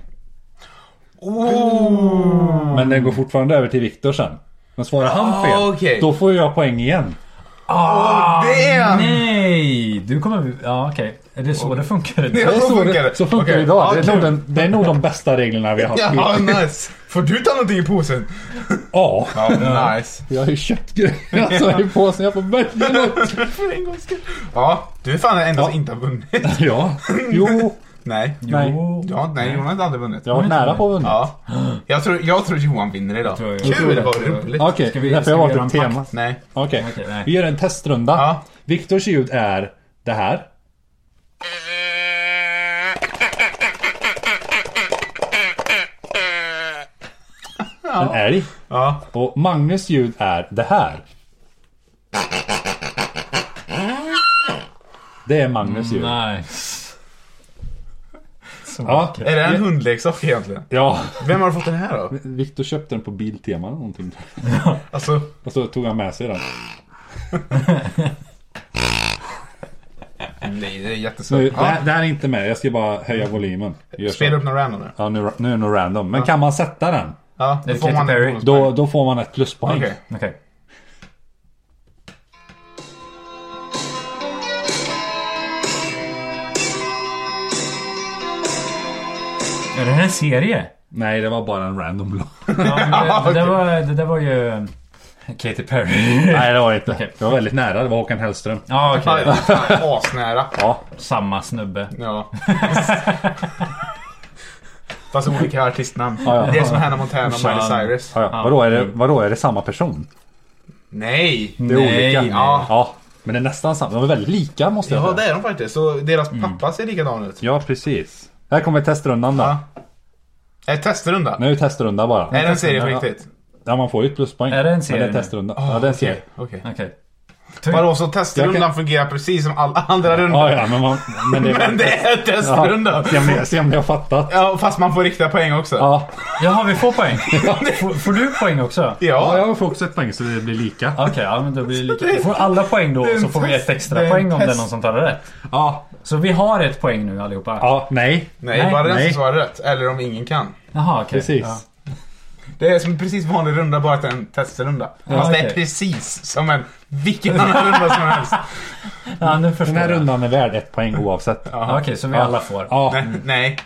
Speaker 2: Oh,
Speaker 3: Men den går fortfarande över till Viktor sen. Men svarar han fel,
Speaker 2: Ah, okej.
Speaker 3: då får jag poäng igen.
Speaker 2: det är en!
Speaker 5: Ah, Nej! Du kommer... Ja, okej. Är det så det funkar idag?
Speaker 2: Ja, så
Speaker 3: det-
Speaker 2: funkar det.
Speaker 3: Så funkar det
Speaker 2: Okej.
Speaker 3: idag.
Speaker 2: Ja,
Speaker 3: det, är nog den, det är nog de bästa reglerna vi har haft.
Speaker 2: [laughs] Ja, nice. Får du ta någonting i påsen?
Speaker 3: Ja.
Speaker 2: Ja, nice.
Speaker 3: Jag har ju köpt grejer alltså, i påsen. Jag får välja något.
Speaker 2: För en gångs skull. Ja, du är fan den enda som
Speaker 3: Ja.
Speaker 2: inte
Speaker 3: [laughs]
Speaker 2: har vunnit.
Speaker 3: Ja. Jo.
Speaker 2: Nej.
Speaker 3: Nej.
Speaker 5: Oh,
Speaker 2: Ja, nej, Jonas har aldrig vunnit.
Speaker 3: Jag har varit nära på att vinna.
Speaker 2: Ja. Jag tror, jag tror Johan vinner idag.
Speaker 5: tror jag gör.
Speaker 2: Kul, vad roligt.
Speaker 3: Okej,
Speaker 5: vi-
Speaker 3: därför
Speaker 5: ska
Speaker 3: jag
Speaker 5: vi
Speaker 3: valt
Speaker 5: göra
Speaker 3: ett
Speaker 5: en
Speaker 3: tema.
Speaker 2: Nej.
Speaker 3: Okej,
Speaker 5: Okej, nej.
Speaker 3: vi gör en testrunda.
Speaker 2: Ja.
Speaker 3: Viktors ljud är det här. En älg.
Speaker 2: Ja.
Speaker 3: Och Magnus ljud är det här. Det är Magnus ljud.
Speaker 5: Mm, Nej.
Speaker 3: Ja,
Speaker 2: Är det en hundleksak egentligen?
Speaker 3: ja.
Speaker 2: Vem har fått den här då?
Speaker 3: Viktor köpte den på Biltema eller någonting.
Speaker 2: Alltså,
Speaker 3: Och så tog han med sig den.
Speaker 2: nej, det är
Speaker 3: Nu,
Speaker 2: jättesvårt.
Speaker 3: det,
Speaker 2: Ja.
Speaker 3: här, det här är inte med, jag ska bara höja volymen. Gör så.
Speaker 2: Spela upp några random nu.
Speaker 3: Ja, nu, nu är det nog random. Men kan man sätta den,
Speaker 2: Ja, då
Speaker 5: Är det
Speaker 2: får
Speaker 5: Katy
Speaker 2: man
Speaker 5: Perry?
Speaker 2: en bonuspoäng.
Speaker 3: då, då får man ett pluspoäng.
Speaker 2: Okej.
Speaker 5: Okej. Är det här en serie?
Speaker 3: Nej, det var bara en random låt.
Speaker 5: Ja, men det, det, där var, det där var ju... eh, Katy
Speaker 2: [laughs]
Speaker 3: [laughs]
Speaker 5: Perry.
Speaker 3: Nej, det var det inte.
Speaker 5: Okej.
Speaker 3: Det var väldigt nära, det var Håkan Hellström.
Speaker 5: Ja, okej.
Speaker 2: Ja, fan, Asnära.
Speaker 5: Samma snubbe.
Speaker 2: Ja. Fast olika artistnamn.
Speaker 3: ja.
Speaker 2: Det är som Hannah Montana och
Speaker 5: Sean.
Speaker 2: Miley Cyrus.
Speaker 3: Ja, ja. Vadå, är det, vadå, är det samma person?
Speaker 2: Nej!
Speaker 3: Det är
Speaker 5: Nej,
Speaker 3: olika.
Speaker 5: nej.
Speaker 3: Ja. ja, men det är nästan samma. De är väldigt lika måste jag
Speaker 2: Ja,
Speaker 3: säga.
Speaker 2: det är de faktiskt. Så deras pappa ser likadan ut.
Speaker 3: Ja, precis. Här kommer testrundan då.
Speaker 2: Ja. Är det testrunda?
Speaker 3: Nu är det testrunda bara.
Speaker 2: Är det en serie på
Speaker 3: Ja.
Speaker 2: riktigt?
Speaker 3: Ja, man får ju ett pluspoäng.
Speaker 5: Är det en
Speaker 3: Men
Speaker 5: serie
Speaker 3: det Ah,
Speaker 5: nu?
Speaker 3: är testrunda. ja, det är en serie.
Speaker 2: Okej.
Speaker 5: Okej.
Speaker 2: Vadå, så testrundan
Speaker 3: Jag kan-
Speaker 2: fungerar precis som alla andra rundor?
Speaker 3: Ja, ja, men, man, [laughs] men det
Speaker 2: Men det är
Speaker 3: Ja,
Speaker 2: testrunda!
Speaker 3: se, om ni, se om ni har fattat.
Speaker 2: Ja, fast man får riktiga poäng också. Ja.
Speaker 3: Ja.
Speaker 5: Jaha, vi får poäng. Får, får du poäng också?
Speaker 3: ja, jag får också ett poäng så det blir lika.
Speaker 5: Okej, ja, men då blir det lika. Vi får alla poäng då och så får vi ett
Speaker 2: Det är
Speaker 5: extra
Speaker 2: en
Speaker 5: poäng om det är
Speaker 2: test.
Speaker 5: någon som tar det rätt.
Speaker 3: Ja,
Speaker 5: Så vi har ett poäng nu allihopa.
Speaker 3: ja nej.
Speaker 2: Nej,
Speaker 5: Nej,
Speaker 2: bara den som
Speaker 3: nej.
Speaker 2: svarar rätt. Eller om ingen kan.
Speaker 5: Jaha, okej.
Speaker 3: Precis.
Speaker 5: Ja.
Speaker 2: Det är som en precis vanlig runda, bara att det är en testrunda. Fast det är
Speaker 5: okej.
Speaker 2: precis som en vilken annan runda som helst.
Speaker 5: Ja, nu förstår
Speaker 3: Den här
Speaker 5: jag.
Speaker 3: rundan är värd ett poäng oavsett.
Speaker 5: Ja, Okej, så vi alla får. Ja,
Speaker 3: Ja,
Speaker 2: Nej. Nej.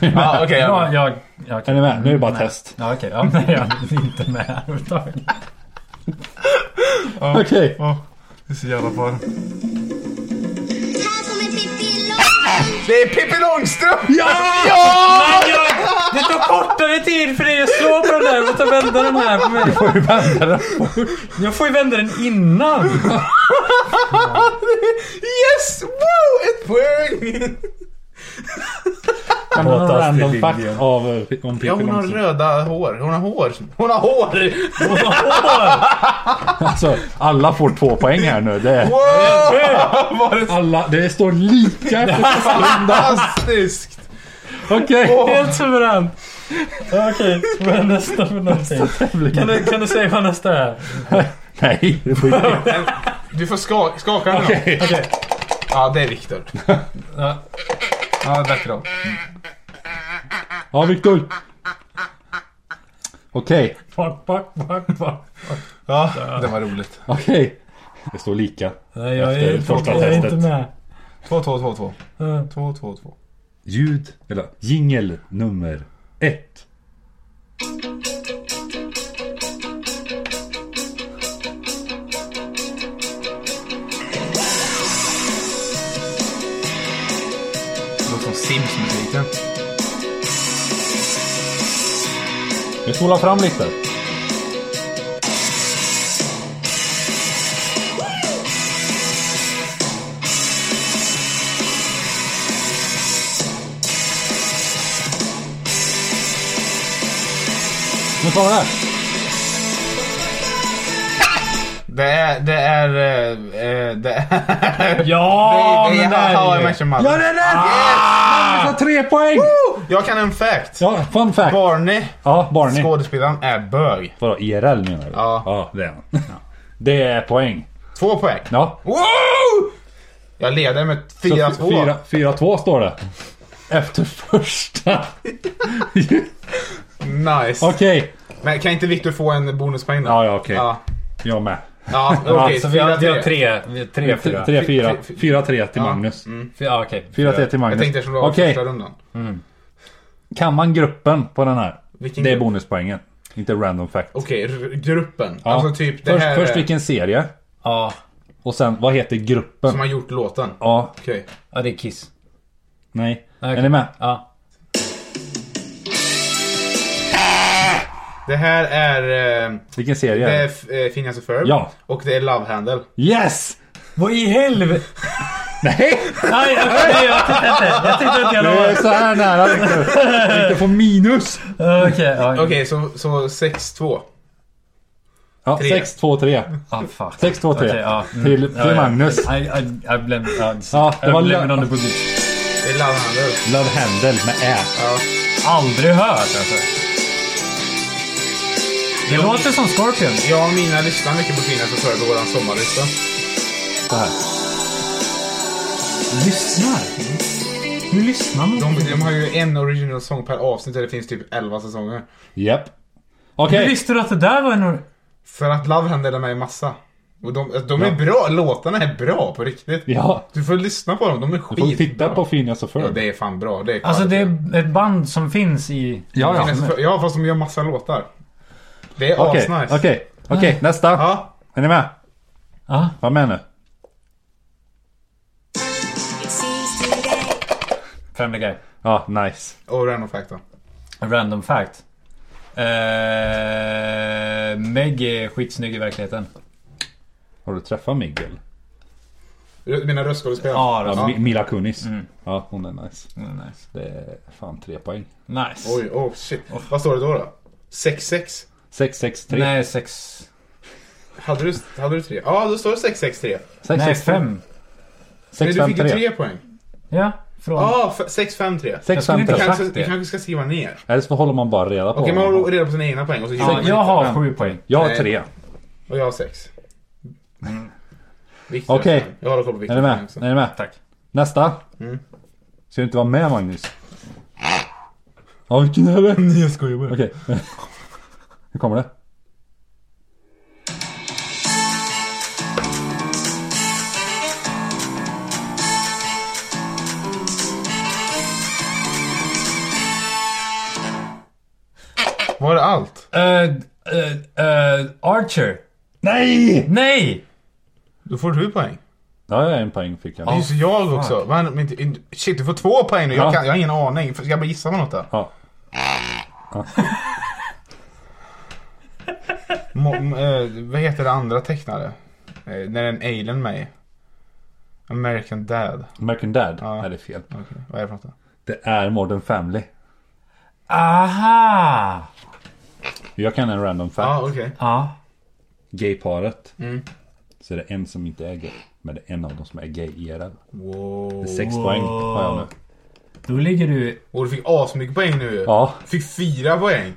Speaker 2: Mm. [laughs] Ja, okej. ja.
Speaker 5: jag... jag, jag
Speaker 3: är ni med? Nu är det bara test.
Speaker 5: Ja, okej. Ja, nej, jag är inte med [laughs] överhuvudtaget.
Speaker 3: Okej.
Speaker 2: Det är så jävla bra. [laughs] Det är Pippi Långstrump!
Speaker 3: Ja!
Speaker 2: Ja!
Speaker 1: betyder för dig att slå på den där och ta vända den här på mig? Du får ju vända den. Jag får ju vända den innan.
Speaker 2: Yes! Wow! Ett poäng!
Speaker 3: Kan du någon
Speaker 10: Fantastisk
Speaker 3: random
Speaker 10: linje.
Speaker 3: fact av, eh, om Pippi
Speaker 2: Ja, hon har
Speaker 3: Långstrump?
Speaker 2: röda hår. Hon har hår. Hon har hår!
Speaker 3: Alltså, alla får två poäng här nu. Det, är- alla, det står lika efter
Speaker 2: Fantastiskt!
Speaker 3: Okej,
Speaker 1: Helt suveränt. Ja, Okej, vad är nästa för någonting? Kan du, kan du säga vad nästa är?
Speaker 3: nej. det får inte-
Speaker 2: Du får ska skaka den.
Speaker 3: Okej.
Speaker 2: Ja, det är Viktor.
Speaker 5: Ja, bättre då.
Speaker 3: Ja, Viktor. Okej,
Speaker 1: Fuck, fuck, fuck, fuck.
Speaker 2: Ja, det var roligt.
Speaker 3: okej. Det står lika.
Speaker 1: Nej, jag är,
Speaker 3: Efter
Speaker 1: inte,
Speaker 3: första
Speaker 1: jag är
Speaker 3: testet.
Speaker 1: inte med.
Speaker 2: 2, 2, 2, 2.
Speaker 1: Ja.
Speaker 2: 2, 2, 2.
Speaker 10: Ljud, eller jingel nummer ett.
Speaker 2: Det låter som Sims-musiken.
Speaker 3: Nu spolar fram lite. Nu tar vi det. här.
Speaker 2: Det är... Det är... eh, det är...
Speaker 1: Ja,
Speaker 2: det är
Speaker 1: men det
Speaker 2: How
Speaker 1: är
Speaker 2: I
Speaker 1: ju...
Speaker 2: Met Your Mother. Ah!
Speaker 3: Ja, det är rätt! Magnus har tre poäng!
Speaker 2: Jag kan en fact.
Speaker 3: Ja, Mm. fun fact.
Speaker 2: Barney,
Speaker 3: Ja, Barney.
Speaker 2: skådespelaren, är bög.
Speaker 3: Vadå, IRL menar du?
Speaker 2: Ja.
Speaker 3: Ja, det är han. Det är poäng.
Speaker 2: Två poäng.
Speaker 3: Ja.
Speaker 2: Wow! Jag leder med
Speaker 3: Så
Speaker 2: 4-2.
Speaker 3: f- fyra- 4-2 står det. Efter första.
Speaker 2: Nice.
Speaker 3: Okej.
Speaker 2: Men kan inte Victor få en bonuspoäng då?
Speaker 10: Ja, ja, okej.
Speaker 2: Ja,
Speaker 10: Jag med.
Speaker 3: [laughs]
Speaker 2: ja
Speaker 1: Ja,
Speaker 2: okej.
Speaker 1: så vi har, vi har
Speaker 2: 4-3.
Speaker 1: tre, vi har tre, fyra. Mm.
Speaker 3: 3-4. 4-3 till Magnus.
Speaker 1: Fy- Ja, okej.
Speaker 3: 4-3 till
Speaker 2: Jag
Speaker 3: Magnus.
Speaker 2: tänkte eftersom det var
Speaker 3: Okej.
Speaker 2: första rundan.
Speaker 3: Kan man gruppen på den här?
Speaker 2: Vilken
Speaker 3: det är
Speaker 2: grupp?
Speaker 3: bonuspoängen. Inte random fact.
Speaker 2: Okej, r- gruppen.
Speaker 3: Ja.
Speaker 2: Alltså typ det
Speaker 3: först,
Speaker 2: här
Speaker 3: först
Speaker 2: är-
Speaker 3: vilken serie.
Speaker 1: Ja,
Speaker 3: Och sen vad heter gruppen?
Speaker 2: som har gjort låten.
Speaker 3: Ja,
Speaker 2: Okej.
Speaker 1: ja, det är Kiss.
Speaker 3: nej.
Speaker 1: Okej.
Speaker 3: Är ni med?
Speaker 1: Ja.
Speaker 2: Det här är... eh,
Speaker 3: Vilken serie?
Speaker 2: Det
Speaker 3: är
Speaker 2: är
Speaker 3: det?
Speaker 2: F- eh, Fingers och Ferb.
Speaker 3: Ja.
Speaker 2: Och det är Love Handle.
Speaker 3: Yes!
Speaker 1: Vad i helvete?
Speaker 3: Nej!
Speaker 1: Nej, jag, nej, jag tittade inte. Jag tittade inte
Speaker 3: Du
Speaker 1: genom
Speaker 3: är
Speaker 1: året.
Speaker 3: så här nära Viktor. Viktor får minus.
Speaker 1: Okej, ja.
Speaker 2: Okej, så, så 6-2.
Speaker 3: Ja,
Speaker 2: Tre.
Speaker 3: 6-2-3.
Speaker 5: Ah, fuck.
Speaker 3: 6-2-3.
Speaker 5: Okej, ja. Mm.
Speaker 3: Till, till
Speaker 5: Ja, ja.
Speaker 3: Magnus.
Speaker 5: I, I, I blame... Ja,
Speaker 3: Ja, det var
Speaker 5: I
Speaker 3: lö-
Speaker 5: blame it on the position.
Speaker 2: Det är Love Handle.
Speaker 3: Love Handel med Ä.
Speaker 2: Ja.
Speaker 5: Aldrig hört alltså. Det låter som Scorpion.
Speaker 2: Jag och mina lyssnar mycket på Fingers och Ferb på våran sommarlista.
Speaker 3: Så här.
Speaker 1: Lyssnar. Nu lyssnar man.
Speaker 2: De, de har ju en original sång per avsnitt och det finns typ 11 säsonger.
Speaker 3: Japp.
Speaker 1: Hur
Speaker 3: Okej.
Speaker 1: visste du att det där var en...
Speaker 2: För att Love Handle är med i massa. Och de, de är bra, låtarna är bra på riktigt.
Speaker 3: Ja.
Speaker 2: Du får lyssna på dem, de är
Speaker 3: Du får titta
Speaker 2: skitbra.
Speaker 3: på Phineas och
Speaker 2: Ja,
Speaker 3: Ferb.
Speaker 2: det är fan bra. Det är
Speaker 1: Alltså det är ett band som finns i...
Speaker 3: Ja,
Speaker 2: Finns för- Ja, fast de gör massa låtar. Det är
Speaker 3: Okej,
Speaker 2: asnice.
Speaker 3: okej, okej, nästa.
Speaker 2: Ja.
Speaker 3: Är ni med?
Speaker 1: Ja.
Speaker 3: Var med nu.
Speaker 5: Family Guy.
Speaker 3: Ja, nice.
Speaker 2: Och Random Fact då.
Speaker 5: Random fact. Eh, Meg är skitsnygg i verkligheten.
Speaker 3: Har du träffat Miguel?
Speaker 2: Rö- Mina röstskådespel.
Speaker 1: Ah,
Speaker 5: Ja,
Speaker 3: Ja,
Speaker 5: då.
Speaker 3: Mi- Mila Kunis. Ja, hon är nice.
Speaker 5: Mm, Nice.
Speaker 3: Det är fan tre poäng.
Speaker 5: nice.
Speaker 2: Oj, oh shit. Vad står det då då? 6-6?
Speaker 3: 663.
Speaker 5: Nej, sex...
Speaker 2: Hade du, hade du tre? Ja, då står det 6-6-3.
Speaker 5: Nej, fem.
Speaker 2: Men du fick ju
Speaker 3: 653.
Speaker 2: tre poäng.
Speaker 1: Ja, från...
Speaker 2: Ja, ah, 6-5-3.
Speaker 5: Jag skulle inte
Speaker 3: 653.
Speaker 5: ha
Speaker 2: Kanske,
Speaker 5: sagt
Speaker 2: du
Speaker 5: det.
Speaker 2: kanske ska skriva ner. Okej,
Speaker 3: Eller så håller man bara reda på
Speaker 2: man
Speaker 3: vad man
Speaker 2: håller
Speaker 3: har.
Speaker 2: reda på sina egna poäng och så
Speaker 5: Ja,
Speaker 2: ja,
Speaker 5: jag har sju poäng.
Speaker 3: Jag har
Speaker 2: Nej.
Speaker 3: tre.
Speaker 2: Och jag har sex. Viktor.
Speaker 3: Mm. Okej.
Speaker 2: har fem. Jag håller koll på Viktor.
Speaker 3: Är ni med? Är ni med?
Speaker 5: Tack.
Speaker 3: Nästa.
Speaker 2: Mm.
Speaker 3: Ska du inte vara med Magnus? Ja, vilken är det?
Speaker 2: Jag skojar bara.
Speaker 3: Okej. [laughs] Hur kommer det?
Speaker 2: Var det allt?
Speaker 5: Eh, eh, eh, Archer.
Speaker 3: Nej!
Speaker 5: Nej!
Speaker 2: Då får du poäng.
Speaker 3: Ja, en poäng fick jag.
Speaker 2: Det är ju så jag också. Men, men, inte- in- shit, du får två poäng nu. Jag,
Speaker 3: Ja.
Speaker 2: kan, jag har ingen aning. Ska jag bara gissa på något då?
Speaker 3: Ja.
Speaker 2: Mo- m- eh, vad heter det andra tecknare? Eh, när en alien med American Dad.
Speaker 3: American Dad?
Speaker 2: Ja.
Speaker 3: Nej, det är fel.
Speaker 2: Okej, Vad är det för något? då?
Speaker 3: Det är Modern Family.
Speaker 1: Aha!
Speaker 3: Jag kan en random fact.
Speaker 2: Ja, okej.
Speaker 1: Ja.
Speaker 3: Gayparet.
Speaker 2: Mm.
Speaker 3: Så är det en som inte är gay. Men det är en av dem som är gay IRL. Det
Speaker 2: Wow.
Speaker 3: är sex poäng har jag nu.
Speaker 1: Då ligger du...
Speaker 2: Och du fick asmycket poäng nu ju.
Speaker 3: Ja. [laughs]
Speaker 2: Fick fyra poäng.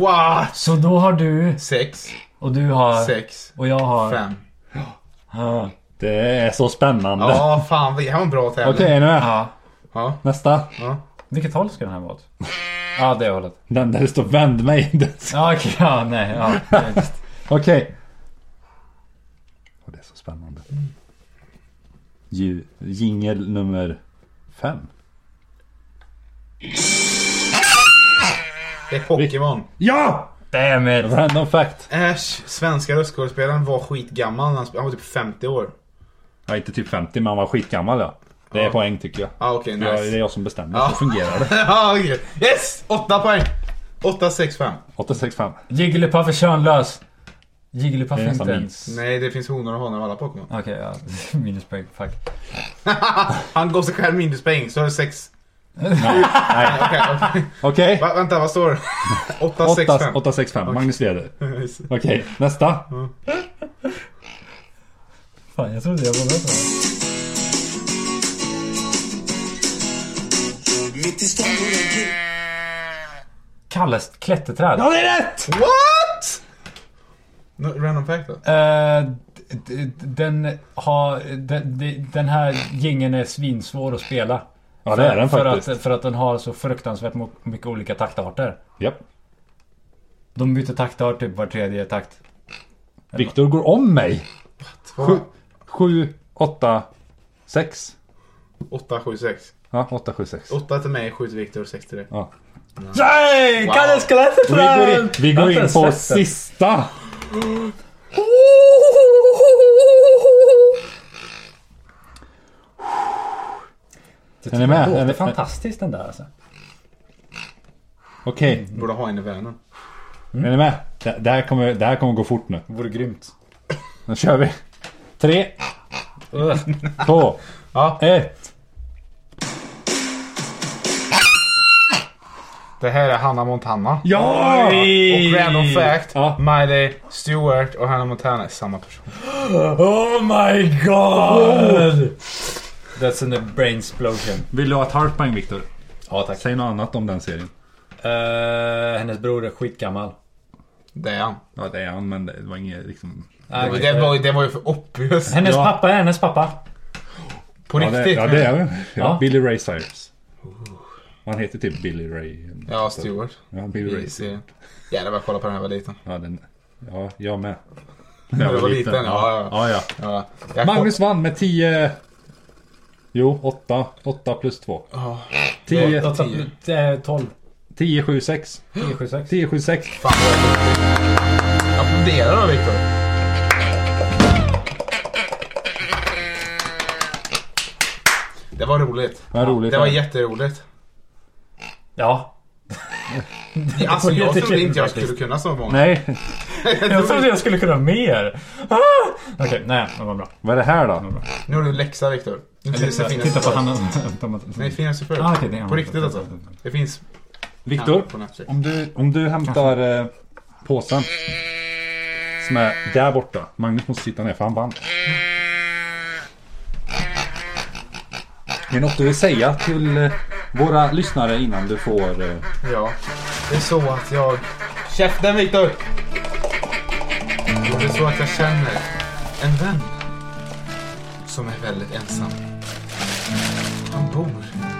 Speaker 2: What?
Speaker 1: Så då har du...
Speaker 2: Sex,
Speaker 1: Och du har...
Speaker 2: sex,
Speaker 1: Och jag har...
Speaker 2: fem.
Speaker 1: Ja.
Speaker 3: Det är så spännande.
Speaker 2: Ja, fan. Det här var en bra tävling.
Speaker 3: Okej, nu är
Speaker 1: ja.
Speaker 2: Ja,
Speaker 3: nästa.
Speaker 2: ja.
Speaker 1: Vilket håll ska den här vara åt? Ja, det hållet.
Speaker 3: Den där det står vänd mig. [laughs] Det-
Speaker 1: Ja, okej. Ja, nej. Ja.
Speaker 3: Okej. Och det är så spännande. Ju- Jingel nummer fem.
Speaker 2: Det är Pokémon.
Speaker 3: Ja!
Speaker 1: Damn it.
Speaker 3: Random fact.
Speaker 2: Ash, svenska röstskådespelaren, var skitgammal. när Han sp- han var typ 50 år.
Speaker 3: Ja, inte typ 50 men han var skitgammal ja. Det är
Speaker 2: Ja.
Speaker 3: poäng tycker jag.
Speaker 2: Ah, okej,
Speaker 3: Ja,
Speaker 2: nice.
Speaker 3: det är jag som bestämmer.
Speaker 2: Ja.
Speaker 3: Så
Speaker 1: [laughs]
Speaker 3: fungerar det.
Speaker 2: [laughs] Ja, okej. Yes! Åtta poäng. Åtta, sex, fem.
Speaker 3: 865.
Speaker 1: Jigglypuff är könlös. Jigglypuff
Speaker 3: Det är
Speaker 1: är inte
Speaker 3: nästan
Speaker 1: ens...
Speaker 2: Nej, det finns honor och hanar av alla Pokémon.
Speaker 1: Okej,
Speaker 3: [laughs]
Speaker 1: ja. Minuspoäng. Fuck.
Speaker 2: Han gav sig själv minuspoäng, så är det sex.
Speaker 3: Nej.
Speaker 2: [laughs] Okej, okej.
Speaker 3: Okej.
Speaker 2: Va, vänta, vad står det?
Speaker 3: [laughs]
Speaker 2: Åtta, sex,
Speaker 3: Åtta-
Speaker 2: fem.
Speaker 3: 865. Magnus leder.
Speaker 2: Nice.
Speaker 3: Okej, nästa.
Speaker 1: Mm. Fan, jag trodde jag var bättre. Kalles klätterträd.
Speaker 3: Ja, det är rätt!
Speaker 2: What? No, random fact då?
Speaker 1: Eh, d- d- den har... Den, d- den här gingen är svinsvår att spela.
Speaker 3: Ja, det är den
Speaker 1: för
Speaker 3: faktiskt.
Speaker 1: att, för att den har så fruktansvärt mo- mycket olika taktarter.
Speaker 3: Japp.
Speaker 1: De byter taktart typ var tredje takt.
Speaker 3: Viktor går om mig.
Speaker 2: Två,
Speaker 3: 7, 8, 6.
Speaker 2: åtta, sju, sex.
Speaker 3: Ja, 8, 7, 6.
Speaker 2: Åtta till mig, sju till Viktor, sex till dig.
Speaker 1: Nej!
Speaker 2: Wow.
Speaker 1: Kalles
Speaker 3: Vi går in,
Speaker 1: klätterträd!
Speaker 3: vi
Speaker 1: Jag har
Speaker 3: går
Speaker 1: inte
Speaker 3: in
Speaker 1: ens
Speaker 3: på
Speaker 1: sett den.
Speaker 3: sista. Är ni med? Är
Speaker 1: Det är
Speaker 3: ni-
Speaker 1: fantastiskt den där alltså.
Speaker 3: Okej,
Speaker 2: Borde ha en i vännen.
Speaker 3: är ni med? Det, det, här kommer, det här kommer gå fort nu.
Speaker 1: Det vore grymt.
Speaker 3: Nu kör vi. [laughs] 3, 2,
Speaker 2: Ja.
Speaker 3: Eh. 1.
Speaker 2: Det här är Hanna Montana.
Speaker 3: Ja!
Speaker 2: Och random fact,
Speaker 3: Ja.
Speaker 2: Miley Stewart och Hannah Montana är samma person.
Speaker 1: Oh my god! That's in a brain explosion.
Speaker 3: Oh. Vill du ha ett halvt poäng Viktor?
Speaker 1: Ja tack.
Speaker 3: Säg något annat om den serien. Eh,
Speaker 1: hennes bror är skitgammal.
Speaker 2: Det är han.
Speaker 3: Ja det är han men det var inget liksom...
Speaker 1: Ah,
Speaker 2: Det var, det var, ju- det var ju för obvious.
Speaker 1: Hennes
Speaker 3: Ja.
Speaker 1: pappa är hennes pappa.
Speaker 2: På
Speaker 3: Ja det,
Speaker 2: riktigt.
Speaker 3: ja, det är han. Ja,
Speaker 1: Ja.
Speaker 3: Billy Ray Cyrus. Han heter typ Billy Ray.
Speaker 2: Ja, Stewart.
Speaker 3: Ja, Billy Ray
Speaker 2: I
Speaker 3: Cyrus.
Speaker 2: serien. Jävlar vad jag kollade på den här var liten.
Speaker 3: Ja, den, ja jag med.
Speaker 2: du var liten, ja,
Speaker 3: ja.
Speaker 2: ja.
Speaker 3: ja, ja.
Speaker 2: Ja, jag
Speaker 3: Magnus vann med 10... Jo, 8. 8 plus 2.
Speaker 2: Ja.
Speaker 3: 10,
Speaker 1: Åtta-
Speaker 2: tio.
Speaker 1: det är 12.
Speaker 3: 10, 7, 6.
Speaker 1: 10, 7, 6.
Speaker 3: 10, 7, 6.
Speaker 2: Fan vad jag duktig. Applådera då Viktor. Det var roligt.
Speaker 3: Vad roligt.
Speaker 2: Det var jätteroligt.
Speaker 1: Ja.
Speaker 2: Alltså
Speaker 1: var
Speaker 2: jag
Speaker 1: jättekul
Speaker 2: trodde inte jag
Speaker 1: faktiskt.
Speaker 2: skulle kunna så många. [laughs]
Speaker 3: Nej,
Speaker 1: Jag trodde jag skulle kunna mer. Ah! Okej, nej. Det var bra.
Speaker 3: vad är det här då?
Speaker 2: Nu har du en läxa Viktor. Nu ska du se Finlands
Speaker 1: Titta på
Speaker 2: Superb.
Speaker 1: honom. [laughs]
Speaker 2: Nej, Finlands Superb.
Speaker 1: Ah, okej, det är han.
Speaker 2: på riktigt alltså. Det finns
Speaker 3: Viktor,
Speaker 2: på Netflix.
Speaker 3: om du, om du hämtar eh, påsen. Som är där borta. Magnus måste sitta ner för han vann. Är det något du vill säga till eh, våra lyssnare innan du får... Eh,
Speaker 2: Ja. Det är så att jag... Käften Viktor! Det är så att jag känner en vän som är väldigt ensam. Han bor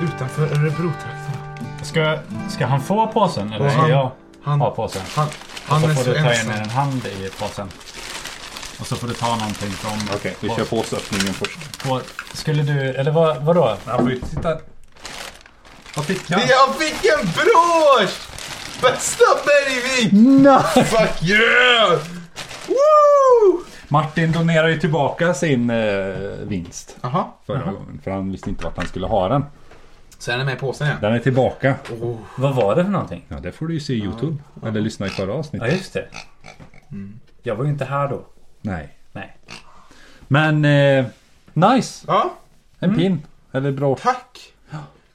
Speaker 2: utanför Örebro-trakten.
Speaker 1: Ska, ska han få påsen eller
Speaker 2: Och
Speaker 1: ska
Speaker 2: han-
Speaker 1: jag
Speaker 2: han-
Speaker 1: ha påsen?
Speaker 2: Han, han
Speaker 1: så
Speaker 2: är
Speaker 1: får
Speaker 2: så
Speaker 1: du ta in
Speaker 2: ensam.
Speaker 1: en hand i påsen. Och så får du ta någonting från...
Speaker 3: Okej, vi kör påsöppningen först.
Speaker 1: på. Skulle du... Eller vad, vadå?
Speaker 3: Han får ju titta. Vad fick han?
Speaker 2: Jag fick en brosch! Bästa Bergvik! Fuck yeah! Woo!
Speaker 3: Martin donerar ju tillbaka sin eh, vinst
Speaker 2: Jaha,
Speaker 3: förra gången. För han visste inte vart han skulle ha den.
Speaker 2: så är den med i påsen igen.
Speaker 3: Den är tillbaka.
Speaker 1: Vad var det för någonting?
Speaker 3: Ja, det får du ju se i YouTube. Eller lyssna i förra
Speaker 1: Ja,
Speaker 3: avsnittet.
Speaker 1: just det.
Speaker 2: Mm.
Speaker 1: Jag var ju inte här då.
Speaker 3: Nej.
Speaker 1: Nej.
Speaker 3: Men eh, nice!
Speaker 2: Ja,
Speaker 3: En pin. Eller bra.
Speaker 2: Mm. tack!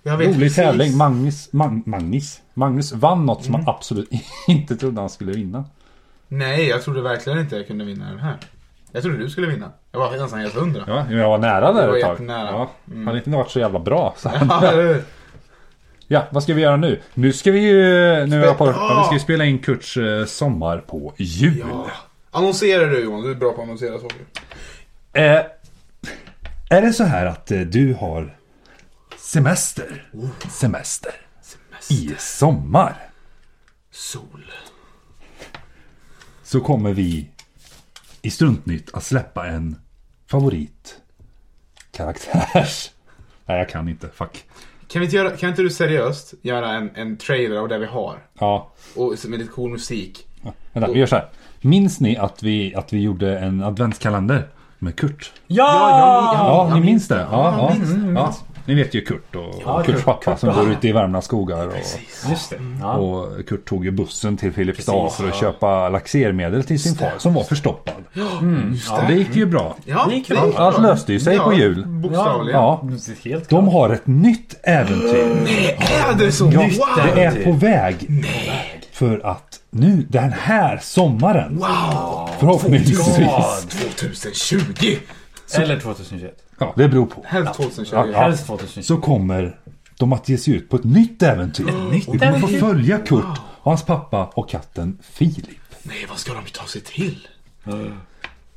Speaker 2: Jag vet
Speaker 3: Rolig
Speaker 2: precis.
Speaker 3: tävling. Magnus, Mag, Magnus, Magnus vann något som
Speaker 2: Mm.
Speaker 3: man absolut [laughs] inte trodde han skulle vinna.
Speaker 2: Nej, jag trodde verkligen inte jag kunde vinna den här. Jag trodde du skulle vinna. Jag var nästan helt hundra.
Speaker 3: Ja, jag var nära
Speaker 2: Det
Speaker 3: där
Speaker 2: var
Speaker 3: ett tag.
Speaker 2: jättenära.
Speaker 3: Ja,
Speaker 2: Mm.
Speaker 3: Han hade inte varit så jävla bra. Så han,
Speaker 2: [laughs] Ja, eller hur?
Speaker 3: [laughs] ja, vad ska vi göra nu? Nu ska vi ju... Nu är jag på,
Speaker 2: Ja.
Speaker 3: ja, vi ska ju spela in Kurts eh, sommar på jul.
Speaker 2: Ah! Ja. Annonserar du Johan, du är bra på att annonsera saker.
Speaker 3: Eh, är det så här att eh, du har semester, semester, i sommar
Speaker 2: Sol.
Speaker 3: så kommer vi i Struntnytt att släppa en favorit karaktärs... [laughs] Nej, jag kan inte. Fuck.
Speaker 2: Kan, vi inte göra, kan inte du seriöst göra en, en trailer av det vi har?
Speaker 3: Ja,
Speaker 2: Och med lite cool musik.
Speaker 3: vänta, vi gör så här. Minns ni att vi, att vi gjorde en adventskalender med Kurt?
Speaker 1: Ja!
Speaker 3: Ja, ni minns det? Ja, ja, mm, ja. Ni vet ju Kurt och, och Kurts pappa som bor ute i Värmlands skogar. Och,
Speaker 1: Just det. Ja.
Speaker 3: Och Kurt tog ju bussen till Filipstad för att köpa laxermedel till sin far som var förstoppad. Mm. Ja, det gick ju bra.
Speaker 2: Ja,
Speaker 1: Det gick
Speaker 2: det
Speaker 1: bra.
Speaker 2: gick bra.
Speaker 3: Allt löste ju sig på jul.
Speaker 2: Bokstavligen.
Speaker 3: Ja,
Speaker 1: Helt klart.
Speaker 3: de har ett nytt äventyr.
Speaker 2: Är det så?
Speaker 3: Ja,
Speaker 2: wow!
Speaker 3: det är på väg. För att nu den här sommaren
Speaker 2: Wow!
Speaker 3: förhoppningsvis.
Speaker 2: 2020!
Speaker 1: Eller 2021.
Speaker 3: Ja, det beror på.
Speaker 2: Helst 2020.
Speaker 3: Ja.
Speaker 1: Helst 2021.
Speaker 3: Så kommer de att ge sig ut på ett nytt äventyr. Vi kommer få följa Kurt och hans pappa och katten Filip.
Speaker 2: Nej, vad ska de ta sig till?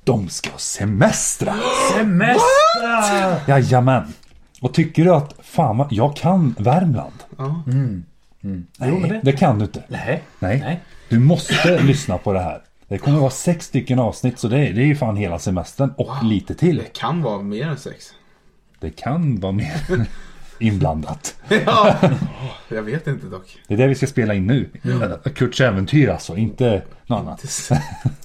Speaker 3: De ska semestra.
Speaker 1: Semester!
Speaker 3: Jajamän. Och tycker du att fan vad, jag kan Värmland? Mm. Nej, det. kan du inte.
Speaker 1: Nej.
Speaker 3: Nej.
Speaker 1: Nej.
Speaker 3: Du måste [clears throat] lyssna på det här. Det kommer vara sex stycken avsnitt så det är, det är ju fan hela semestern och lite till.
Speaker 2: Det kan vara mer än sex.
Speaker 3: Det kan vara mer [laughs] inblandat.
Speaker 2: Ja. Jag vet
Speaker 3: [laughs]
Speaker 2: inte dock.
Speaker 3: Det är det vi ska spela in nu. Äh, Kurts äventyr alltså, inte något annat.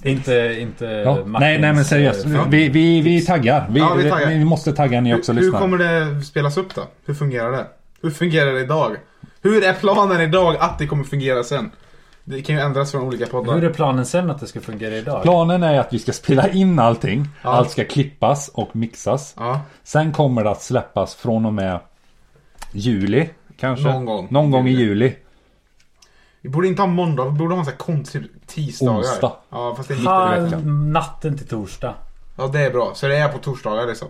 Speaker 1: Inte, inte
Speaker 3: Ja.
Speaker 1: Martins,
Speaker 3: Nej, nej men seriöst.
Speaker 1: eh,
Speaker 3: Vi, vi, vi taggar. Vi,
Speaker 2: Ja, vi taggar.
Speaker 3: Ni måste tagga ni också
Speaker 2: Hur, hur
Speaker 3: lyssnare.
Speaker 2: kommer det spelas upp då? Hur fungerar det? Hur fungerar det idag? Hur är planen idag att det kommer fungera sen? Det kan ju ändras från olika poddar.
Speaker 1: Hur är planen sen att det ska fungera idag?
Speaker 3: Planen är att vi ska spela in allting. Allt ska klippas och mixas.
Speaker 2: Ja.
Speaker 3: Sen kommer det att släppas från och med juli. Kanske.
Speaker 2: Någon gång.
Speaker 3: Någon gång i juli.
Speaker 2: Vi borde inte ha måndag, vi borde ha en sån här konstig typ tisdagar.
Speaker 3: Onsdag.
Speaker 2: Ja, fast det är mitt i veckan.
Speaker 1: Ah, natten till torsdag.
Speaker 2: Ja, det är bra. Så det är på torsdagar liksom.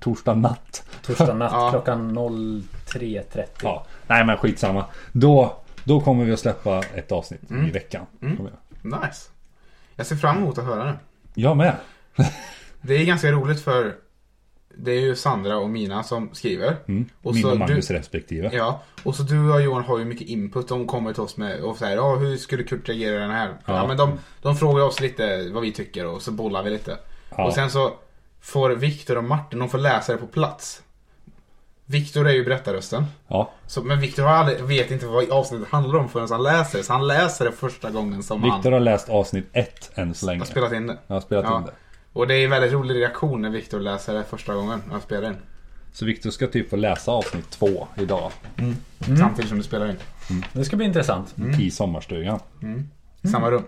Speaker 3: Torsdag natt.
Speaker 1: Torsdag natt
Speaker 2: Ja.
Speaker 1: klockan 03.30.
Speaker 3: Ja. Nej men skitsamma. Då, då kommer vi att släppa ett avsnitt i veckan. Mm.
Speaker 2: Nice. Jag ser fram emot att höra det.
Speaker 3: Jag med.
Speaker 2: Det är ganska roligt för det är ju Sandra och Mina som skriver. Och
Speaker 3: Min
Speaker 2: så
Speaker 3: och Magnus
Speaker 2: du,
Speaker 3: respektive.
Speaker 2: Ja, och så du och Johan har ju mycket input. De kommer till oss med och säger ja, hur skulle Kurt reagera i den här? Ja. men de, de frågar oss lite vad vi tycker och så bollar vi lite. Och sen så får Viktor och Martin, de får läsa det på plats. Viktor är ju berättarrösten.
Speaker 3: Ja.
Speaker 2: Så, men Viktor har aldrig- vet inte vad avsnittet handlar om förrän han läser det. Så han läser det första gången som
Speaker 3: Viktor
Speaker 2: han
Speaker 3: har läst avsnitt ett än så länge.
Speaker 2: har spelat in det.
Speaker 3: Jag har spelat
Speaker 2: Ja.
Speaker 3: in det.
Speaker 2: Och det är en väldigt rolig reaktion när Viktor läser det första gången han spelar in.
Speaker 3: Så Viktor ska typ få läsa avsnitt två idag. Mm.
Speaker 2: Samtidigt som du spelar in.
Speaker 1: Det ska bli intressant.
Speaker 2: Mm.
Speaker 3: I sommarstugan.
Speaker 2: I
Speaker 3: Mm.
Speaker 2: samma rum.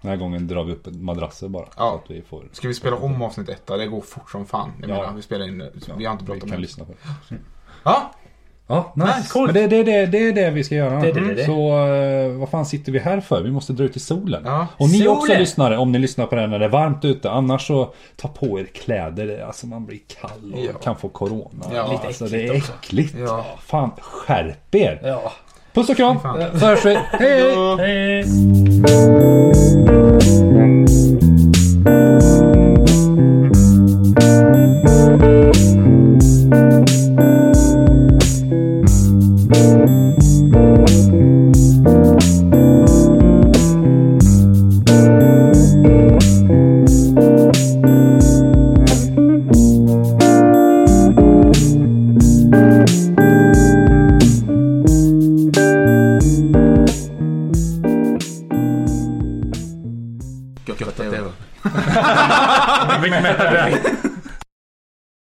Speaker 3: Den här gången drar vi upp madrasser bara.
Speaker 2: Ja.
Speaker 3: Så att vi får...
Speaker 2: Ska vi spela om avsnitt 1 Det går fort som fan. Jag
Speaker 3: Ja.
Speaker 2: menar, vi spelar in det. Vi har inte bråttom.
Speaker 3: Vi kan
Speaker 2: än.
Speaker 3: lyssna på det.
Speaker 2: Ja,
Speaker 3: Ja, nice.
Speaker 1: Nice, coolt.
Speaker 3: Men det, det, det, det är det vi ska göra.
Speaker 1: Det är det, det är det.
Speaker 3: Så eh, vad fan sitter vi här för? Vi måste dra ut i solen.
Speaker 2: Ja.
Speaker 3: Och ni
Speaker 1: Solen!
Speaker 3: också lyssnare, om ni lyssnar på det här när det är varmt ute. Annars så ta på er kläder. Alltså man blir kall och
Speaker 2: Ja.
Speaker 3: kan få corona.
Speaker 2: Ja. Lite
Speaker 3: alltså, det är äckligt.
Speaker 2: Ja.
Speaker 3: Fan, skärp er.
Speaker 1: Ja.
Speaker 3: Puss och kram.
Speaker 2: Fan.
Speaker 3: Så hörs vi. Hej, hej.
Speaker 1: Hej!
Speaker 2: gött att det är över.